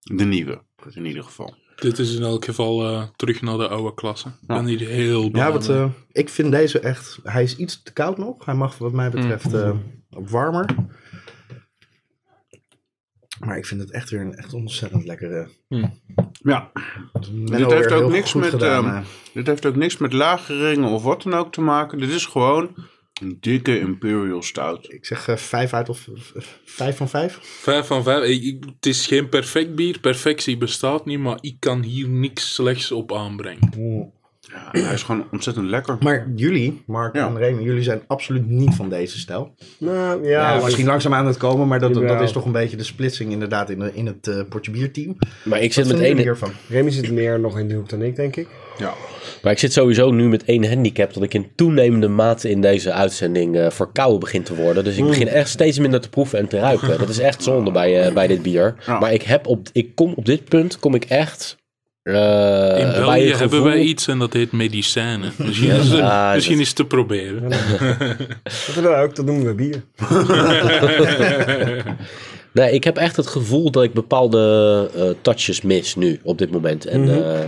S4: de nieuwe. In ieder geval.
S3: Dit is in elk geval eh, terug naar de oude klasse. Ik ben hier heel blij
S2: Ja, want
S3: mee.
S2: eh, ik vind deze echt... Hij is iets te koud nog. Hij mag wat mij
S4: Mm.
S2: betreft eh, op warmer. Maar ik vind het echt weer een echt ontzettend lekkere...
S4: Ja,
S2: Menno
S4: dit
S2: weer
S4: heeft, ook
S2: heel
S4: niks
S2: goed
S4: met,
S2: gedaan,
S4: ehm,
S2: eh.
S4: dit heeft ook niks met lageringen of wat dan ook te maken. Dit is gewoon een dikke Imperial Stout.
S2: Ik zeg eh, vijf uit of eh, vijf van vijf.
S3: Vijf van vijf. Ik- ik- het is geen perfect bier. Perfectie bestaat niet, maar ik kan hier niks slechts op aanbrengen.
S4: Ja, hij is gewoon ontzettend lekker.
S2: Maar jullie, Mark
S4: Ja.
S2: en Remy, jullie zijn absoluut niet van deze stijl.
S6: Nou,
S2: Ja,
S6: ja,
S2: misschien langzaam aan het komen, maar dat, dat
S6: Jawel.
S2: is toch een beetje de splitsing inderdaad in, de- in het eh potje bierteam.
S1: maar ik zit
S2: Wat
S1: met
S2: vinden jullie
S1: één,
S2: hiervan?
S6: Remy zit meer nog in de hoek dan ik, denk ik.
S1: Maar ik zit sowieso nu met één handicap dat ik in toenemende mate in deze uitzending eh verkouden begin te worden. Dus ik begin echt steeds minder te proeven en te ruiken. Dat is echt zonde bij, eh, bij dit bier.
S4: Ja.
S1: Maar ik, heb op, ik kom op dit punt kom ik echt. eh,
S3: In
S1: bij
S3: België
S1: een
S3: hebben
S1: gevoel-
S3: wij iets en dat heet medicijnen. Misschien is het,
S1: Ah,
S3: misschien
S1: dat-
S3: is het te proberen.
S6: Dat hebben wij ook, dat noemen we bier.
S1: Nee, ik heb echt het gevoel dat ik bepaalde eh, touches mis nu op dit moment. En
S3: Mhm.
S1: eh,
S3: Je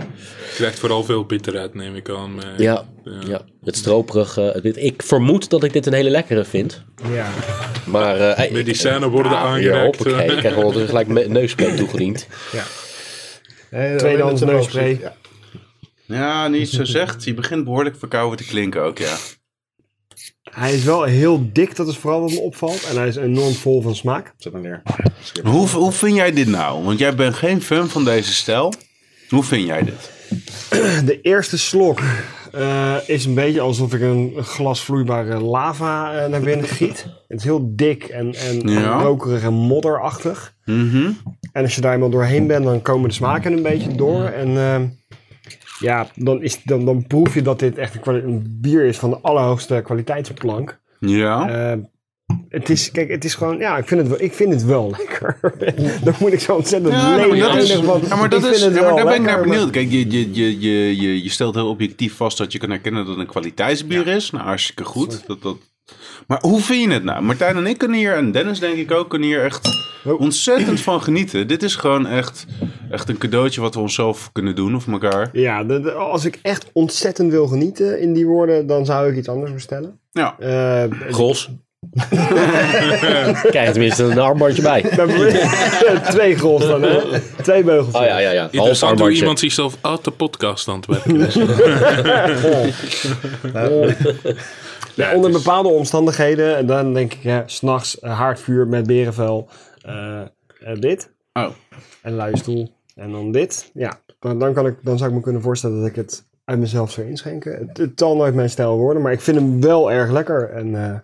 S3: krijgt vooral veel bitterheid, neem ik aan. maar-
S1: ja, ja. het stroperige. het wit. ik vermoed dat ik dit een hele lekkere vind.
S6: Ja.
S1: Maar eh, hey, ik-
S3: Medicijnen worden
S1: Ah, Ja,
S3: aangereikt.
S1: hoppakee. ik krijg wel dus gelijk me- neuspray toegediend.
S2: Eh,
S6: Tweedehands
S2: met de
S6: neuspray.
S2: roos. Ja.
S4: Ja, niet zo zegt. Die begint behoorlijk verkouden te klinken ook, ja.
S6: Hij is wel heel dik, dat is vooral wat me opvalt. En hij is enorm vol van smaak.
S2: Zet maar neer.
S4: Hoe, hoe vind jij dit nou? Want jij bent geen fan van deze stijl. Hoe vind jij dit?
S6: De eerste slok eh, is een beetje alsof ik een glas vloeibare lava eh, naar binnen giet. Het is heel dik en, en
S4: Ja.
S6: rokerig en modderachtig. En als je daar eenmaal doorheen bent, dan komen de smaken een beetje door. En eh, Ja, dan, is, dan, dan proef je dat dit echt een, kwali- een bier is van de allerhoogste kwaliteitsplank.
S4: Ja.
S1: Oh.
S6: Eh, het is, kijk, het is gewoon, ja, ik vind het, wel- ik vind het wel lekker. dan moet ik zo ontzettend
S4: Ja,
S6: lelijk
S4: maar dat is,
S6: eindigen, want
S4: ja, maar,
S6: ik
S4: dat
S6: vind
S4: is,
S6: het
S4: ja, maar
S6: wel
S4: daar ben ik
S6: lekker,
S4: naar
S6: maar-
S4: benieuwd. Kijk, je, je, je, je, je, je stelt heel objectief vast dat je kan herkennen dat het een kwaliteitsbier is. Nou, hartstikke goed. Dat, dat. Maar hoe vind je het nou? Martijn en ik kunnen hier, en Dennis denk ik ook, kunnen hier echt
S6: Oh.
S4: ontzettend van genieten. Dit is gewoon echt, echt een cadeautje wat we onszelf kunnen doen of elkaar.
S6: Ja, de- de- als ik echt ontzettend wil genieten in die woorden, dan zou ik iets anders bestellen.
S4: Ja.
S6: Eh,
S1: Gros. Krijg je tenminste een armbandje bij.
S6: dan- twee goals dan, hè? Twee beugels.
S1: Oh ja, ja, ja. Half
S3: Interessant hoe
S1: armbandje.
S3: iemand zichzelf uit de podcast aan het werken is.
S6: Ja, onder bepaalde omstandigheden, en dan denk ik, hè, s'nachts eh, haardvuur met berenvel, eh, eh, dit.
S4: Oh.
S6: En luie stoel, en dan dit. Ja, dan, dan, kan ik, dan zou ik me kunnen voorstellen dat ik het uit mezelf zou inschenken. Het, het zal nooit mijn stijl worden, maar ik vind hem wel erg lekker. En, eh,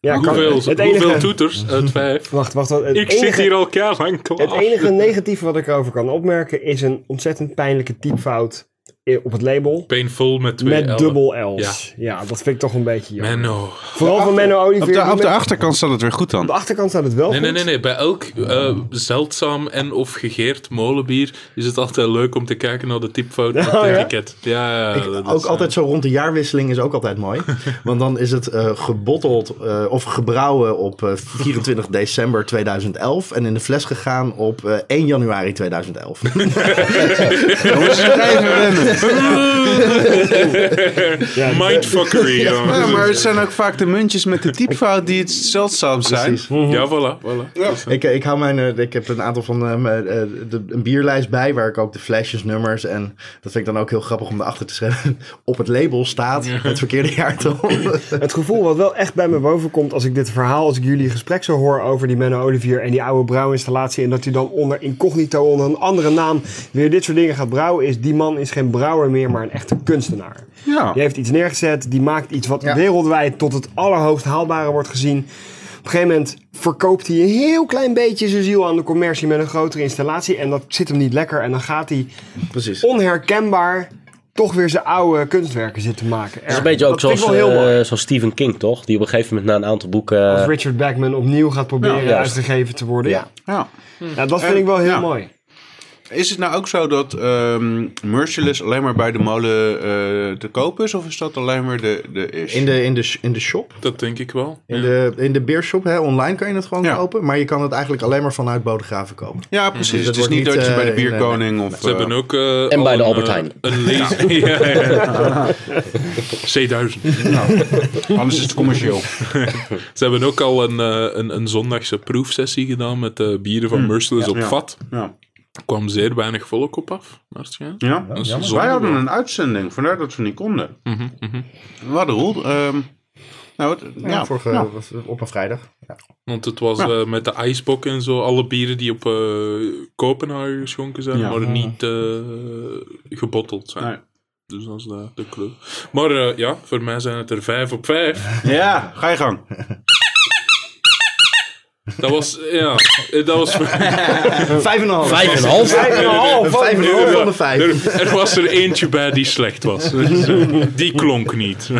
S6: ja, kan-
S3: Hoeveel,
S6: het
S3: hoeveel
S6: enige,
S3: toeters uit vijf?
S6: Wacht, wacht. wat- Het
S3: Ik zit
S6: enige-
S3: hier al keihard klaar.
S6: Het enige negatieve wat ik erover kan opmerken is een ontzettend pijnlijke typfout i- op het label.
S3: Painful met twee
S6: met
S3: L'en.
S6: dubbel L's. Ja. dat vind ik toch een beetje jammer.
S3: Menno.
S6: Vooral van Menno Olivier.
S4: Op de,
S6: die
S4: op de
S6: met-
S4: achterkant staat het weer goed
S6: op de
S4: dan.
S6: achterkant staat het wel
S3: Nee,
S6: goed.
S3: nee, nee, nee. Bij elk eh, zeldzaam en of gegeerd molenbier is het altijd leuk om te kijken naar de typfout op
S6: Oh,
S3: het
S6: ja?
S3: etiket. Ja, ja,
S2: Ik-
S3: dat is,
S2: ook altijd zo rond de jaarwisseling is ook altijd mooi. Want dan is het eh, gebotteld eh, of gebrouwen op eh, 24 december 2011 en in de fles gegaan op eh, 1 januari 2011.
S3: eh, Mindfuckery, ja.
S4: Ja, maar het zijn ook vaak de muntjes met de typfout die het zeldzaam zijn.
S2: Precies.
S3: Ja, voilà, voilà.
S2: Ik, eh, ik, hou mijn, eh, ik heb een aantal van eh, mijn, eh, de, een bierlijst bij waar ik ook de flesjes, nummers en dat vind ik dan ook heel grappig om erachter te schrijven. Op het label staat het verkeerde jaartal.
S6: Het gevoel wat wel echt bij me boven komt als ik dit verhaal, als ik jullie gesprek zo hoor over die Menno Olivier en die oude brouwinstallatie. En dat hij dan onder incognito, onder een andere naam, weer dit soort dingen gaat brouwen. Is die man is geen brouwer meer, maar een echte kunstenaar.
S4: Ja.
S6: Die heeft iets neergezet, die maakt iets wat
S2: Ja.
S6: wereldwijd tot het allerhoogst haalbare wordt gezien. Op een gegeven moment verkoopt hij een heel klein beetje zijn ziel aan de commercie met een grotere installatie. En dat zit hem niet lekker. En dan gaat hij
S2: Precies.
S6: onherkenbaar toch weer zijn oude kunstwerken zitten maken.
S1: Dat is een beetje ook
S6: vind ik
S1: zoals,
S6: wel heel
S1: eh,
S6: mooi.
S1: zoals Stephen King, toch? Die op een gegeven moment na een aantal boeken... eh,
S6: Als Richard Backman opnieuw gaat proberen
S1: juist.
S6: uitgegeven te worden. Ja.
S4: ja.
S6: Ja, dat vind ik wel heel
S4: Ja.
S6: mooi.
S4: Is het nou ook zo dat ehm Merciless alleen maar bij de molen eh, te koop is? Of is dat alleen maar de, de is?
S2: In de, in, de, sh- in de shop
S3: Dat denk ik wel.
S2: In de, in de beershop, hè, online kan je het gewoon
S4: Ja.
S2: kopen. Maar je kan het eigenlijk alleen maar vanuit Bodegraven kopen.
S4: Ja, precies.
S2: Dus
S4: het
S2: het
S4: is
S2: wordt
S4: niet dat
S2: niet,
S4: je bij de
S2: eh, in, eh,
S4: bierkoning of...
S3: Ze hebben
S4: eh,
S3: ook... eh,
S1: En bij
S3: al
S1: de Albert
S3: een, eh,
S1: Heijn.
S3: Een laser. Ja, ja. C1000.
S4: Anders is het commercieel.
S3: Ze hebben ook al een, eh, een, een zondagse proefsessie gedaan met de bieren van Merciless op
S4: Hmm. Ja.
S3: vat.
S4: Ja.
S3: Er kwam zeer weinig volk op af, naar het schijnt.
S4: Ah, Ja.
S3: Dat is zonde
S4: Wij hadden
S3: wel.
S4: een uitzending, vandaar dat we niet konden.
S3: Mhm, mhm.
S4: We hadden Roel... ehm, nou, wat-
S2: Ja,
S4: ja,
S2: vorige,
S4: nou,
S2: was eh, op een vrijdag. Ja.
S3: Want het was eh, met de ijsbok en zo, alle bieren die op eh, Kopenhagen geschonken zijn,
S4: Ja.
S3: maar niet eh, gebotteld zijn.
S4: Nee.
S3: Dus dat is de, de clue. Maar eh, ja, voor mij zijn het er vijf op vijf.
S4: ja, ga je gang.
S3: Dat was, ja, eh, dat was...
S2: Vijf en een half.
S1: Vijf en een half.
S6: Vijf en een half.
S2: Vijf en een half Oh, van de vijf.
S3: Er, er was er eentje bij die slecht was. Dus, eh, die klonk niet.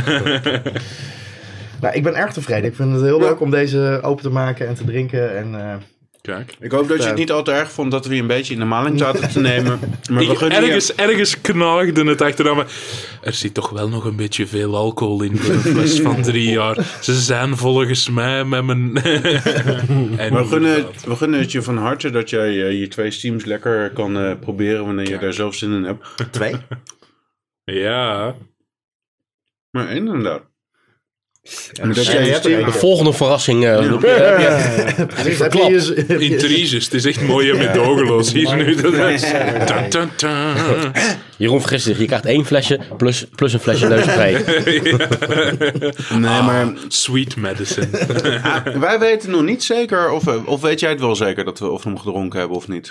S2: Nou, ik ben erg tevreden. Ik vind het heel leuk om deze open te maken en te drinken. En, eh,
S3: Kijk.
S4: Ik hoop dat je het niet al te erg vond dat we je een beetje in de maling zaten te nemen. Maar we
S3: Ik,
S4: gunnen je-
S3: ergens, ergens knaagde het achteraan. maar Er zit toch wel nog een beetje veel alcohol in voor een fles van drie jaar. Ze zijn volgens mij met mijn... en
S4: We gunnen, we gunnen het je van harte dat jij eh, je twee steams lekker kan eh, proberen wanneer je daar zelf zin in hebt.
S2: twee.
S3: Ja.
S4: Maar inderdaad. En dat
S2: jij
S4: jij je
S2: hebt er
S4: steam-
S2: een.
S1: De volgende verrassing... eh, heb je- heb je-
S2: Heb je eens- heb je eens-
S3: Intriges. Het is echt mooie medogeloos hier nu. Dat is... Tan, tan, tan.
S1: Jeroen vergist zich. Je krijgt één flesje plus, plus een flesje neuzenvrij.
S4: Nee, maar
S3: Sweet medicine.
S4: ah, wij weten nog niet zeker, of, eh, of weet jij het wel zeker, dat we of we hem gedronken hebben of niet?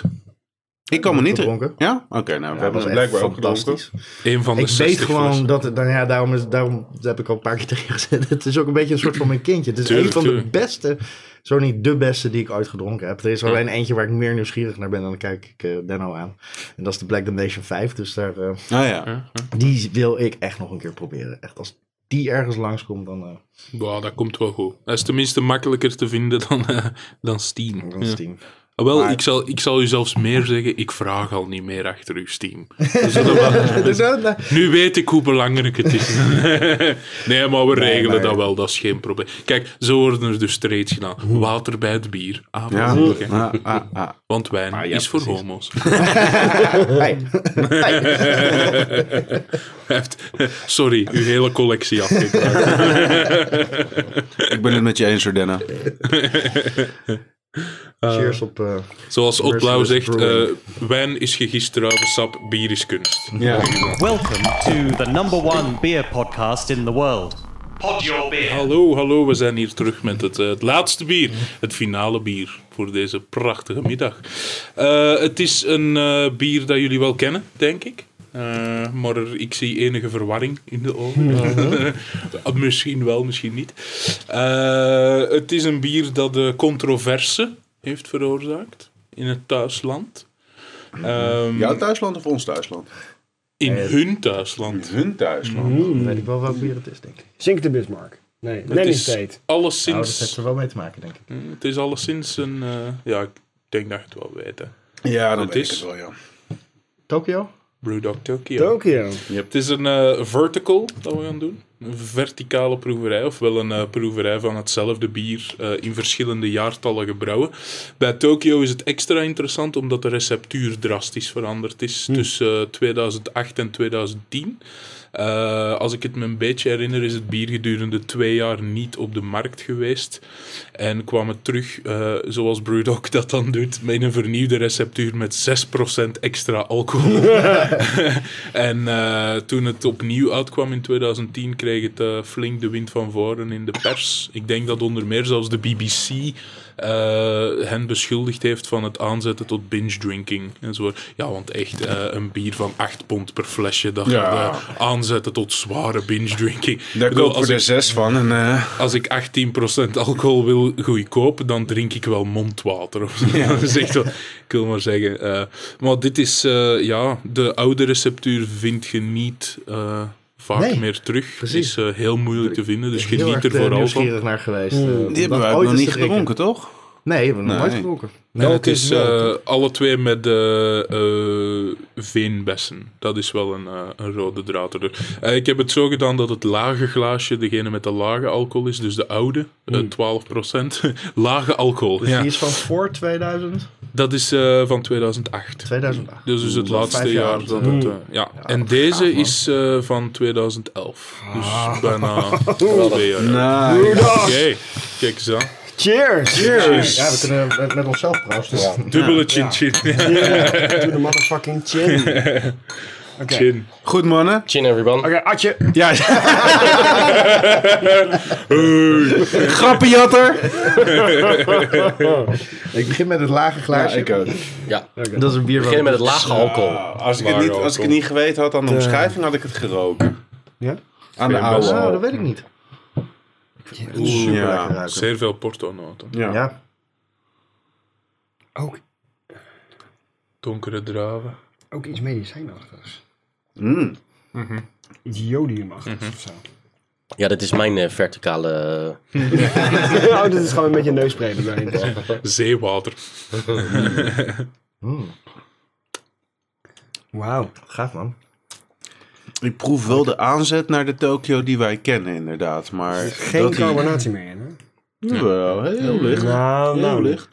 S4: Ik kan me niet
S2: gedronken.
S4: Ja? Oké, nou, we
S2: Ja, dat
S4: hebben ze
S2: is echt
S4: blijkbaar ook gedronken.
S2: fantastisch.
S3: Een van de
S2: Ik
S3: 60
S2: weet gewoon
S3: flessen.
S2: dat, het- nou ja, daarom, is, daarom heb ik al een paar keer tegen gezet. Het is ook een beetje een soort van mijn kindje. Het is
S3: Tuurlijk,
S2: een van
S3: tuurlijk.
S2: de beste, zo niet de beste die ik ooit gedronken heb. Er is alleen eentje waar ik meer nieuwsgierig naar ben, en dan kijk ik eh Benno aan. En dat is de Black Damnation 5, dus daar, eh,
S4: Nou ja.
S2: die wil ik echt nog een keer proberen. Echt, als die ergens langskomt, dan, eh
S3: Wow, dat komt wel goed. Dat is tenminste makkelijker te vinden dan, eh, dan Steam.
S2: dan
S3: Ja.
S2: is het team.
S3: Ah, Wel, ik, zal, ik zal u zelfs meer zeggen, ik vraag al niet meer achter uw Steam. Dus dat wel-
S2: Dus, eh, nou,
S3: nu weet ik hoe belangrijk het is. nee, maar we regelen
S2: maar-
S3: dat wel, dat is geen probleem. Kijk, zo worden er dus trades gedaan. Water bij het bier. Ah,
S4: Ja.
S3: verstandig, hè.
S4: Ah, ah, ah.
S3: Want wijn
S4: Ah, ja,
S3: is voor
S4: precies.
S3: homo's.
S2: hey. Hey.
S3: Hij heeft- eh, Sorry, uw hele collectie afgekraakt.
S4: Ik ben het met je eens, Jordanna.
S2: Cheers op... eh,
S3: Zoals Ott Blauw
S2: Merciless
S3: zegt, eh, wijn is sap, bier is kunst.
S4: Ja.
S5: Welcome to the number one beer podcast in the world. Pod your beer.
S3: Hallo, hallo, we zijn hier terug met het, eh, het laatste bier. Het finale bier voor deze prachtige middag. Eh, het is een eh, bier dat jullie wel kennen, denk ik. Eh, maar er- ik zie enige verwarring in de ogen. Eh, misschien wel, misschien niet. Eh, het is een bier dat de controverse heeft veroorzaakt in het thuisland. Ehm,
S4: Jouw thuisland of ons thuisland?
S3: in hun thuisland.
S4: Hun thuisland.
S3: mm.
S2: weet ik wel welke bier het is, denk ik.
S6: Sink de Bismarck. Nee,
S3: Het
S6: Nanny
S3: is
S6: State.
S2: Nou, dat heeft
S3: alleszins,
S2: er wel mee te maken, denk ik.
S3: het is alleszins een... eh, ja, ik denk dat je het wel weet, hè.
S4: Ja, dat
S3: Het
S4: weet
S3: is-
S4: ik het wel, ja.
S2: Tokio?
S3: Brewdog Tokyo.
S6: Tokyo.
S3: Het is een eh, vertical dat we gaan doen. Een verticale proeverij, ofwel een eh, proeverij van hetzelfde bier eh, in verschillende jaartallen gebrouwen. Bij Tokio is het extra interessant omdat de receptuur drastisch veranderd is tussen eh, 2008 en 2010. Eh, als ik het me een beetje herinner, is het bier gedurende twee jaar niet op de markt geweest. En kwam het terug, eh, zoals Brewdog dat dan doet, met een vernieuwde receptuur met 6% extra alcohol. En eh, toen het opnieuw uitkwam in 2010, kreeg het eh, flink de wind van voren in de pers. Ik denk dat onder meer zelfs de BBC eh, hen beschuldigd heeft van het aanzetten tot binge drinking. En zo. Ja, want echt eh, een bier van 8 pond per flesje, dat
S4: Ja.
S3: gaat, eh, aanzetten tot zware binge drinking. Ik
S4: Daar
S3: bedoel,
S4: kopen
S3: als
S4: we dus er
S3: ik-
S4: zes van. En, eh,
S3: als ik 18% alcohol wil goedkoop, dan drink ik wel mondwater. Of zo. Dat is echt wel, ik wil maar zeggen. eh, maar dit is, eh, ja, de oude receptuur vind je niet eh, vaak
S2: Nee,
S3: meer terug. Het
S2: precies.
S3: is eh, heel moeilijk te vinden, dus
S2: heel erg
S3: geniet er
S2: eh,
S3: vooral van.
S2: nieuwsgierig naar geweest. eh, om
S4: Mm. die hebben
S2: dat ooit
S4: we ook nog
S2: eens
S4: niet
S2: te drinken.
S4: gedronken, toch?
S2: Nee, die hebben we nog
S4: Nee.
S2: nooit gedronken.
S3: En het is
S6: wel
S3: eh, alle twee met eh, eh, veenbessen. Dat is wel een, eh, een rode draad erdoor. Eh, ik heb het zo gedaan dat het lage glaasje degene met de lage alcohol is, dus de oude, eh,
S2: Hmm.
S3: 12%. lage alcohol, ja.
S2: Die is van voor 2000?
S3: Dat is eh, van 2008.
S2: 2008.
S3: Dus is
S2: Dat
S3: het
S2: is
S3: laatste
S2: vijf jaar
S3: jaar
S2: oud,
S3: dat
S2: hè?
S3: het... eh, ja. en deze is eh, van 2011. Dus bijna twee jaar. oud.
S4: Nee.
S3: Oké, kijk eens aan.
S6: Cheers!
S2: Cheers! Ja, we kunnen met, met onszelf dus proosten.
S3: Dubbele chin-chin.
S6: Doe de motherfucking chin. Oké,
S3: Chin.
S4: Goed, mannen.
S1: Chin everyone.
S6: Oké, Atje.
S4: Ja. Grappenjatter.
S2: Ik begin met het lage glaasje.
S4: ook.
S1: Ja. We
S2: dat is een bier
S1: beginnen
S2: van...
S1: met het lage alcohol.
S4: Ah, Als ik, het niet, als ik het niet geweten had aan de omschrijving, had ik het geroken.
S6: Ja?
S4: Aan de
S3: Geen
S4: oude.
S3: best.
S2: Oh,
S4: al.
S2: dat weet ik niet.
S4: Oeh,
S2: Lekker
S4: ja.
S2: ruiken.
S3: Zeer veel porto-noten.
S4: Ja.
S2: Ja.
S6: Ook,
S3: Donkere druiven.
S6: ook iets medicijnachtigs. Mhm.
S4: Mm.
S6: Iets jodiumachtigs of zo.
S1: Ja, dit is mijn eh, verticale... eh,
S6: oh, dit is gewoon een beetje een neusspray erbij.
S3: Zeewater.
S6: Wauw.
S2: Gaaf man.
S4: Ik proef wel de aanzet naar de Tokio die wij kennen, inderdaad. Maar dat
S6: Geen
S4: die-
S6: carbonatie meer in, hè?
S4: Wel, heel licht.
S6: Nou,
S4: Heel
S6: nou.
S4: licht.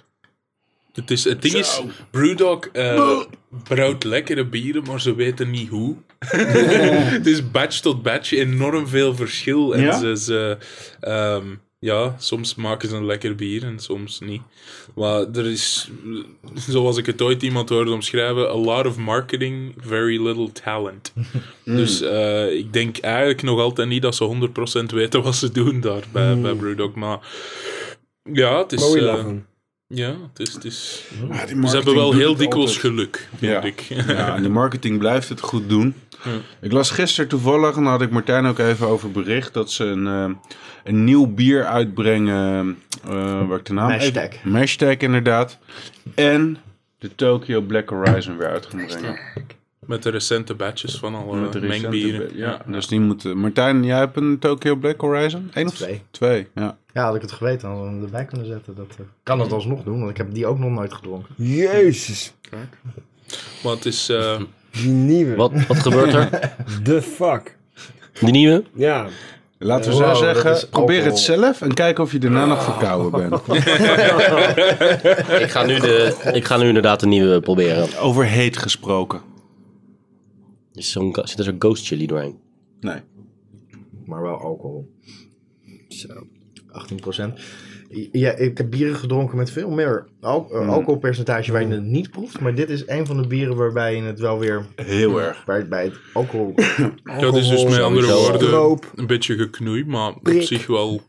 S3: Het, is, het ding is, Brewdog eh brouwt lekkere bieren, maar ze weten niet hoe. het is batch tot batch enorm veel verschil. En
S4: Ja?
S3: ze, ze, ehm, ja, soms maken ze een lekker bier en soms niet. Maar er is, zoals ik het ooit iemand hoorde omschrijven, a lot of marketing, very little talent. Dus eh, ik denk eigenlijk nog altijd niet dat ze 100% weten wat ze doen daar bij, bij Brewdog. Maar ja, het is...
S6: Mooi
S3: eh,
S6: lachen.
S3: Ja, het is... Het is...
S4: Ja, die
S3: Ze hebben
S4: marketing
S3: wel
S4: doet
S3: heel
S4: het
S3: dikwijls
S4: altijd.
S3: geluk,
S4: Ja.
S3: vind ik.
S4: Ja, en de marketing blijft het goed doen. Ik las gisteren toevallig, en daar had ik Martijn ook even over bericht, dat ze een, eh, een nieuw bier uitbrengen. eh, waar ik de naam
S2: Hashtag.
S4: even- Hashtag, inderdaad. En de Tokyo Black Horizon weer uit gaan brengen.
S3: Met de recente batches van alle
S4: Met de recente
S3: Oh, mengbieren.
S4: be- Ja, dus die moeten. Martijn, jij hebt een Tokyo Black Horizon? Eén of
S2: Twee.
S4: Twee, ja.
S2: Ja, had ik het geweten, hadden we hem erbij kunnen zetten. Dat eh, kan het alsnog doen, want ik heb die ook nog nooit gedronken.
S6: Jezus.
S3: Maar het is... eh,
S6: Die nieuwe. What
S1: Wat, wat gebeurt er?
S6: the fuck?
S1: Die nieuwe?
S6: Ja.
S4: Laten we
S2: Wow,
S4: zo
S2: dat is
S4: zeggen, probeer het
S2: alcohol.
S4: zelf en kijk of je daarna nog verkouden bent.
S1: Ik ga, nu de, ik ga nu inderdaad de nieuwe proberen.
S4: Over heet gesproken.
S1: Is zo'n- zit er zo'n ghost chili doorheen?
S4: Nee.
S2: Maar wel alcohol. Zo, 18 Ja, ik heb bieren gedronken met veel meer al-
S1: Mm.
S2: eh, alcoholpercentage waarin je het niet proeft. Maar dit is een van de bieren waarbij je het wel weer
S4: Heel erg.
S2: bij, bij het alcohol...
S3: ja, het is dus met andere
S1: sowieso.
S3: woorden
S6: Stroop.
S3: een beetje geknoeid, maar op
S6: Prik.
S3: zich wel...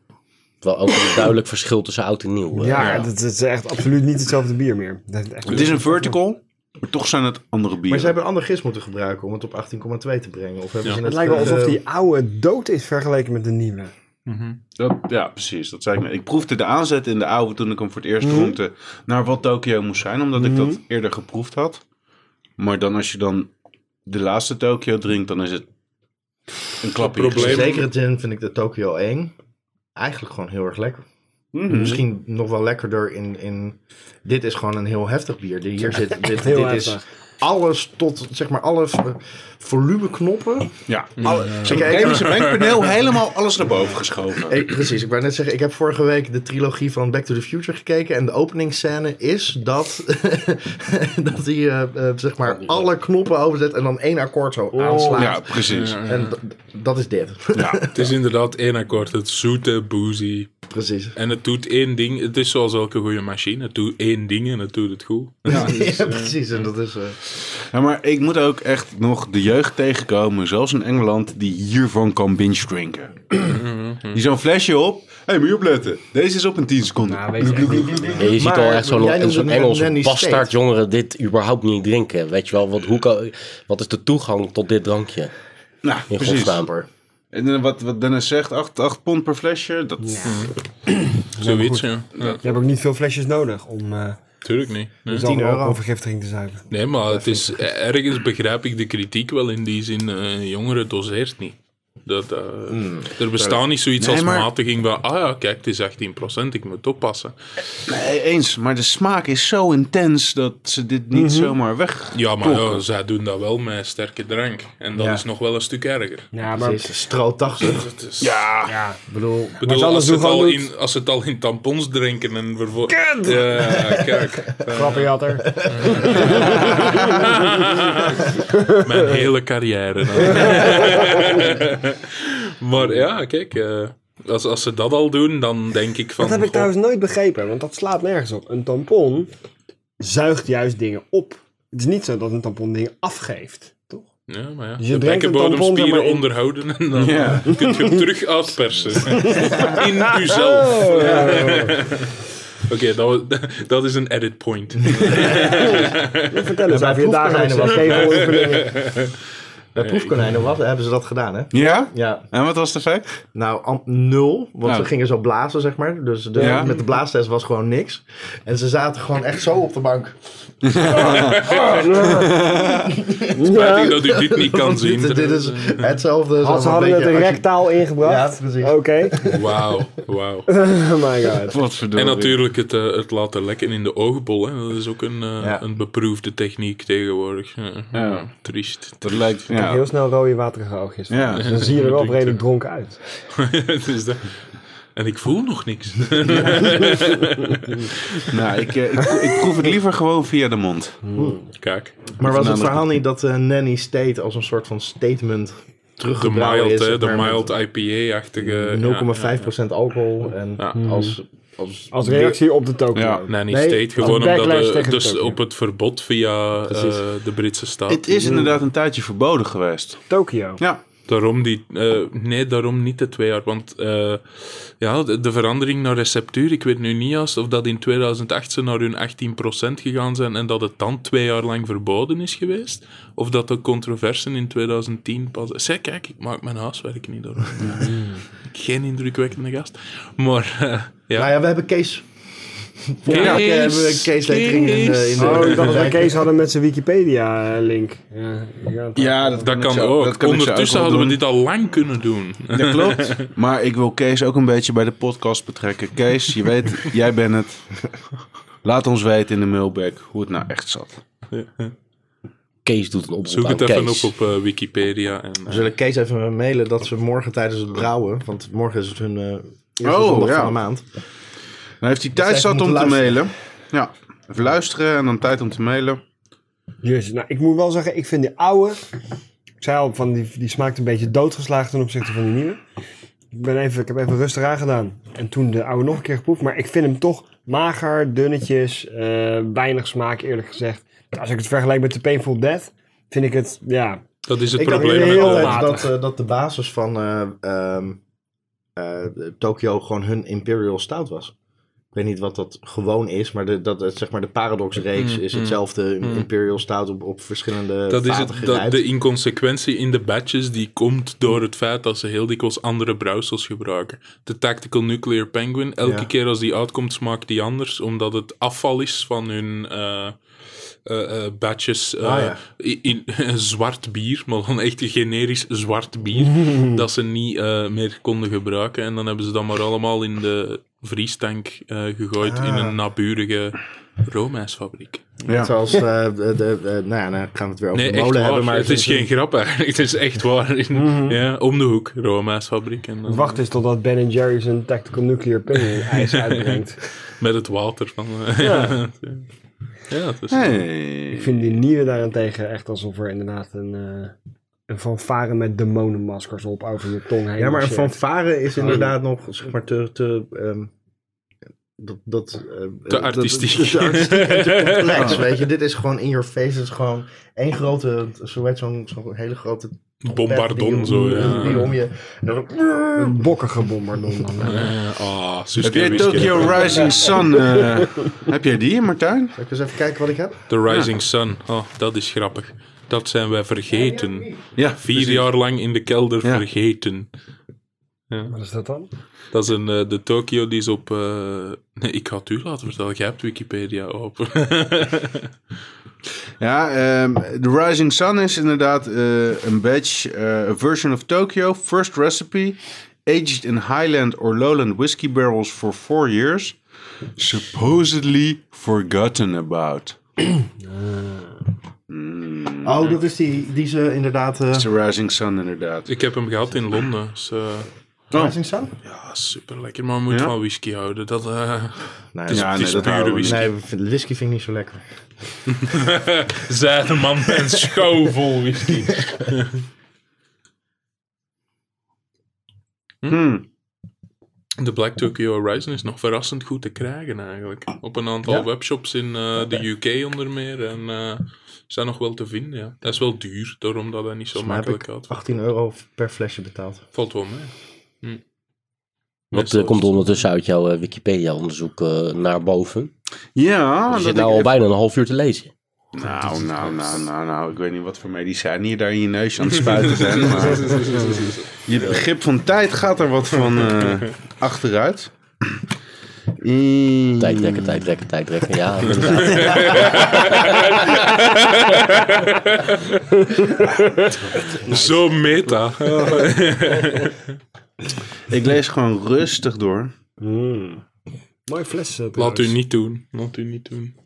S1: Wel ook een duidelijk verschil tussen oud en nieuw. eh.
S6: Ja, dat, dat is echt absoluut niet hetzelfde bier meer. Dat is echt
S4: Het is een vertical, maar toch zijn het andere bieren.
S2: Maar ze hebben een ander gist moeten gebruiken om het op 18,2 te brengen. Of hebben
S3: Ja.
S2: ze eh,
S6: Het lijkt wel
S2: ge-
S6: alsof die oude dood is vergeleken met de nieuwe.
S4: Dat, ja, precies. Dat zei ik net. Ik proefde de aanzet in de oude toen ik hem voor het
S2: Mhm.
S4: eerst proefde naar wat Tokio moest zijn, omdat ik dat eerder geproefd had. Maar dan als je dan de laatste Tokio drinkt, dan is het een klapje.
S3: probleem.
S4: gezicht.
S2: In zekere zin vind ik de Tokyo 1 eigenlijk gewoon heel erg lekker.
S4: Mhm.
S2: Misschien nog wel lekkerder in, in... Dit is gewoon een heel heftig bier. Die Hier zit, dit,
S6: Heel
S2: dit is
S6: heftig.
S2: alles tot, zeg maar, alle v- volumeknoppen.
S4: Ja. Alle, ze
S2: Kijk, eh,
S4: hebben zijn mengpaneel helemaal alles naar boven geschoven.
S2: Ik, precies, ik wou net zeggen, ik heb vorige week de trilogie van Back to the Future gekeken. En de openingsscène is dat, dat hij eh, eh, zeg maar alle knoppen overzet en dan één akkoord zo aanslaat.
S4: ja, precies. Ja.
S2: En d- dat is dit.
S3: Het is inderdaad één akkoord. Het zoete, boozy.
S2: precies.
S3: En het doet één ding. Het is zoals elke goede machine. Het doet één ding en het doet het goed.
S2: Ja, precies. En dat is... eh,
S4: Ja, maar ik moet ook echt nog de jeugd tegenkomen, zelfs in Engeland, die hiervan kan binge drinken. Die zo'n flesje op. Hé, hey, moet je opletten. Deze is op in 10 seconden.
S6: Nou, weet je echt niet.
S1: En je ziet
S2: Maar
S1: al echt
S2: jij
S1: zo'n
S2: noemde
S1: zo'n
S2: het net
S1: Engels
S2: Nanny State.
S1: bastard jongeren dit überhaupt niet drinken. Weet je wel, wat, hoe kan, wat is de toegang tot dit drankje?
S4: Nou,
S1: In
S4: precies.
S1: godsnaam.
S4: En eh, wat, wat Dennis zegt, 8, 8 pond per flesje. Dat,
S3: Zoiets, ja. ja.
S6: Je hebt ook niet veel flesjes nodig om eh
S3: Tuurlijk niet. Nee,
S6: zelf
S2: euro.
S6: alcoholvergiftiging te zuigen.
S3: Nee, maar het is, ergens begrijp ik de kritiek wel in die zin. eh, jongeren doseert niet. Dat, eh, er bestaat niet zoiets
S4: Nee,
S3: als
S4: maar-
S3: matiging van... Ah ja, kijk, het is 18%. Ik moet oppassen.
S4: Nee, eens. Maar de smaak is zo intens dat ze dit niet zomaar weg...
S3: Ja, maar ja, zij doen dat wel met sterke drank. En dat
S2: Ja.
S3: is nog wel een stuk erger. Dus
S6: Ja, maar...
S2: Precies. Stro 80.
S3: Het is-
S4: Ja.
S6: Ja,
S2: Ik bedoel,
S3: Ik bedoel,
S6: Maar
S3: als,
S6: alles
S3: ze het
S6: doen
S3: al
S6: gewoon
S3: in, als ze het al in tampons drinken en vervolgens... Ja, kijk.
S6: grappenjatter.
S3: Mijn hele carrière. maar ja, kijk. eh, als, als ze dat al doen, dan denk ik van...
S6: Dat heb ik
S3: goh,
S6: trouwens nooit begrepen, want dat slaat nergens op. Een tampon zuigt juist dingen op. Het is niet zo dat een tampon dingen afgeeft, toch?
S3: Ja, maar ja.
S6: Dus je
S3: je de
S6: drinkt een tampon, zeg
S3: bekkenbodemspieren
S6: maar, in-
S3: onderhouden en dan
S4: Ja.
S3: kun je hem terug uitpersen. in
S6: Oh.
S3: uzelf. Oké, dat, wa- dat is een edit point.
S6: Vertel eens
S2: bij
S6: over je
S2: proefkonijnen
S6: dagelijkse tegeloefeningen.
S2: bij proefkonijnen wat, hebben ze dat gedaan, hè?
S4: Ja?
S2: Ja,
S4: En wat was het effect?
S2: nou am- nul, want
S4: Nou.
S2: ze gingen zo blazen, zeg maar. Dus de,
S4: Ja.
S2: met de blaastest was gewoon niks. En ze zaten gewoon echt zo op de bank.
S3: Spijtig dat u dit niet kan
S2: Want
S3: zien.
S2: Dit, dit is hetzelfde.
S6: Had
S2: als
S6: ze
S2: een
S6: hadden het
S2: beetje-
S6: een
S2: als je-
S6: rectaal
S2: Ja,
S6: ingebracht.
S2: precies.
S6: Oké.
S3: Wauw, wauw.
S6: Oh my god.
S4: Wat
S3: En
S4: verdorie.
S3: natuurlijk het, eh, het laten lekken in de oogbol. Hè. Dat is ook een, eh,
S2: Ja.
S3: een beproefde techniek tegenwoordig. Ja,
S4: Ja.
S3: Triest.
S4: Dat lijkt... Ja.
S6: Heel snel rode waterige oogjes.
S4: Ja.
S6: Dus dan zie je er wel redelijk dronken uit.
S3: Dus dat- En ik voel nog niks.
S4: nou, ik, eh, ik, ik proef het liever gewoon via de mond.
S3: Kijk,
S2: Maar was het
S4: Namelijk-
S2: verhaal niet dat eh, Nanny State als een soort van statement
S3: de
S2: teruggebrouwen
S3: mild,
S2: is?
S3: hè,
S2: zeg
S3: de
S2: maar, met
S3: mild eh, IPA-achtige...
S2: 0,5% alcohol en als... als
S6: Als reactie op de Tokyo.
S4: Ja.
S3: Nee, niet
S2: Nee,
S3: steeds. Gewoon
S6: als backlash
S3: omdat, eh,
S6: tegen
S3: dus
S6: Tokio.
S3: op het verbod via eh, de Britse staat.
S4: Het is inderdaad een tijdje verboden geweest.
S6: Tokyo.
S4: Ja.
S3: Daarom die, eh, nee, daarom niet de twee jaar. Want eh, ja, de, de verandering naar receptuur, ik weet nu niet juist of dat in 2008 ze naar hun 18% gegaan zijn en dat het dan twee jaar lang verboden is geweest. Of dat de controversen in 2010 pas... Zeg, kijk, ik maak mijn huiswerk niet door. Geen indrukwekkende gast. Maar eh, ja.
S2: Nou ja, we hebben Kees.
S3: Kees,
S2: Ja, hebben we Kees Letering in de... In de
S6: Oh, ik dacht dat wij Kees hadden met zijn Wikipedia-link. Ja, ja,
S4: dat,
S3: Dat kan ook. Ondertussen hadden we dit al lang kunnen doen.
S4: Dat klopt. Maar ik wil Kees ook een beetje bij de podcast betrekken. Kees, je weet, jij bent het. Laat ons weten in de mailback hoe het nou echt zat.
S1: Kees doet een oproep
S3: Zoek
S1: aan
S3: het even
S1: Kees.
S3: op op eh, Wikipedia. En,
S2: We
S3: eh,
S2: zullen Kees even mailen dat ze morgen tijdens het brouwen... Want morgen is het hun eh eerste
S4: Oh,
S2: zondag
S4: ja.
S2: van de maand.
S4: Nou heeft hij tijd
S2: zij
S4: zat om te
S2: moeten luisteren.
S4: mailen. Ja, even luisteren en dan tijd om te mailen.
S6: Jezus, nou, ik moet wel zeggen, ik vind die oude... Ik zei al, van die, die smaakt een beetje doodgeslagen ten opzichte van die nieuwe. Ik, ben even, ik heb even rustig aangedaan. En toen de oude nog een keer geproefd. Maar ik vind hem toch mager, dunnetjes, eh, weinig smaak eerlijk gezegd. Als ik het vergelijk met de Painful Death, vind ik het, ja...
S3: dat is het
S2: Ik dacht
S3: probleem
S6: dat
S3: met
S6: heel
S3: alle
S2: altijd
S6: matig.
S2: dat, eh, dat de basis van eh ehm, eh, Tokyo gewoon hun Imperial Stout was. Ik weet niet wat dat gewoon is, maar de, dat, het, zeg maar de Paradox-reeks
S3: Mm,
S2: is
S3: mm,
S2: hetzelfde
S3: mm.
S2: Imperial Stout op, op verschillende
S3: Dat is
S2: vaten
S3: het, dat,
S2: gerijpt.
S3: de inconsequentie in de batches die komt door het feit dat ze heel dikwijls andere brouwsels gebruiken. De Tactical Nuclear Penguin, elke
S2: Ja.
S3: keer als die uitkomt smaakt die anders, omdat het afval is van hun eh, eh, eh, batches. eh,
S2: Ah, ja.
S3: in, in- zwart bier, maar dan echt generisch zwart bier, dat ze niet eh, meer konden gebruiken. En dan hebben ze dat maar allemaal in de vriestank eh, gegooid in
S2: Ah.
S3: een naburige roomijsfabriek.
S4: Ja.
S2: Zoals, eh, de, de- de- nou ja, nou gaan we het weer over
S3: Nee,
S2: de
S3: echt
S2: molen
S3: waar.
S2: hebben. Maar
S3: het is geen grap eigenlijk. Het is echt waar. In- ja, om de hoek, Roma's-fabriek. En eh, dan
S6: Wacht eens totdat Ben Jerry's een Tactical Nuclear Penguin ijs uitbrengt.
S3: Met het water van... eh, ja. ja, het is...
S4: Hey.
S6: Ik vind die nieuwe daarentegen echt alsof er inderdaad een, eh een fanfare met demonenmaskers op over je tong heen.
S2: Ja, maar een
S6: marcheert.
S2: fanfare is inderdaad nog, zeg maar, te... te ehm, dat, dat, eh, dat-
S3: artistiek.
S2: te artistiek en te complex, weet je. Dit is gewoon in your face. Het is gewoon één grote, zo heet zo'n zo'n hele grote... pet
S3: Bombardon,
S2: die-
S3: zo, ja.
S2: Die om je... en dan-
S6: Een bokkige bombardon dan.
S3: Eh, Ah,
S4: Heb
S3: Suske
S4: jij
S3: Wiske.
S4: Tokyo Rising Sun? eh, heb jij die, Martijn?
S2: Zal ik eens even kijken wat ik heb?
S3: The Rising Sun. Oh, dat is grappig. Dat zijn wij vergeten. Vier
S4: Ja, precies.
S3: jaar lang in de kelder
S4: Ja.
S3: vergeten.
S6: Wat is dat dan?
S3: Dat is een, eh, de Tokyo die is op... eh, Nee, ik had u laten vertellen. Jij hebt Wikipedia open.
S4: Ja, ehm, The Rising Sun is inderdaad eh, een batch, eh, a version of Tokyo, first recipe, aged in Highland or Lowland whiskey barrels for four years, supposedly forgotten about.
S2: Oh, dat is die die ze inderdaad... eh,
S4: It's The Rising Sun inderdaad.
S3: ik heb hem gehad in Londen. Dus, eh,
S2: Rising Sun?
S3: Ja, super lekker. Maar we moeten
S4: Ja?
S3: van whisky houden. Dat, eh,
S2: Nee,
S3: het is,
S4: Ja,
S3: het
S4: nee,
S3: is
S4: dat houden
S3: pure
S4: we niet.
S3: whisky.
S2: Oh, nee, we vinden- whisky vind ik niet zo lekker.
S3: Zij de man met een schouw vol whisky.
S4: Hmm.
S3: De Black Tokyo Horizon is nog verrassend goed te krijgen eigenlijk. Op een aantal webshops in eh, de UK onder meer. En eh zijn nog wel te vinden, ja. Dat is wel duur, daarom dat hij niet zo
S2: Maar heb
S3: makkelijk
S2: ik
S3: had.
S2: 18 euro per flesje betaald.
S3: Valt wel mee. Hm.
S1: Wat
S3: Meestal
S1: eh,
S3: is
S1: komt
S3: het-
S1: ondertussen uit jouw eh, Wikipedia-onderzoek eh, naar boven?
S4: Ja,
S1: Je zit
S4: dat
S1: nou
S4: ik
S1: al
S4: even-
S1: bijna een half uur te lezen.
S4: Nou, nou, nou, nou, nou, ik weet niet wat voor medicijnen hier daar in je neusje aan het spuiten zijn. Maar je begrip van tijd gaat er wat van eh, achteruit. Mm.
S1: Tijdrekken, tijdrekken, tijdrekken. Ja, inderdaad.
S3: Zo meta.
S4: Ik lees gewoon rustig door.
S6: Mooi fles. eh,
S3: Laat
S6: trouwens.
S3: u niet doen. Laat u niet doen.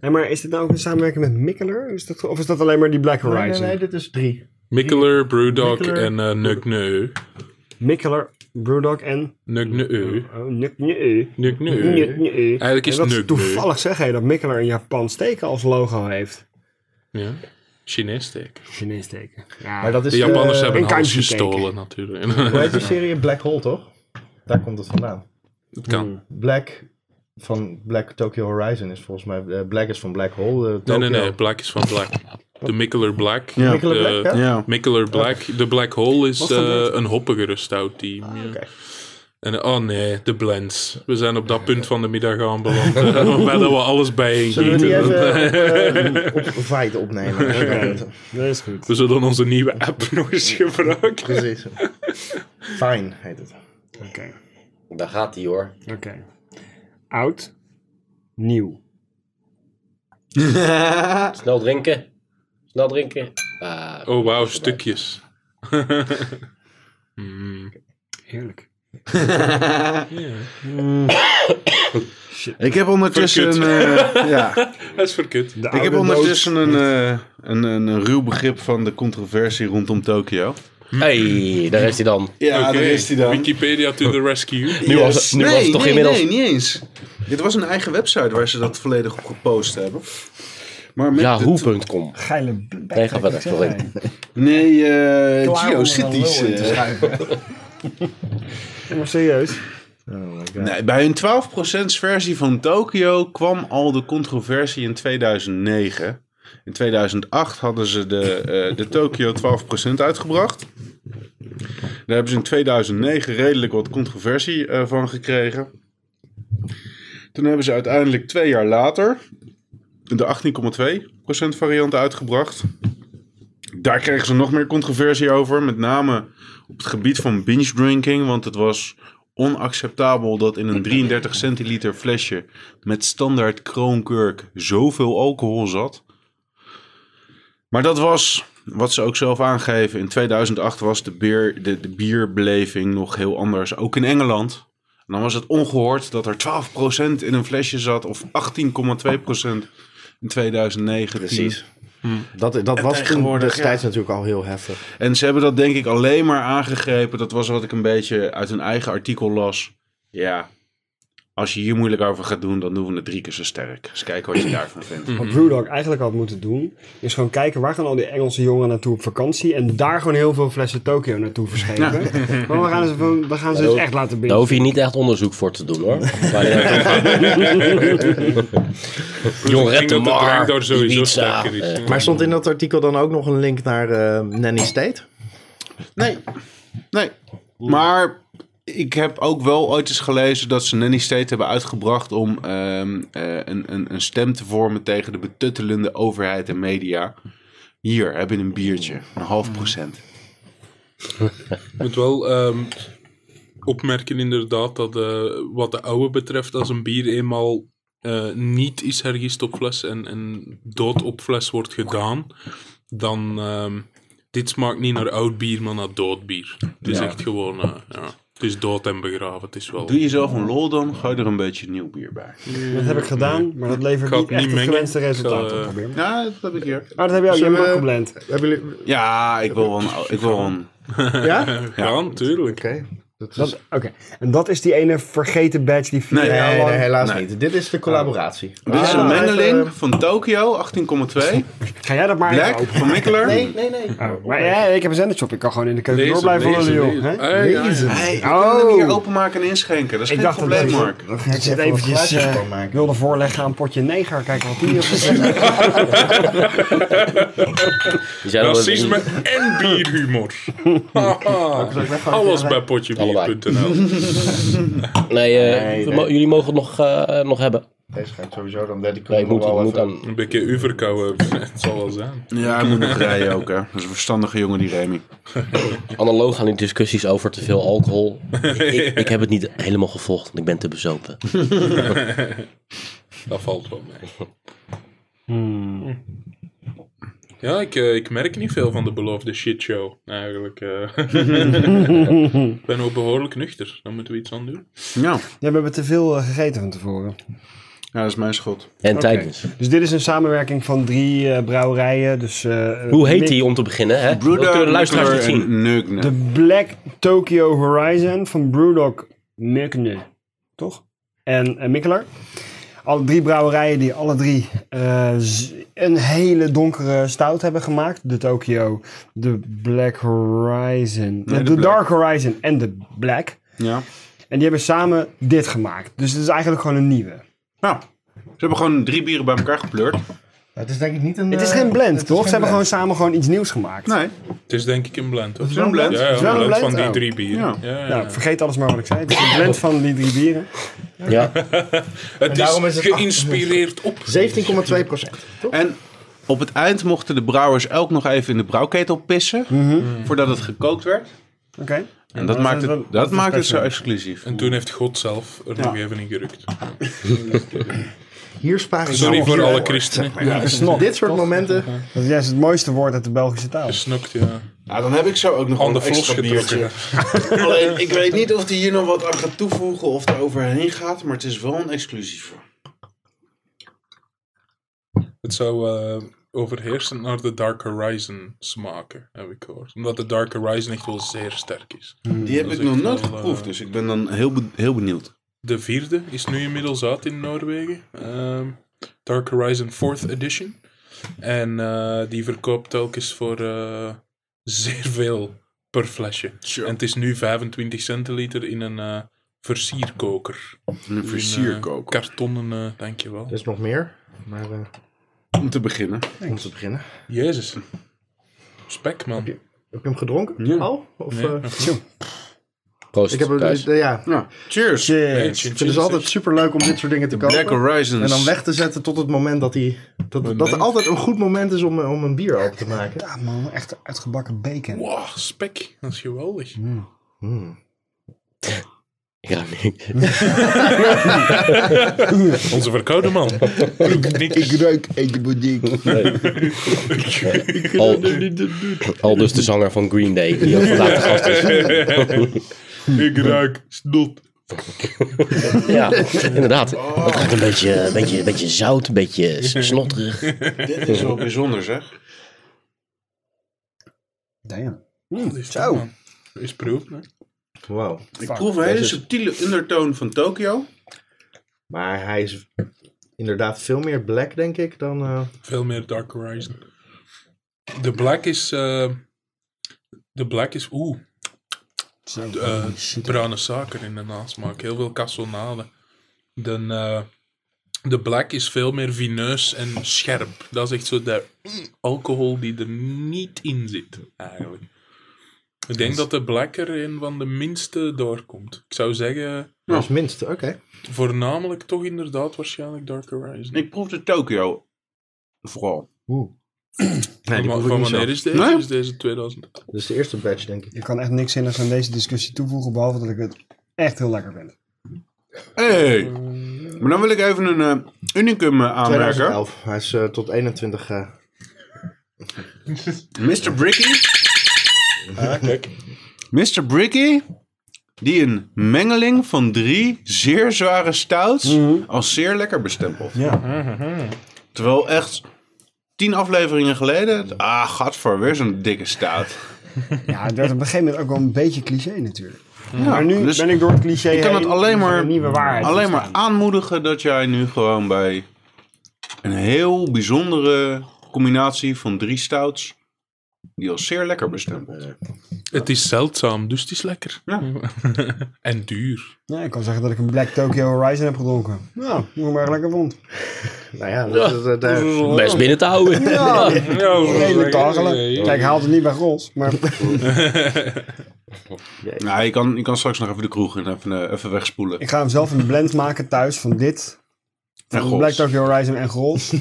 S6: Hé, maar is dit nou ook een samenwerking met Mikkeler? Is dat, of is dat alleen maar die Black Horizon?
S2: Nee, nee, nee, dit is drie.
S3: Mikkeler, Brewdog
S2: Mikkeler.
S3: en eh Nukneu.
S6: Mikkeler, Brewdog en...
S3: Nukneu.
S6: Oh, nuk, nuk,
S3: Nukneu. Eigenlijk is
S6: dat
S3: nuk, nuk.
S6: toevallig zeg je dat Mikkeler een Japans teken als logo heeft.
S3: Ja. Chinees teken.
S6: Chinees teken. Ja,
S2: Maar dat is
S3: De Japanners
S2: eh,
S3: hebben nou
S6: een
S3: alles
S6: kanji teken.
S3: gestolen natuurlijk.
S2: Hoe heet die serie? Black Hole, toch? Daar komt het vandaan.
S3: Het kan.
S2: Black van Black Tokyo Horizon is volgens mij... eh, Black is van Black Hole. eh,
S3: Nee,
S2: Tokyo.
S3: nee, nee. Black is van Black. De Mikkeler Black.
S4: Ja.
S2: Nicola
S3: De-
S2: Black, hè?
S4: Ja.
S3: Mikkeler Black. De Black Hole is
S2: Wat voor
S3: eh,
S2: woord?
S3: een hoppigere stoutteam. ja.
S2: oké.
S3: En, oh nee, de blends. We zijn op dat punt van de middag aanbeland. eh, waarbij dat we alles bijeen
S2: Zullen we die
S3: gieten.
S2: even eh, op Vite opnemen?
S6: Dat is goed.
S3: We zullen onze nieuwe app nog eens gebruiken.
S2: Precies. Fine heet het.
S6: Oké,
S1: Daar gaat hij hoor.
S6: oké. Oud, nieuw.
S1: Snel drinken. Snel drinken. Ah,
S3: Oh wauw, stukjes. Mm.
S6: Heerlijk.
S4: Ik heb ondertussen een, eh, ja,
S3: Dat is verkut.
S6: De
S4: ik heb
S6: oude
S4: ondertussen
S6: dood.
S4: een, eh, een, een, een ruw begrip van de controversie rondom Tokio.
S1: hey, daar is hij dan.
S4: Ja,
S3: Oké,
S4: Ah, daar is hij dan.
S3: Wikipedia to the rescue.
S1: Nu was het- nu was het toch
S4: nee,
S1: inmiddels-
S4: Nee, niet eens. Dit was een eigen website waar ze dat volledig op gepost hebben. Maar met de-
S1: Yahoo.com.
S6: Geile
S1: Nee, ga verder. Sorry.
S4: Nee, eh GeoCities. eh.
S6: Maar serieus.
S4: Nee, bij hun 12% versie van Tokio kwam al de controversie in 2009. In 2008 hadden ze de, eh, de Tokio 12% uitgebracht. Daar hebben ze in 2009 redelijk wat controversie eh, van gekregen. Toen hebben ze uiteindelijk twee jaar later de 18,2% variant uitgebracht. Daar kregen ze nog meer controversie over, met name op het gebied van binge drinking, want het was onacceptabel dat in een 33 centiliter flesje met standaard kroonkurk zoveel alcohol zat. Maar dat was, wat ze ook zelf aangeven, in 2008 was de, beer, de, de bierbeleving nog heel anders, ook in Engeland. En dan was het ongehoord dat er 12% in een flesje zat of 18,2% in 2009.
S2: Precies.
S3: Hm.
S2: Dat, dat was toen
S4: tegenwoordig,
S2: destijds natuurlijk al heel heftig.
S4: En ze hebben dat denk ik alleen maar aangegrepen. Dat was wat ik een beetje uit hun eigen artikel las. Ja, als je hier moeilijk over gaat doen, dan doen we het drie keer zo sterk. Eens kijken wat je daarvan vindt.
S6: Wat
S3: Mhm.
S6: Brewdog eigenlijk had moeten doen, is gewoon kijken waar gaan al die Engelse jongeren naartoe op vakantie. En daar gewoon heel veel flessen Tokio naartoe verschepen. Maar we gaan ze, van- we gaan ze dus echt laten
S1: Daar
S6: binnen.
S1: hoef je niet echt onderzoek voor te doen hoor. Maar, Jong, red
S3: Ik denk dat de drank daar sowieso
S1: Ibiza.
S3: sterker is.
S1: Eh,
S2: Maar stond in dat artikel dan ook nog een link naar eh, Nanny State?
S4: Nee, nee. Maar ik heb ook wel ooit eens gelezen dat ze Nanny State hebben uitgebracht om ehm, eh, een, een, een stem te vormen tegen de betuttelende overheid en media. Hier, heb je een biertje. Een half procent.
S3: Ik moet wel ehm, opmerken inderdaad dat eh, wat de oude betreft, als een bier eenmaal eh, niet is hergist op fles en, en dood op fles wordt gedaan, dan ehm, dit smaakt niet naar oud bier, maar naar dood bier. Het is echt gewoon, eh, ja, het is dood en begraven. Het is wel...
S4: Doe jezelf een lol dan, gooi er een beetje nieuw bier bij.
S6: Dat heb ik gedaan, maar dat levert
S3: Ik
S6: niet
S3: had
S6: echt
S3: niet
S6: het
S3: mengen.
S6: gewenste
S3: Ik,
S6: resultaat
S3: eh,
S6: op. probeer maar.
S4: Ja, dat heb ik hier.
S6: Ah, Oh, dat heb jij ook. Jij
S2: Zullen
S6: hebt ook
S2: we-
S6: geblend.
S2: Hebben jullie...
S4: Ja, ik wil wel een- Ik wil wel een
S2: Ja? Oké.
S3: Ja, natuurlijk.
S2: Dat is-
S6: Dat- Oké, en dat is die ene vergeten badge die vier
S4: Nee,
S6: jaar
S2: Nee,
S6: lang...
S2: nee, helaas
S4: Nee.
S2: niet. Dit is de
S3: Oh.
S2: collaboratie.
S4: Dit is
S2: Ah,
S4: een mengeling
S2: even-
S4: van Tokio, 18,2.
S6: Ga jij dat maar even
S4: Black
S6: open-
S4: van Mikkeler.
S2: Nee, nee, nee.
S6: Oh, maar ja, ik heb een zendershop. Ik kan gewoon in de keuken door
S3: Lezen,
S6: blijven
S3: lezen,
S6: rollen, joh.
S3: lezen.
S6: Hè?
S3: Ah, ja, ja, ja.
S4: Hey, we
S6: Oh.
S4: kunnen hem hier openmaken en inschenken. Dat
S6: Ik
S4: is geen
S6: dacht dat
S4: probleem,
S6: deze-
S4: Mark.
S6: Ik zit eventjes...
S2: geluidjes
S6: eh,
S2: van maken.
S6: wilde voorleggen aan potje neger. Kijken wat die op zit.
S1: die zijn al-
S3: Racisme en bierhumor. Haha. Alles bij potjebier.nl.
S1: Nee, eh,
S2: Nee,
S1: we
S2: nee.
S1: mo- jullie mogen het nog, eh, nog hebben.
S2: Deze ga ik sowieso dan daddy
S1: Nee, ik moet, ik moet aan.
S3: Een beetje u verkouden, het zal wel zijn.
S4: Ja, hij moet nog rijden ook, hè. Dat is een verstandige jongen, die Remy.
S1: Analoog aan die discussies over te veel alcohol. ik, ik heb het niet helemaal gevolgd, want ik ben te bezopen.
S3: Dat valt wel mee. Ja, ik, eh, ik merk niet veel van de beloofde shitshow, eigenlijk. eh. Ik ben ook behoorlijk nuchter. Daar moeten we iets aan doen.
S4: Ja.
S6: Ja, we hebben te veel eh, gegeten van tevoren.
S4: ja, dat is mijn schot.
S1: En tijdens.
S6: Dus dit is een samenwerking van drie eh, brouwerijen. Dus, eh,
S1: Hoe heet
S6: Mik-
S1: die om te beginnen? Hè? Dat kunnen de
S4: Bruder,
S1: luisteraars niet
S4: Mikkeler
S1: zien.
S4: en Neukne.
S6: De Black Tokyo Horizon van Brewdog Mykne, toch? En eh, Mikkeler. Alle drie brouwerijen die alle drie eh, z- een hele donkere stout hebben gemaakt. De Tokyo, de Black Horizon, eh,
S4: de
S6: de
S4: Black.
S6: Dark Horizon en de Black.
S4: Ja.
S6: En die hebben samen dit gemaakt. Dus het is eigenlijk gewoon een nieuwe.
S4: Nou, ze hebben gewoon drie bieren bij elkaar gepleurd.
S2: Het is denk ik niet een...
S6: Het is
S2: eh,
S6: geen blend,
S2: het is
S6: toch?
S2: geen
S6: Ze hebben gewoon
S2: blend.
S6: samen gewoon iets nieuws gemaakt.
S4: Nee.
S3: Het is denk ik een blend. Het
S4: is wel een blend.
S3: Ja,
S6: Het
S3: ja,
S6: is wel
S3: een
S6: een
S3: blend van
S6: blend,
S3: die
S6: oh.
S3: drie bieren. Ja. Ja,
S6: Nou, vergeet alles maar wat ik zei. Het is een blend van die drie bieren.
S1: Ja.
S3: Het is,
S2: daarom is het
S3: geïnspireerd op.
S2: 17,2 procent.
S4: En op het eind mochten de brouwers elk nog even in de brouwketel pissen. Mhm. Voordat het gekookt werd.
S6: Oké.
S4: En dat
S6: Mhm. dat
S4: maakt
S6: is
S4: het,
S6: wel-
S4: dat maakt het zo
S6: speciaal.
S4: exclusief.
S3: En toen heeft God zelf er nog even in gerukt.
S2: Hier spaar ik
S3: Sorry
S2: nou
S3: voor
S2: hier
S3: alle christenen.
S2: Ja, dit soort momenten.
S6: Dat is juist het mooiste woord uit de Belgische taal.
S3: Gesnokt, ja.
S4: Nou, dan heb ik zo ook nog
S3: Aan de
S4: een
S3: vlos
S4: extra biertje.
S3: getrokken.
S4: Alleen, ik weet niet of die hier nog wat aan gaat toevoegen of er overheen gaat. Maar het is wel een exclusief.
S3: Het zou eh, overheersend naar de Dark Horizon smaken, heb ik gehoord. Omdat de Dark Horizon echt wel zeer sterk is.
S4: Die heb
S3: Dat
S4: ik
S3: is
S4: nog
S3: echt
S4: nooit
S3: wel, eh,
S4: geproefd. Dus ik ben dan heel, be- heel benieuwd.
S3: De vierde is nu inmiddels uit in Noorwegen. Ehm, Dark Horizon 4th Edition. En eh, die verkoopt telkens voor eh, zeer veel per flesje. En het is nu 25 centiliter in een eh, versierkoker.
S4: Een
S3: In, eh,
S4: versierkoker.
S3: kartonnen, eh, dankjewel.
S2: Er is nog meer, maar eh
S4: Om te beginnen.
S2: om te beginnen.
S3: Jezus. Spek, man.
S2: Heb je hem gedronken
S4: Ja.
S2: al? Of,
S3: Nee,
S2: eh,
S3: nog niet.
S1: Proost,
S2: ik heb hem,
S1: Thijs.
S2: eh, ja,
S4: Nou, cheers.
S3: Nee,
S6: Cheers.
S3: chin,
S2: Ik vind het
S3: chin,
S2: altijd super leuk om dit soort dingen te
S4: Black
S2: kopen.
S4: Horizons.
S2: En dan weg te zetten tot het moment dat hij. Dat, dat er
S3: Moment.
S2: altijd een goed moment is om, eh, om een bier open te maken.
S6: Ja, man, echt uitgebakken bacon.
S3: Wow, spek. Dat is geweldig.
S1: Ja, nee.
S3: Onze verkoude man.
S6: Ik ruik een buding.
S1: Al, al dus de zanger van Green Day. Die ook vandaag de gast is.
S3: Ik ruik snot.
S1: Ja, inderdaad. Het ruikt een beetje, een beetje, een beetje zout, een beetje s- snotterig.
S4: Dit is wel bijzonder, zeg.
S6: Damn.
S3: Zo. Is proef, hè?
S2: Wow.
S4: Ik proef een hele subtiele undertoon van Tokio.
S2: Maar hij is inderdaad veel meer black, denk ik, dan. eh,
S3: Veel meer Dark Horizon. De black is... eh, de black is... Oeh.
S6: Zo.
S3: eh, bruine suiker in de nasmaak. Heel veel cassonade. Dan, eh, de black is veel meer vineus en scherp. Dat is echt zo de alcohol die er niet in zit, eigenlijk. Ik denk dat de black er een van de minste doorkomt. Ik zou zeggen,
S2: als minste, oké.
S3: voornamelijk toch inderdaad waarschijnlijk Dark Horizon.
S4: Ik proef de Tokio. Vooral.
S2: Nee, die
S3: van
S2: proef ik
S3: van
S2: niet zo.
S3: wanneer is deze?
S4: Nee?
S3: Is deze 2000?
S2: Dus de eerste batch, denk ik.
S6: Je kan echt niks zinnigs aan deze discussie toevoegen, behalve dat ik het echt heel lekker vind.
S4: Hey.
S3: Hmm.
S4: Maar dan wil ik even een eh, unicum eh, aanmerken.
S2: 2011. Hij is eh, tot 21. eh,
S4: Mr. Bricky.
S3: kijk.
S4: Mr. Bricky. Die een mengeling van drie zeer zware stouts als zeer lekker bestempelt.
S6: Mhm. Ja.
S4: Terwijl echt tien afleveringen geleden... Ah, gadver, weer zo'n dikke stout.
S6: Ja, het werd op een gegeven moment ook wel een beetje cliché natuurlijk.
S4: Ja,
S6: Mhm. maar nu
S4: dus
S6: ben ik door het cliché
S4: ik kan het
S6: heen
S4: alleen
S6: is er
S4: maar-
S6: een nieuwe waarheid.
S4: Alleen maar aanmoedigen dat jij nu gewoon bij een heel bijzondere combinatie van drie stouts... die als zeer lekker bestempelt.
S3: Het is zeldzaam, dus het is lekker.
S4: Ja.
S3: en duur.
S6: Ja, ik kan zeggen dat ik een Black Tokyo Horizon heb gedronken. Nou, hoe ik maar lekker vond.
S2: nou ja, dat is, eh, daar-
S1: Best binnen te houden.
S6: Ja, redelijk
S3: Redelijk
S6: te hachelen. Kijk, haalt het niet bij Gros, maar
S4: Nou, je kan, je kan straks nog even de kroeg in, even, eh, even wegspoelen.
S6: ik ga hem zelf een blend maken thuis van dit.
S4: En
S6: Van
S4: Gros.
S6: Black Tokyo Horizon en Gros.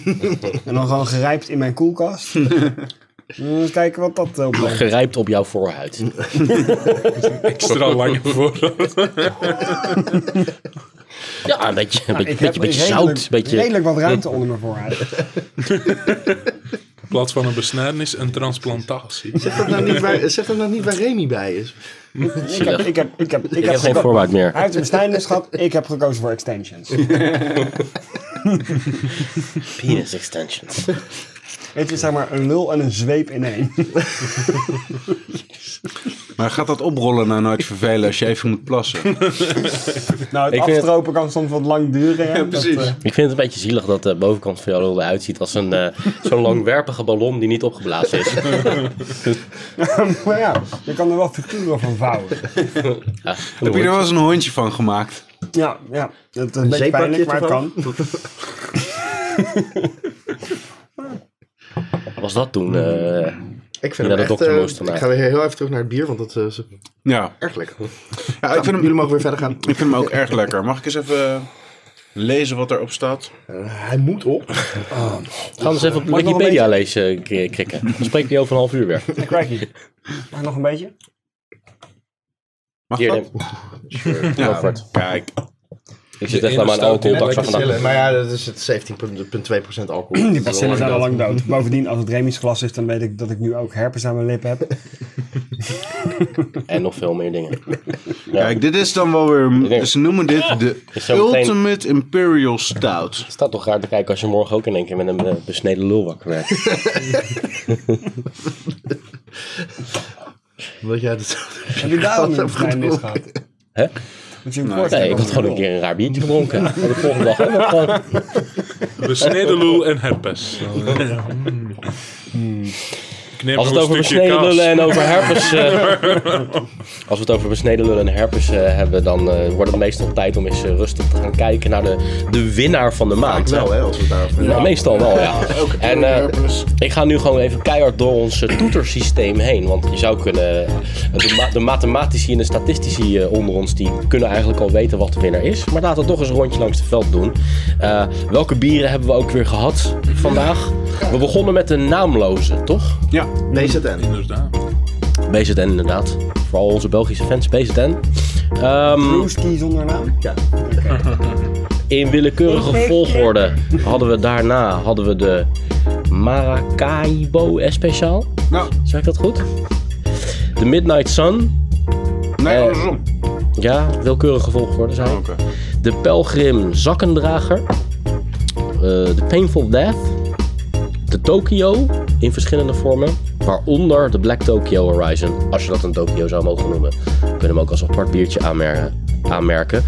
S6: en dan gewoon gerijpt in mijn koelkast. Eens kijken wat dat eh, oplevert.
S1: Gerijpt op jouw voorhuid.
S3: Extra lang voor.
S1: Ja, een beetje, een beetje,
S6: Ik
S1: beetje,
S6: heb
S1: beetje
S6: redelijk-
S1: zout. Beetje,
S6: redelijk wat ruimte onder mijn voorhuid.
S3: In plaats van een besnijdenis, een transplantatie.
S2: Zet dat nou niet bij, zet dat nou niet bij Remy bij is.
S6: Ik heb, ik heb, ik heb, ik
S1: ik
S6: heb
S1: heb geen
S6: geko-
S1: voorwaard
S6: Hij
S1: meer.
S6: heeft een besnijdenis gehad, ik heb gekozen voor extensions.
S1: Penis extensions.
S6: Het is zeg maar een lul en een zweep in één.
S4: Maar gaat dat oprollen nou nooit vervelen als je even moet plassen?
S6: Nou, het
S1: Ik vind het-
S6: afstropen kan soms wat lang duren. hè. Dat,
S4: precies.
S6: eh,
S1: Ik vind het een beetje zielig dat de bovenkant van jouw lul eruit ziet als een, eh, zo'n langwerpige ballon die niet opgeblazen is.
S6: eh, maar ja, je kan er wel figuren van vouwen.
S1: Ja,
S4: Heb je er wel eens een hondje van gemaakt?
S6: Ja, ja. Het is een
S2: Een
S6: beetje
S2: zeepbakje
S6: pijnlijk, maar het kan.
S1: was dat toen? eh,
S2: Ik vind
S1: Ja,
S2: hem
S1: de
S2: echt...
S1: dokter
S2: eh,
S1: moest ernaar.
S2: ik ga weer heel even terug naar het bier, want dat eh, is
S4: Ja,
S2: erg lekker.
S4: ja ik, vind hem,
S2: Jullie mogen weer verder gaan.
S4: ik vind hem ook erg lekker. Mag ik eens even lezen wat erop staat?
S2: Eh, hij moet op.
S1: Gaan we eens even op
S6: nog een
S1: Wikipedia lezen, eh, krikken. Dan spreekt hij over een half uur weer.
S6: Cracky. Maar nog een beetje.
S4: Mag
S1: Hier,
S4: dat?
S1: neem- go for
S4: Ja,
S1: it.
S4: kijk.
S1: ik zit echt aan mijn
S3: stout die
S1: alcoholdag van vandaag.
S2: Maar ja, dat is het 17,2% alcohol.
S6: Die bacillen zijn al lang dood. Bovendien, als het Remy's glas is, dan weet ik dat ik nu ook herpes aan mijn lippen heb.
S1: En nog veel meer dingen.
S4: Kijk, dit is dan wel weer...
S1: denk- Ah!
S4: Ze noemen dit de
S1: Is zo meteen-
S4: Ultimate Imperial Stout.
S1: Het staat toch raar te kijken als je morgen ook in één keer met een eh, besneden lul wakker werd.
S2: Omdat jij dat...
S6: Heb je daarom een vrij mis gehad?
S1: Hè?
S6: Want je hoort
S1: Nee, ik had gewoon een keer een raar biertje gedronken. En de volgende dag ook nog gewoon.
S3: Besneden lul en herpes. Mm. Ik neem
S1: Hmm. Als
S3: nog
S1: het over
S3: een stukje
S1: besneden
S3: kaas.
S1: lullen en over herpes. eh, als we het over besneden lullen en herpes eh, hebben, dan eh, wordt het meestal tijd om eens eh, rustig te gaan kijken naar de, de winnaar van de maand.
S2: Wel, hè, als we het daarover
S1: Nou, meestal wel, ja. En eh,
S4: dus-
S1: ik ga nu gewoon even keihard door ons eh, toetersysteem heen. Want je zou kunnen. eh, De, ma- de mathematici en de statistici eh, onder ons die kunnen eigenlijk al weten wat de winnaar is. Maar laten we toch eens een rondje langs het veld doen. Eh, welke bieren hebben we ook weer gehad vandaag? We begonnen met de naamloze, toch?
S4: Ja,
S2: BZN.
S3: Inderdaad.
S1: BZN inderdaad. Vooral onze Belgische fans, BZN. Ehm
S6: Brewski zonder naam?
S2: Ja.
S1: in willekeurige volgorde hadden we daarna hadden we de Maracaibo Especiaal.
S4: nou,
S1: Zeg ik dat goed? The Midnight Sun.
S4: nee,
S1: Eh,
S4: andersom.
S1: Ja, willekeurige volgorde zijn.
S4: Oké.
S1: De Pelgrim Zakkendrager. Eh, De Painful Death. De Tokyo in verschillende vormen. Waaronder de Black Tokyo Horizon. Als je dat een Tokyo zou mogen noemen. We kunnen hem ook als apart biertje aanmerken. aanmerken.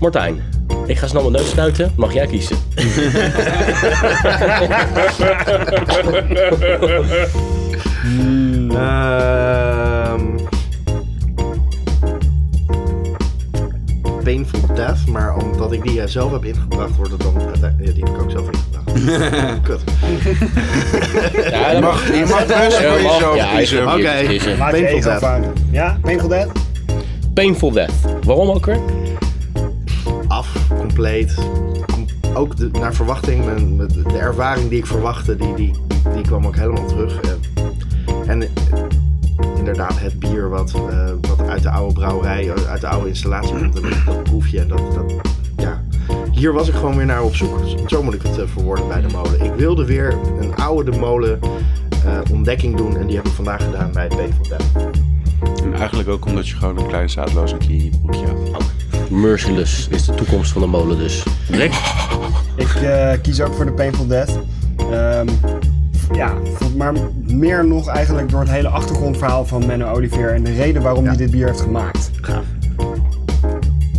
S1: Martijn, ik ga snel mijn neus snuiten. Mag jij kiezen?
S2: Ehm Painful Death, maar omdat ik die eh, zelf heb ingebracht, wordt het dan uiteindelijk... Ja, die heb ik ook zelf ingebracht. Kut.
S1: Ja,
S4: Je mag, je mag best voor jezelf kiezen.
S2: Oké.
S6: Laat je
S2: Painful
S6: ego
S2: Death.
S6: varen. Ja, Painful Dead?
S1: Painful Death. Waarom ook weer?
S2: Af, compleet. Com- Ook de, naar verwachting, mijn- mijn- de ervaring die ik verwachtte, die, die, die kwam ook helemaal terug. Eh, En eh, inderdaad, het bier wat, eh, wat uit de oude brouwerij, eh, uit de oude installatie komt, en dat proef je. En dat, dat, ja. Hier was ik gewoon weer naar op zoek. Zo moet ik het eh, verwoorden bij de molen. Ik wilde weer een oude de molen eh, ontdekking doen en die heb ik vandaag gedaan bij het Painful Death.
S4: En eigenlijk ook omdat je gewoon een klein zaadloosheid in je broekje had.
S1: Merciless is de toekomst van de molen dus. Rick?
S6: Ik eh, kies ook voor de Painful Death. Ehm, ja, maar meer nog eigenlijk door het hele achtergrondverhaal van Menno Olivier en de reden waarom hij dit bier heeft gemaakt.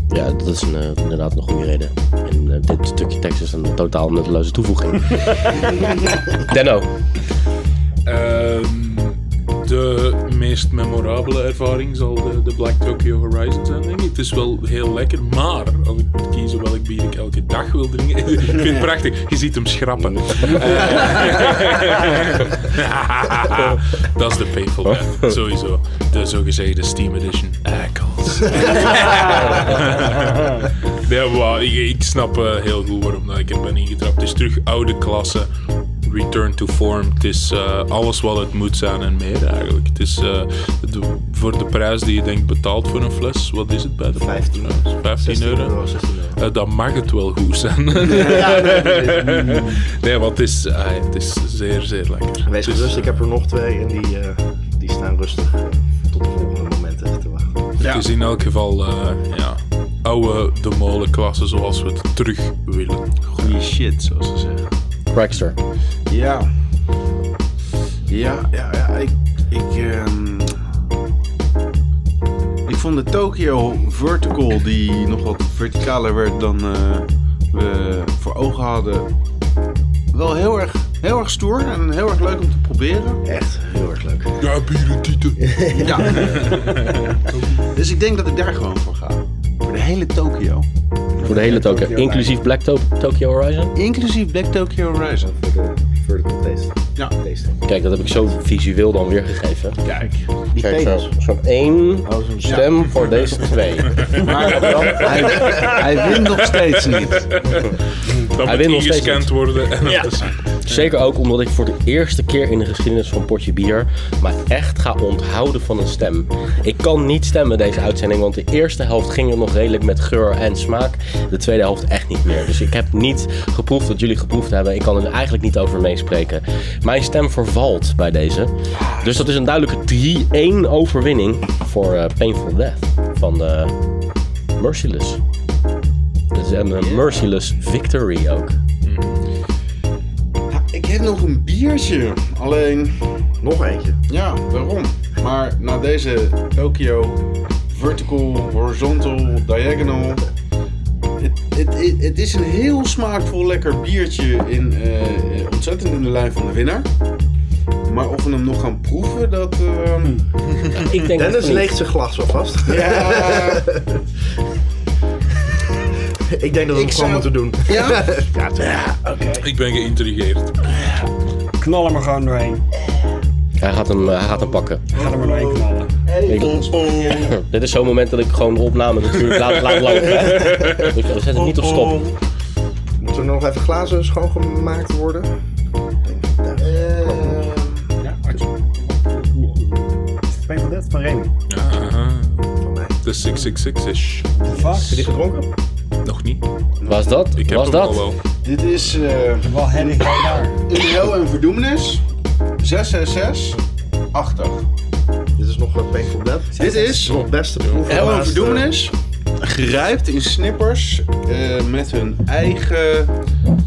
S1: Ja, dat is een, eh, inderdaad een goede reden. En eh, dit stukje tekst is een totaal nutteloze toevoeging. Denno,
S3: Ehm, de meest memorabele ervaring zal de, de Black Tokyo Horizon zijn, denk ik. Het is wel heel lekker, maar als ik moet kiezen welk bier ik elke dag wil drinken... Ik vind het prachtig. Je ziet hem schrappen. Eh, Dat is de Painful Death, sowieso. De zogezegde Steam Edition Eikels. Ja, maar ik, ik snap eh, heel goed waarom dat ik er ben ingetrapt. Het is terug oude klasse, return to form. Het is eh, alles wat het moet zijn en meer eigenlijk. Het is eh, de- voor de prijs die je denkt betaalt voor een fles, wat is het bij de
S2: 15
S3: euro? 15
S2: 16
S3: euro?
S2: euro, 16 euro.
S3: Eh, dan mag het wel goed zijn. nee, want het is, ah, het is zeer, zeer lekker.
S2: Wees
S3: Het is,
S4: Dus,
S2: gerust,
S4: eh,
S2: ik heb er nog twee en die, eh, die staan rustig eh, tot de volgende momenten te wachten.
S3: Dus Het is in elk geval eh, ja, oude de molenklasse zoals we het terug willen.
S4: Goeie shit, zoals ze zeggen.
S1: Crackster.
S4: Ja. Ja, ja, ja. Ik, ik, ehm, ik vond de Tokyo Vertical, die nog wat verticaler werd dan eh, we voor ogen hadden, wel heel erg, heel erg stoer en heel erg leuk om te proberen.
S2: Echt heel erg leuk.
S3: Ja, bieren, tieten.
S4: Ja. dus ik denk dat ik daar gewoon voor ga. Voor de hele hele Tokio.
S1: Voor de hele Tokyo. Inclusief Black To- Tokyo Horizon.
S4: Inclusief Black Tokyo Horizon.
S2: Vertical taste.
S4: Ja.
S2: Taste.
S1: Kijk, dat heb ik zo visueel dan weer gegeven.
S4: Kijk.
S2: Die
S1: Kijk,
S2: tegels.
S1: zo- zo'n één
S2: Oh, zo'n
S1: stem voor deze twee.
S4: Maar hij, hij wint nog steeds niet.
S3: Dan
S1: Hij wint
S3: moet die
S1: nog steeds
S3: gescand
S1: niet.
S3: worden. En dat is-
S1: Zeker ook omdat ik voor de eerste keer in de geschiedenis van Potje Bier maar echt ga onthouden van een stem. Ik kan niet stemmen deze uitzending, want de eerste helft ging er nog redelijk met geur en smaak. De tweede helft echt niet meer. Dus ik heb niet geproefd wat jullie geproefd hebben. Ik kan er eigenlijk niet over meespreken. Mijn stem vervalt bij deze. Dus dat is een duidelijke 3-1 overwinning voor eh, Painful Death van eh, Merciless. Dat is een eh, Merciless victory ook.
S4: Ik heb nog een biertje. Alleen,
S2: Nog eentje.
S4: ja, waarom? Maar na deze Tokyo vertical, horizontal, diagonal. Het- Het het- het is een heel smaakvol lekker biertje in, eh, eh, ontzettend in de lijn van de winnaar. Maar of we hem nog gaan proeven, dat... ehm,
S1: Ik denk dat
S2: Dennis
S1: niet.
S2: leegt zijn glas alvast.
S4: ja,
S2: ik denk dat we
S4: Ik
S2: het gewoon
S4: zou-
S2: moeten doen.
S4: ja,
S2: Ja, toch.
S3: Ik ben geïntrigeerd.
S6: Knal er maar gewoon doorheen.
S1: Hij gaat hem, eh, hij gaat hem pakken.
S6: Ga er maar doorheen knallen.
S1: Dit is zo'n moment dat ik gewoon de opname natuurlijk laat, laat lopen. Hè? Dus we zetten niet op stop.
S2: Moeten er nog even glazen schoongemaakt worden?
S4: Eh,
S6: Ja, Speel van dit van Remy.
S3: Aha. De 666-ish.
S2: Heb je
S6: Fuck.
S2: die gedronken?
S3: Nog niet.
S1: Was dat?
S3: Ik heb
S1: Was
S3: hem al
S1: dat?
S3: wel.
S4: dit is eh
S6: Wel herrie nou daar.
S4: in hel en verdoemenis. 666, 80.
S2: Dit is nog wat painful death.
S4: Dit is
S2: nog beste proef.
S4: Hel en
S2: Laatste-
S4: Verdoemenis gerijpt in snippers eh, met hun eigen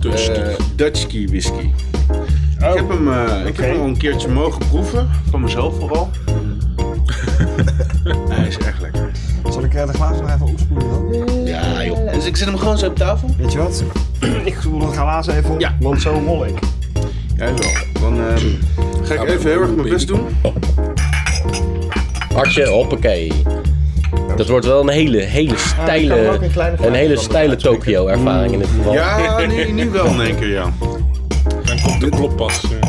S3: Dus
S4: eh Dutch Key whisky. Ik, heb hem, eh, ik
S6: oké.
S4: heb hem al een keertje mogen proeven, van mezelf vooral. Hij is echt lekker.
S6: Zal ik eh, de glazen nog even opspoelen dan?
S4: Ja joh. Dus ik zet hem gewoon zo op tafel?
S6: Weet je wat? ik spoel de glazen even op,
S4: Ja.
S6: want zo rol ik.
S4: Ja wel. Dan ehm, ga ik even heel erg mijn best doen.
S1: Hartje, hoppakee. Dat wordt wel een hele, hele
S2: kan
S1: stijle,
S2: er ook een kleine
S1: een hele
S2: glaasje van
S1: stijle
S2: maken.
S1: Tokio ervaring in dit geval.
S4: Ja, nu, nu wel in één keer ja.
S3: dan komt de klop pas. eh,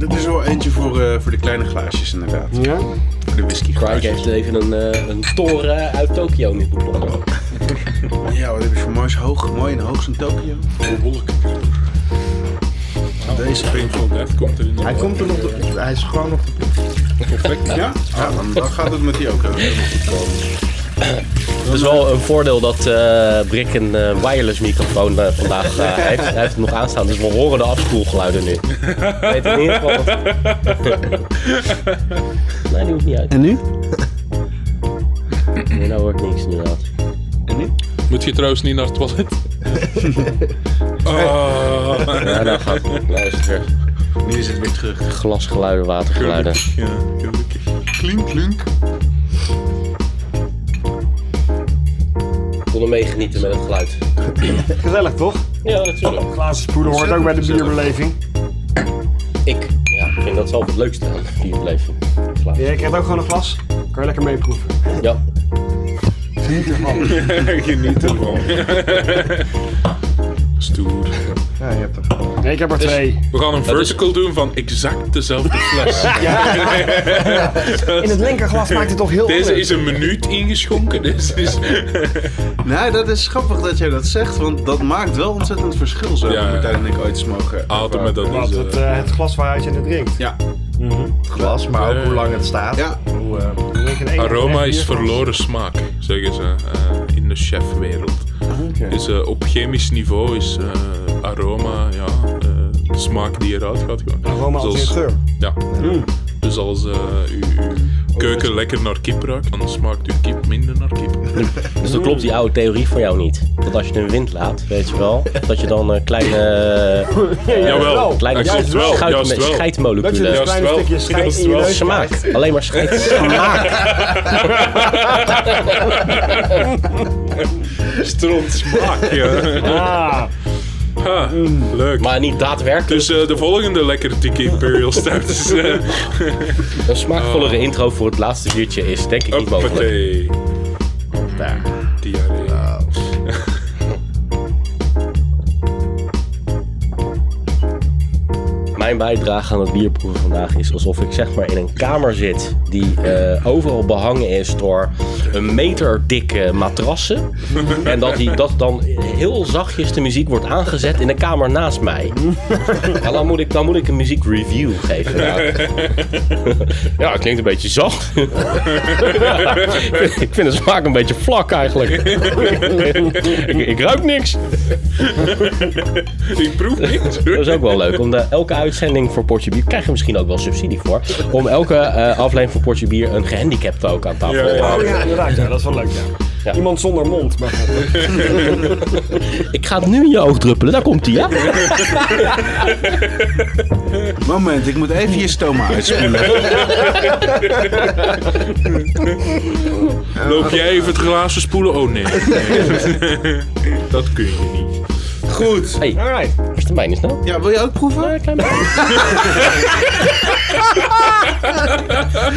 S4: Dit is wel eentje voor, eh, voor de kleine glaasjes inderdaad.
S6: Ja?
S4: Voor de whisky
S1: Craig heeft even een, eh, een toren uit Tokio nu beklommen.
S4: Ja, wat heb je voor moois hoog, mooi en hoog in Tokio?
S3: Wolk. Deze Painful Death komt er in de
S2: Hij komt er nog. door- Hij is gewoon nog.
S4: Ja? Ja, dan, dan gaat het met die ook. hè.
S1: Het is wel een voordeel dat eh, Brick een eh, wireless microfoon eh, vandaag eh, heeft. Hij heeft het nog aanstaan, dus we horen de afspoelgeluiden nu. Ik weet in ieder geval... wat- nee, die hoeft niet uit.
S4: En nu?
S1: Nee, nou hoor ik niks inderdaad.
S3: Moet je trouwens niet naar het toilet? Ah.
S1: Ja, nou gaat het. Nou is het weer
S4: Nu is het weer terug.
S1: glasgeluiden, watergeluiden.
S3: Gelukkig, ja, gelukkig.
S4: Klink, klink.
S1: Ik kon er mee genieten met het geluid.
S6: Gezellig toch?
S1: Ja, natuurlijk.
S6: Glazen spoelen hoort ook bij de bierbeleving.
S1: Ik ja, ik vind dat zelf het leukste aan hier blijven.
S6: Ja, je krijgt ook gewoon een glas. Kan je lekker meeproeven.
S1: Ja,
S3: Geniet ervan. Stoer.
S2: Ja, je hebt hem.
S6: Nee, ik heb er twee.
S3: We gaan een vertical doen van exact dezelfde fles.
S6: In het linkerglas maakt het toch heel
S3: Deze
S6: leuk.
S3: is een minuut ingeschonken. Deze is...
S4: Nou, dat is grappig dat jij dat zegt, want dat maakt wel ontzettend verschil. Zo
S3: Ja.
S4: hebben Martijn en ik ooit eens mogen.
S3: Altijd met dat
S6: Wat,
S3: is, eh,
S6: het, eh, het glas waaruit je het drinkt.
S4: Ja,
S2: Dus, Het glas, maar ook hoe lang het staat.
S4: ja.
S2: Hoe, eh,
S6: We drinken één
S3: Aroma
S6: fles
S3: is
S6: bier.
S3: verloren smaak, zeggen ze eh, in de chefwereld. Dus eh, op chemisch niveau is eh, aroma, ja, eh, de smaak die eruit gaat. Gewoon.
S6: Aroma als in
S3: Zoals-
S6: geur.
S3: Ja. Dus als eh uw, uw keuken lekker naar kip ruikt, dan smaakt uw kip minder naar kip.
S1: dus dan klopt die oude theorie voor jou niet. Dat als je een wind laat, weet je wel, dat je dan eh, kleine...
S3: Jawel,
S1: Kleine
S3: dat klopt wel.
S1: schuiten
S3: Juist
S1: met
S6: Dat je
S3: wel.
S6: dus
S1: scheidmoleculen.
S6: een
S3: Juist
S6: klein
S3: wel.
S6: stukje schijt
S3: Juist
S6: in je
S3: wel.
S6: neus krijgt.
S1: Smaak. Alleen maar scheid. Smaak.
S3: Stront smaak, ja.
S6: Ah,
S3: Ha, leuk.
S1: Maar niet daadwerkelijk.
S3: Dus eh, de volgende lekker dikke Imperial Stout is... eh,
S1: Een smaakvollere Oh, intro voor het laatste biertje is denk ik niet mogelijk.
S3: Hoppatee.
S1: Daar.
S3: Diarree.
S1: mijn bijdrage aan het bierproeven vandaag is alsof ik zeg maar in een kamer zit die eh, overal behangen is door een meter dikke matrassen. En dat, die, dat dan heel zachtjes de muziek wordt aangezet in de kamer naast mij. En dan moet ik, dan moet ik een muziek review geven. Ja, ja het klinkt een beetje zacht. Ja, ik vind de smaak een beetje vlak eigenlijk. ik, ik ruik niks.
S3: Ik proef niks.
S1: Dat is ook wel leuk. Om de, elke uitzending voor Portje Bier, krijg je misschien ook wel subsidie voor. Om elke eh, aflevering voor Portje Bier een gehandicapte ook aan tafel
S3: Ja,
S1: te
S3: ja.
S1: houden.
S6: Ja, inderdaad, ja, dat is wel leuk. Ja.
S1: Ja.
S6: Iemand zonder mond. Maar
S1: Ik ga het nu in je oog druppelen, daar komt hij, ja?
S4: Moment, ik moet even je stoma uitspoelen.
S3: Loop jij even het glazen spoelen? Oh nee. Nee. Dat kun je niet.
S4: Goed.
S6: Alright.
S1: Waar is nou. de mijne snel?
S4: Ja, wil je ook proeven?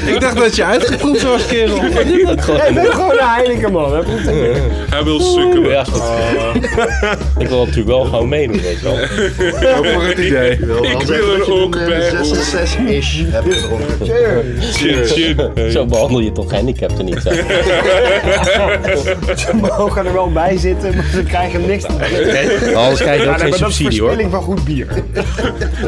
S4: Ik dacht dat je uitgeproefd was, kerel.
S6: Ik ben gewoon een heilige man. Hè. Proef het.
S3: Hij wil sukkelen.
S1: Ja, is goed. Ik wil natuurlijk wel gewoon meedoen, weet je wel.
S4: Voor het idee.
S6: Oh,
S3: Ik wil er ook bij horen.
S2: 6 ish hebben gedronken.
S3: Shit, shit.
S1: Zo behandel je toch gehandicapten niet, zeg.
S6: Ze mogen er wel bij zitten, maar ze krijgen niks. te drinken.
S1: Anders krijg je
S6: Ja,
S1: ook
S6: nee, maar
S1: geen
S6: dat is
S1: subsidie, hoor.
S6: verspilling van goed bier.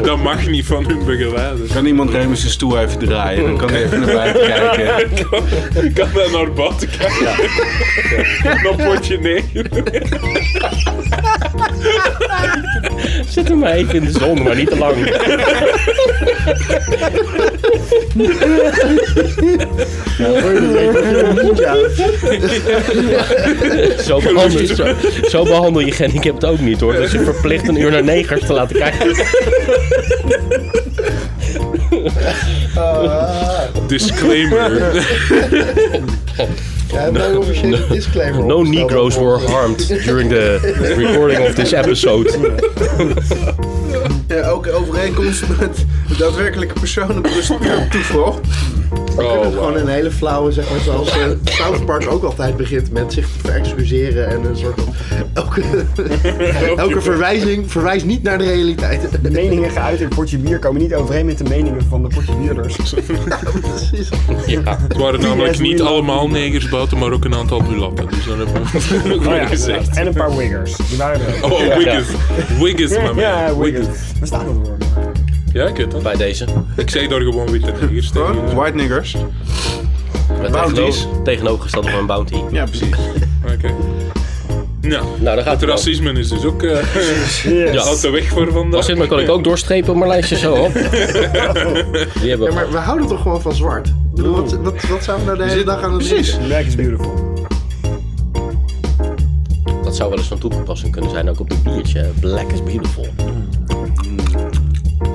S3: Dat mag niet van hun begeleider.
S4: Kan iemand Remus zijn stoel even draaien? Dan kan hij even naar buiten kijken.
S3: Ik kan daar naar buiten kijken. Dan potje nee.
S1: Zet hem maar even in de zon, maar niet te lang. Zo behandel, zo, zo behandel je gehandicapten ook niet hoor. Dat is je verplicht een uur naar negers te laten kijken.
S3: Disclaimer.
S2: Ja, no, officiële disclaimer.
S1: No Negroes were harmed during the recording of this episode.
S4: ook overeenkomst met daadwerkelijke personen op toeval.
S2: Gewoon een hele flauwe, zeg maar, zoals eh, South Park ook altijd begint met zich te verexcuseren en een soort van... Elke, elke verwijzing verwijst niet naar de realiteit.
S6: De meningen geuit in potje bier komen niet overeen met de meningen van de potje bierders.
S2: Precies.
S1: Ja.
S3: Het waren namelijk niet allemaal negers buiten, maar ook een aantal mulatten. Dus dan hebben we het ook
S6: Oh
S3: weer
S6: ja,
S3: gezegd.
S6: En een paar wiggers. Die waren er. ook.
S3: Oh, Wiggins. Wiggins, man.
S6: Ja, wiggers. Waar staat dat woord?
S3: Ja, ik weet dat.
S1: Bij deze.
S3: Ik zei daar gewoon witte negers tegen.
S4: White niggers.
S1: Met
S4: Bounties.
S1: tegenover- Tegenovergesteld van een bounty.
S4: Ja, precies.
S3: Oké. Nou,
S1: Nou, daar gaat
S3: het
S1: het wel.
S3: racisme is dus ook eh
S1: Ja.
S3: uit de weg voor vandaag.
S1: Als dit maar kan ik ook doorstrepen op mijn lijstje zo op. Die hebben
S2: Ja, maar we houden toch gewoon van zwart? Ik bedoel, wat, wat, wat zijn we nou de hele dag aan het
S4: Precies.
S6: De merk is beautiful.
S1: Dat zou wel eens van toepassing kunnen zijn, ook op dit biertje. Black is beautiful.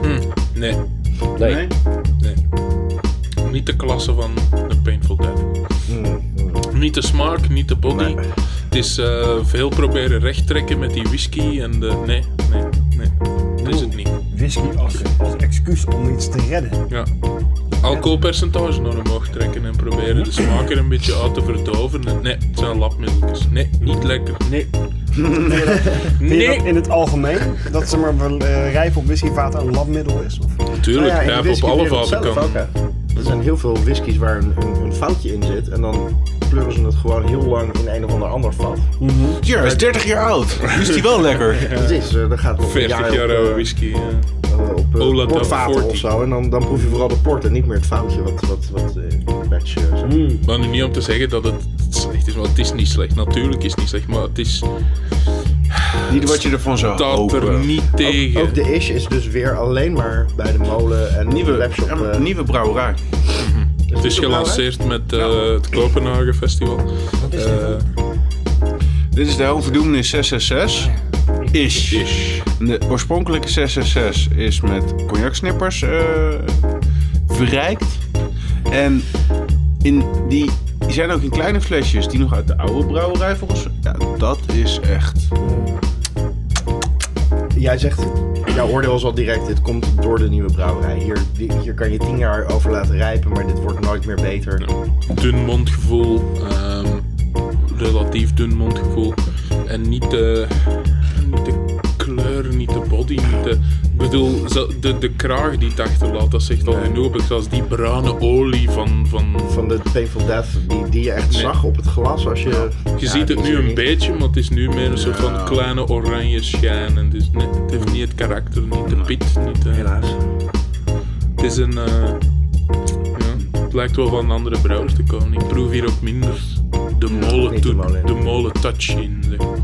S3: Nee,
S1: Nee.
S4: Nee?
S3: nee. Niet de klasse van de Painful Dead.
S2: Hmm.
S3: Niet de smaak, niet de body. Het is eh, veel proberen recht trekken met die whisky en de... Nee, nee, nee. Dat is het niet.
S6: Whisky als, als excuus om iets te redden.
S3: Ja. Alcoholpercentage naar omhoog trekken en proberen de smaak er een beetje uit te verdoven. En nee, het zijn lapmiddeltjes. Nee, niet lekker. Nee.
S6: Vind je
S3: Nee.
S6: dat in het algemeen? Dat ze maar wel, eh, rijp op whiskyvaten een labmiddel is? Of?
S3: Tuurlijk,
S2: Nou ja, in de
S3: rijp op alle
S2: whiskywereld
S3: vaten
S2: zelf
S3: kan.
S2: ook, hè. Er zijn heel veel whiskies waar een, een, een foutje in zit. En dan pleuren ze het gewoon heel lang in een of ander ander vat.
S4: Jer is 30 jaar oud. Nu is die wel lekker.
S2: Precies, eh, dan gaat het nog een
S3: 40 jaar
S2: op,
S3: oude
S2: eh,
S3: whisky. ja.
S2: eh, op eh,
S3: Ola
S2: portvaten
S3: 14.
S2: of zo. En dan, dan proef je vooral de port en niet meer het foutje wat, wat, wat eh, in de batch eh, zit.
S3: Maar nu niet om te zeggen dat het slecht is, want het is niet slecht. Natuurlijk is het niet slecht, maar het is
S4: Niet wat je ervan zou
S3: dat er
S4: hopen.
S3: niet tegen.
S2: Ook de ish is dus weer alleen maar bij de molen en de
S4: Nieuwe,
S2: webshop.
S4: ja,
S2: eh,
S4: nieuwe brouwerij.
S3: het is
S2: nieuwe
S3: gelanceerd met eh, het Kopenhagen Festival. Eh,
S4: Dit is de Home Verdoemenis 666. Ish. De oorspronkelijke 666 is met cognacsnippers eh, verrijkt. En in die, die zijn ook in kleine flesjes die nog uit de oude brouwerij volgens Ja, dat is echt...
S2: Jij zegt, jouw oordeel is al direct, dit komt door de nieuwe brouwerij. Hier, die- hier kan je tien jaar over laten rijpen, maar dit wordt nooit meer beter.
S3: dun mondgevoel. ehm, relatief dun mondgevoel. En niet de, niet de kleur, niet de body, niet de, Ik bedoel, zo- de, de kraag die het achterlaat, dat zegt al genoeg. op. Het was die bruine olie van... van...
S2: Van de Painful Death, die, die je echt zag op het glas als je...
S3: Je ziet het nu een beetje, maar het is nu meer een soort van kleine oranje schijn. En dus net, het heeft niet het karakter, niet de pit. Niet, eh,
S2: Helaas.
S3: het is een... eh, ja, het lijkt wel van een andere brouwers te komen. Ik proef hier ook minder de molen,
S2: niet de
S3: toe-
S2: molen.
S3: de molen touch in. Zeg. maar.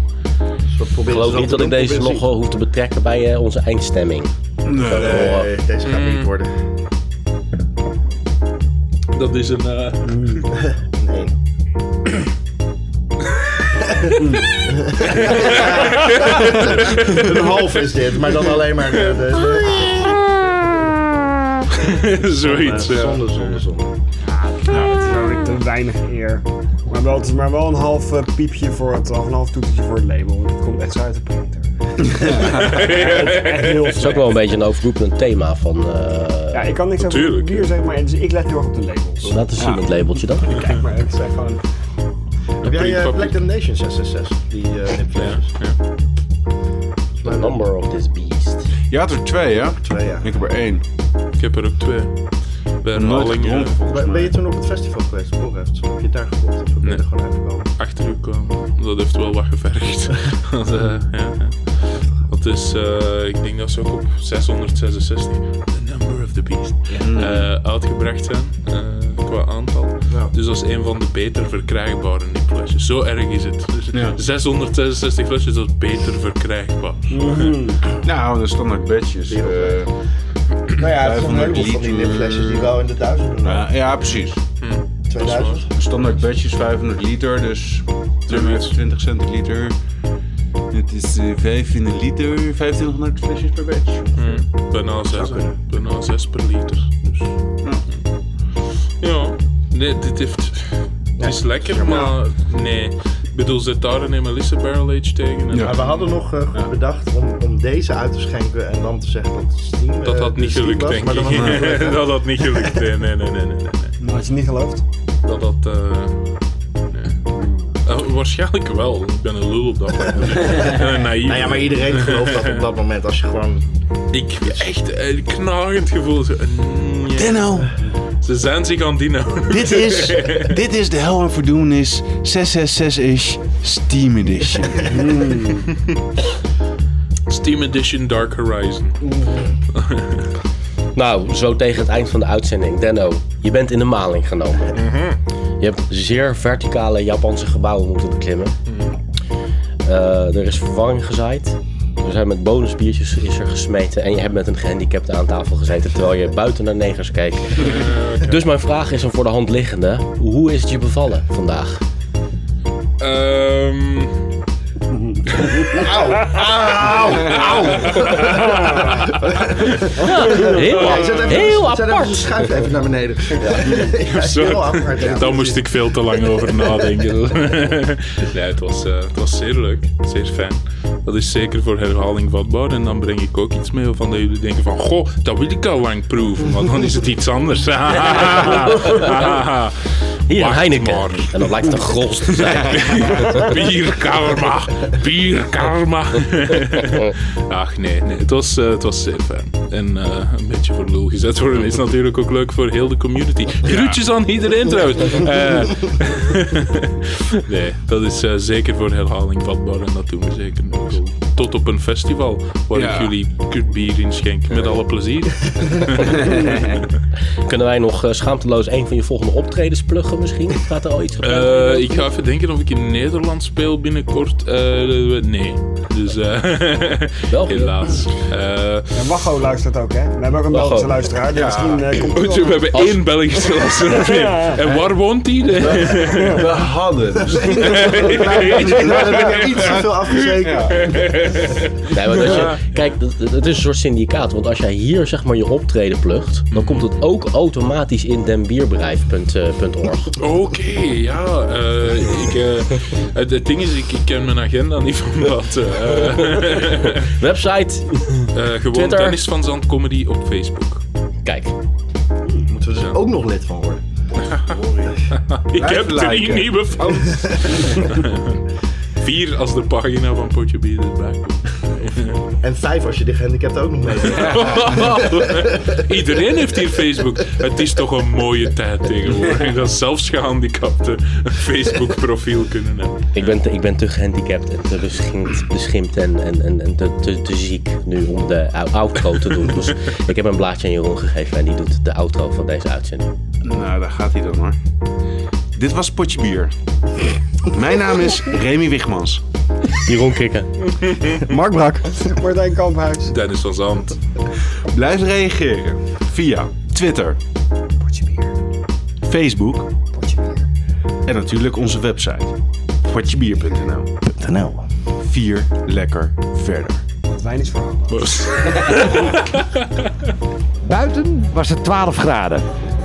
S1: Ik geloof niet dat ik deze nog wel hoef te betrekken bij eh, onze eindstemming.
S2: Nee, deze gaat
S3: Mm.
S2: niet worden.
S3: Dat is een... eh,
S2: Nee. een half is dit, maar dan alleen maar eh, de, de,
S3: Zoiets, eh, ja.
S2: zonde, zonde, zonde.
S6: Namelijk te weinig eer. Maar wel, maar wel een half eh, piepje voor het, of een half toetertje voor het label. Het komt echt zo uit de printer. Echt heel
S1: Het is ook wel een beetje een overroepend thema van... eh,
S6: Ja, ik kan niks over
S3: Tuurlijk.
S6: het bier zeggen, maar dus ik let heel erg op de labels.
S1: Laten zien het labeltje dan.
S6: Kijk maar, het zijn gewoon...
S2: Heb jij eh,
S3: Printpapje.
S2: Black Damnation 666? Die eh
S3: Ja,
S2: nipflesjes?
S3: ja.
S1: The number of this beast.
S4: Je had er twee, ja?
S2: Twee, ja.
S4: Ik heb er één.
S3: Ik heb er ook twee. Bij
S4: Nooit
S3: herhaling eh,
S4: gedronken, volgens
S2: Ben, ben
S4: mij.
S2: je toen op het festival geweest, Borreft? Heb je het daar gekocht of ben je
S3: Nee.
S2: er gewoon uitgekomen?
S3: achter u komen. Dat heeft wel wat gevergd. Want, eh, ja, ja. Dat is, eh, ik denk dat ze ook op 666, The Number of the Beast, eh, uitgebracht zijn eh, qua aantal.
S2: Ja.
S3: Dus dat is een van de beter verkrijgbare nipflesjes. Zo erg is het. Dus
S4: Ja.
S3: 666 flesjes, dat is beter verkrijgbaar.
S4: Nou, de standaard badges. eh,
S2: Nou ja, het zijn een
S4: 500
S2: heleboel van die
S4: liter.
S2: nipflesjes die wel in de duizenden
S4: ja,
S2: waren.
S4: nou, ja, precies.
S2: 2000.
S4: De standaard badges 500 liter, dus 20 centiliter. Het is eh, 15 liter, 1500 flesjes per badge.
S3: Hmm. Bijna 6, bijna 6 per liter. Dus. Ja, nee, dit heeft. Het is lekker, maar nee. Ik bedoel, zet daar een Melissa Barrel Age tegen. En
S4: Ja.
S2: Maar we hadden nog eh, goed bedacht om, om deze uit te schenken en dan te zeggen dat het Steam eh,
S3: Dat had
S2: de
S3: niet
S2: Steam
S3: gelukt,
S2: was,
S3: denk
S2: maar dat was niet
S3: ik.
S2: gelukt, Nou hè?
S3: Dat had niet gelukt. Nee, nee, nee, nee. nee, nee.
S6: Nou, had je niet geloofd?
S3: Dat had. eh, nee. Eh, waarschijnlijk wel. Ik ben een lul op dat vlak. En een naïef.
S2: Nou ja, maar iedereen gelooft dat op dat moment. Als je gewoon...
S3: Ik echt eh, een knagend gevoel. Zo, mm, ja.
S4: Denno,
S3: Ze zijn zich aan nou- dino.
S4: dit is, dit is de Hel en Verdoemenis 666-ish Steam Edition.
S3: Steam Edition Dark Horizon.
S1: Nou, zo tegen het eind van de uitzending. Denno, je bent in de maling genomen.
S2: Mhm.
S1: Je hebt zeer verticale Japanse gebouwen moeten beklimmen.
S2: Mhm.
S1: Eh, er is verwarring gezaaid. Er zijn met bonusbiertjes is er gesmeten. En je hebt met een gehandicapte aan tafel gezeten. Terwijl je buiten naar negers keek. Dus mijn vraag is een voor de hand liggende. Hoe is het je bevallen vandaag?
S3: Ehm.
S1: Heel,
S2: Hey, Oh. zet even,
S1: heel
S2: zet even de
S1: apart.
S2: schuif even naar beneden. Ja,
S3: Zo.
S2: heel apart. ja.
S3: Daar moest ik veel te lang over nadenken. nee, het was, eh, het was zeer leuk. Zeer fijn. Dat is zeker voor herhaling vatbaar. En dan breng ik ook iets mee waarvan dat jullie denken van... Goh, dat wil ik al lang proeven. Maar dan is het iets anders.
S1: Hier, een
S3: Wacht
S1: Heineken.
S3: maar.
S1: En dat lijkt het een grols te zijn.
S3: Bierkarma. Bierkarma. Ach nee, nee. Het, was, eh, het was zeer fijn. En eh, een beetje voor lul gezet worden is natuurlijk ook leuk voor heel de community. Groetjes aan iedereen trouwens. Eh, nee, dat is eh, zeker voor herhaling vatbaar. En dat doen we zeker nog wel. Tot op een festival waar
S4: Ja.
S3: ik jullie kut bier inschenk. Met alle plezier.
S1: Kunnen wij nog eh, schaamteloos een van je volgende optredens pluggen misschien? Gaat er al iets gebeuren?
S3: Eh, ik ga even denken of ik in Nederland speel binnenkort. Eh, nee. Dus eh,
S1: België.
S3: helaas. Eh,
S6: En Wacho luistert ook, hè? We hebben ook een
S1: Wacho.
S6: Belgische luisteraar, dus misschien eh, komt die
S3: Goed, we
S6: wel.
S3: hebben één Belgische luisteraar meer. En waar woont die?
S4: We hadden.
S2: Nou, dan ben ik iets te veel afgezekerd.
S1: Nee, want als je, kijk, het, het is een soort syndicaat. Want als jij hier zeg maar je optreden plugt, dan komt het ook automatisch in eh, denbierbedrijf.org.
S3: Oké, ja. eh, ik, eh, het, het ding is, ik, ik ken mijn agenda niet van dat. eh eh,
S1: Website.
S3: gewoon
S1: Twitter.
S3: Dennis van Zand Comedy op Facebook.
S1: Kijk,
S2: Moeten we er ook nog lid van worden.
S3: Ik heb drie
S4: liken.
S3: nieuwe fans. Vier als de pagina van Potje Bier erbij komt.
S2: En vijf als je de gehandicapt ook nog mee bent.
S3: Iedereen heeft hier Facebook. Het is toch een mooie tijd tegenwoordig. Dat zelfs gehandicapten een Facebook-profiel kunnen hebben.
S1: Ik ben, te, ik ben te gehandicapt en te beschimpt, beschimpt en, en, en, en te, te, te ziek nu om de ou- outro te doen. Dus ik heb een blaadje aan Jeroen gegeven en die doet de outro van deze uitzending.
S4: Nou, daar gaat hij dan hoor. Dit was Potje Bier. Mijn naam is Remy Wigmans.
S1: Jeroen Krikken.
S6: Mark Brak. Martijn Kamphuis.
S3: Dennis van Zandt.
S4: Blijf reageren via Twitter, Facebook en natuurlijk onze website potjebier.nl.
S2: NL.
S4: Vier lekker verder.
S6: Wijn is verhaal.
S7: Buiten was het 12 graden.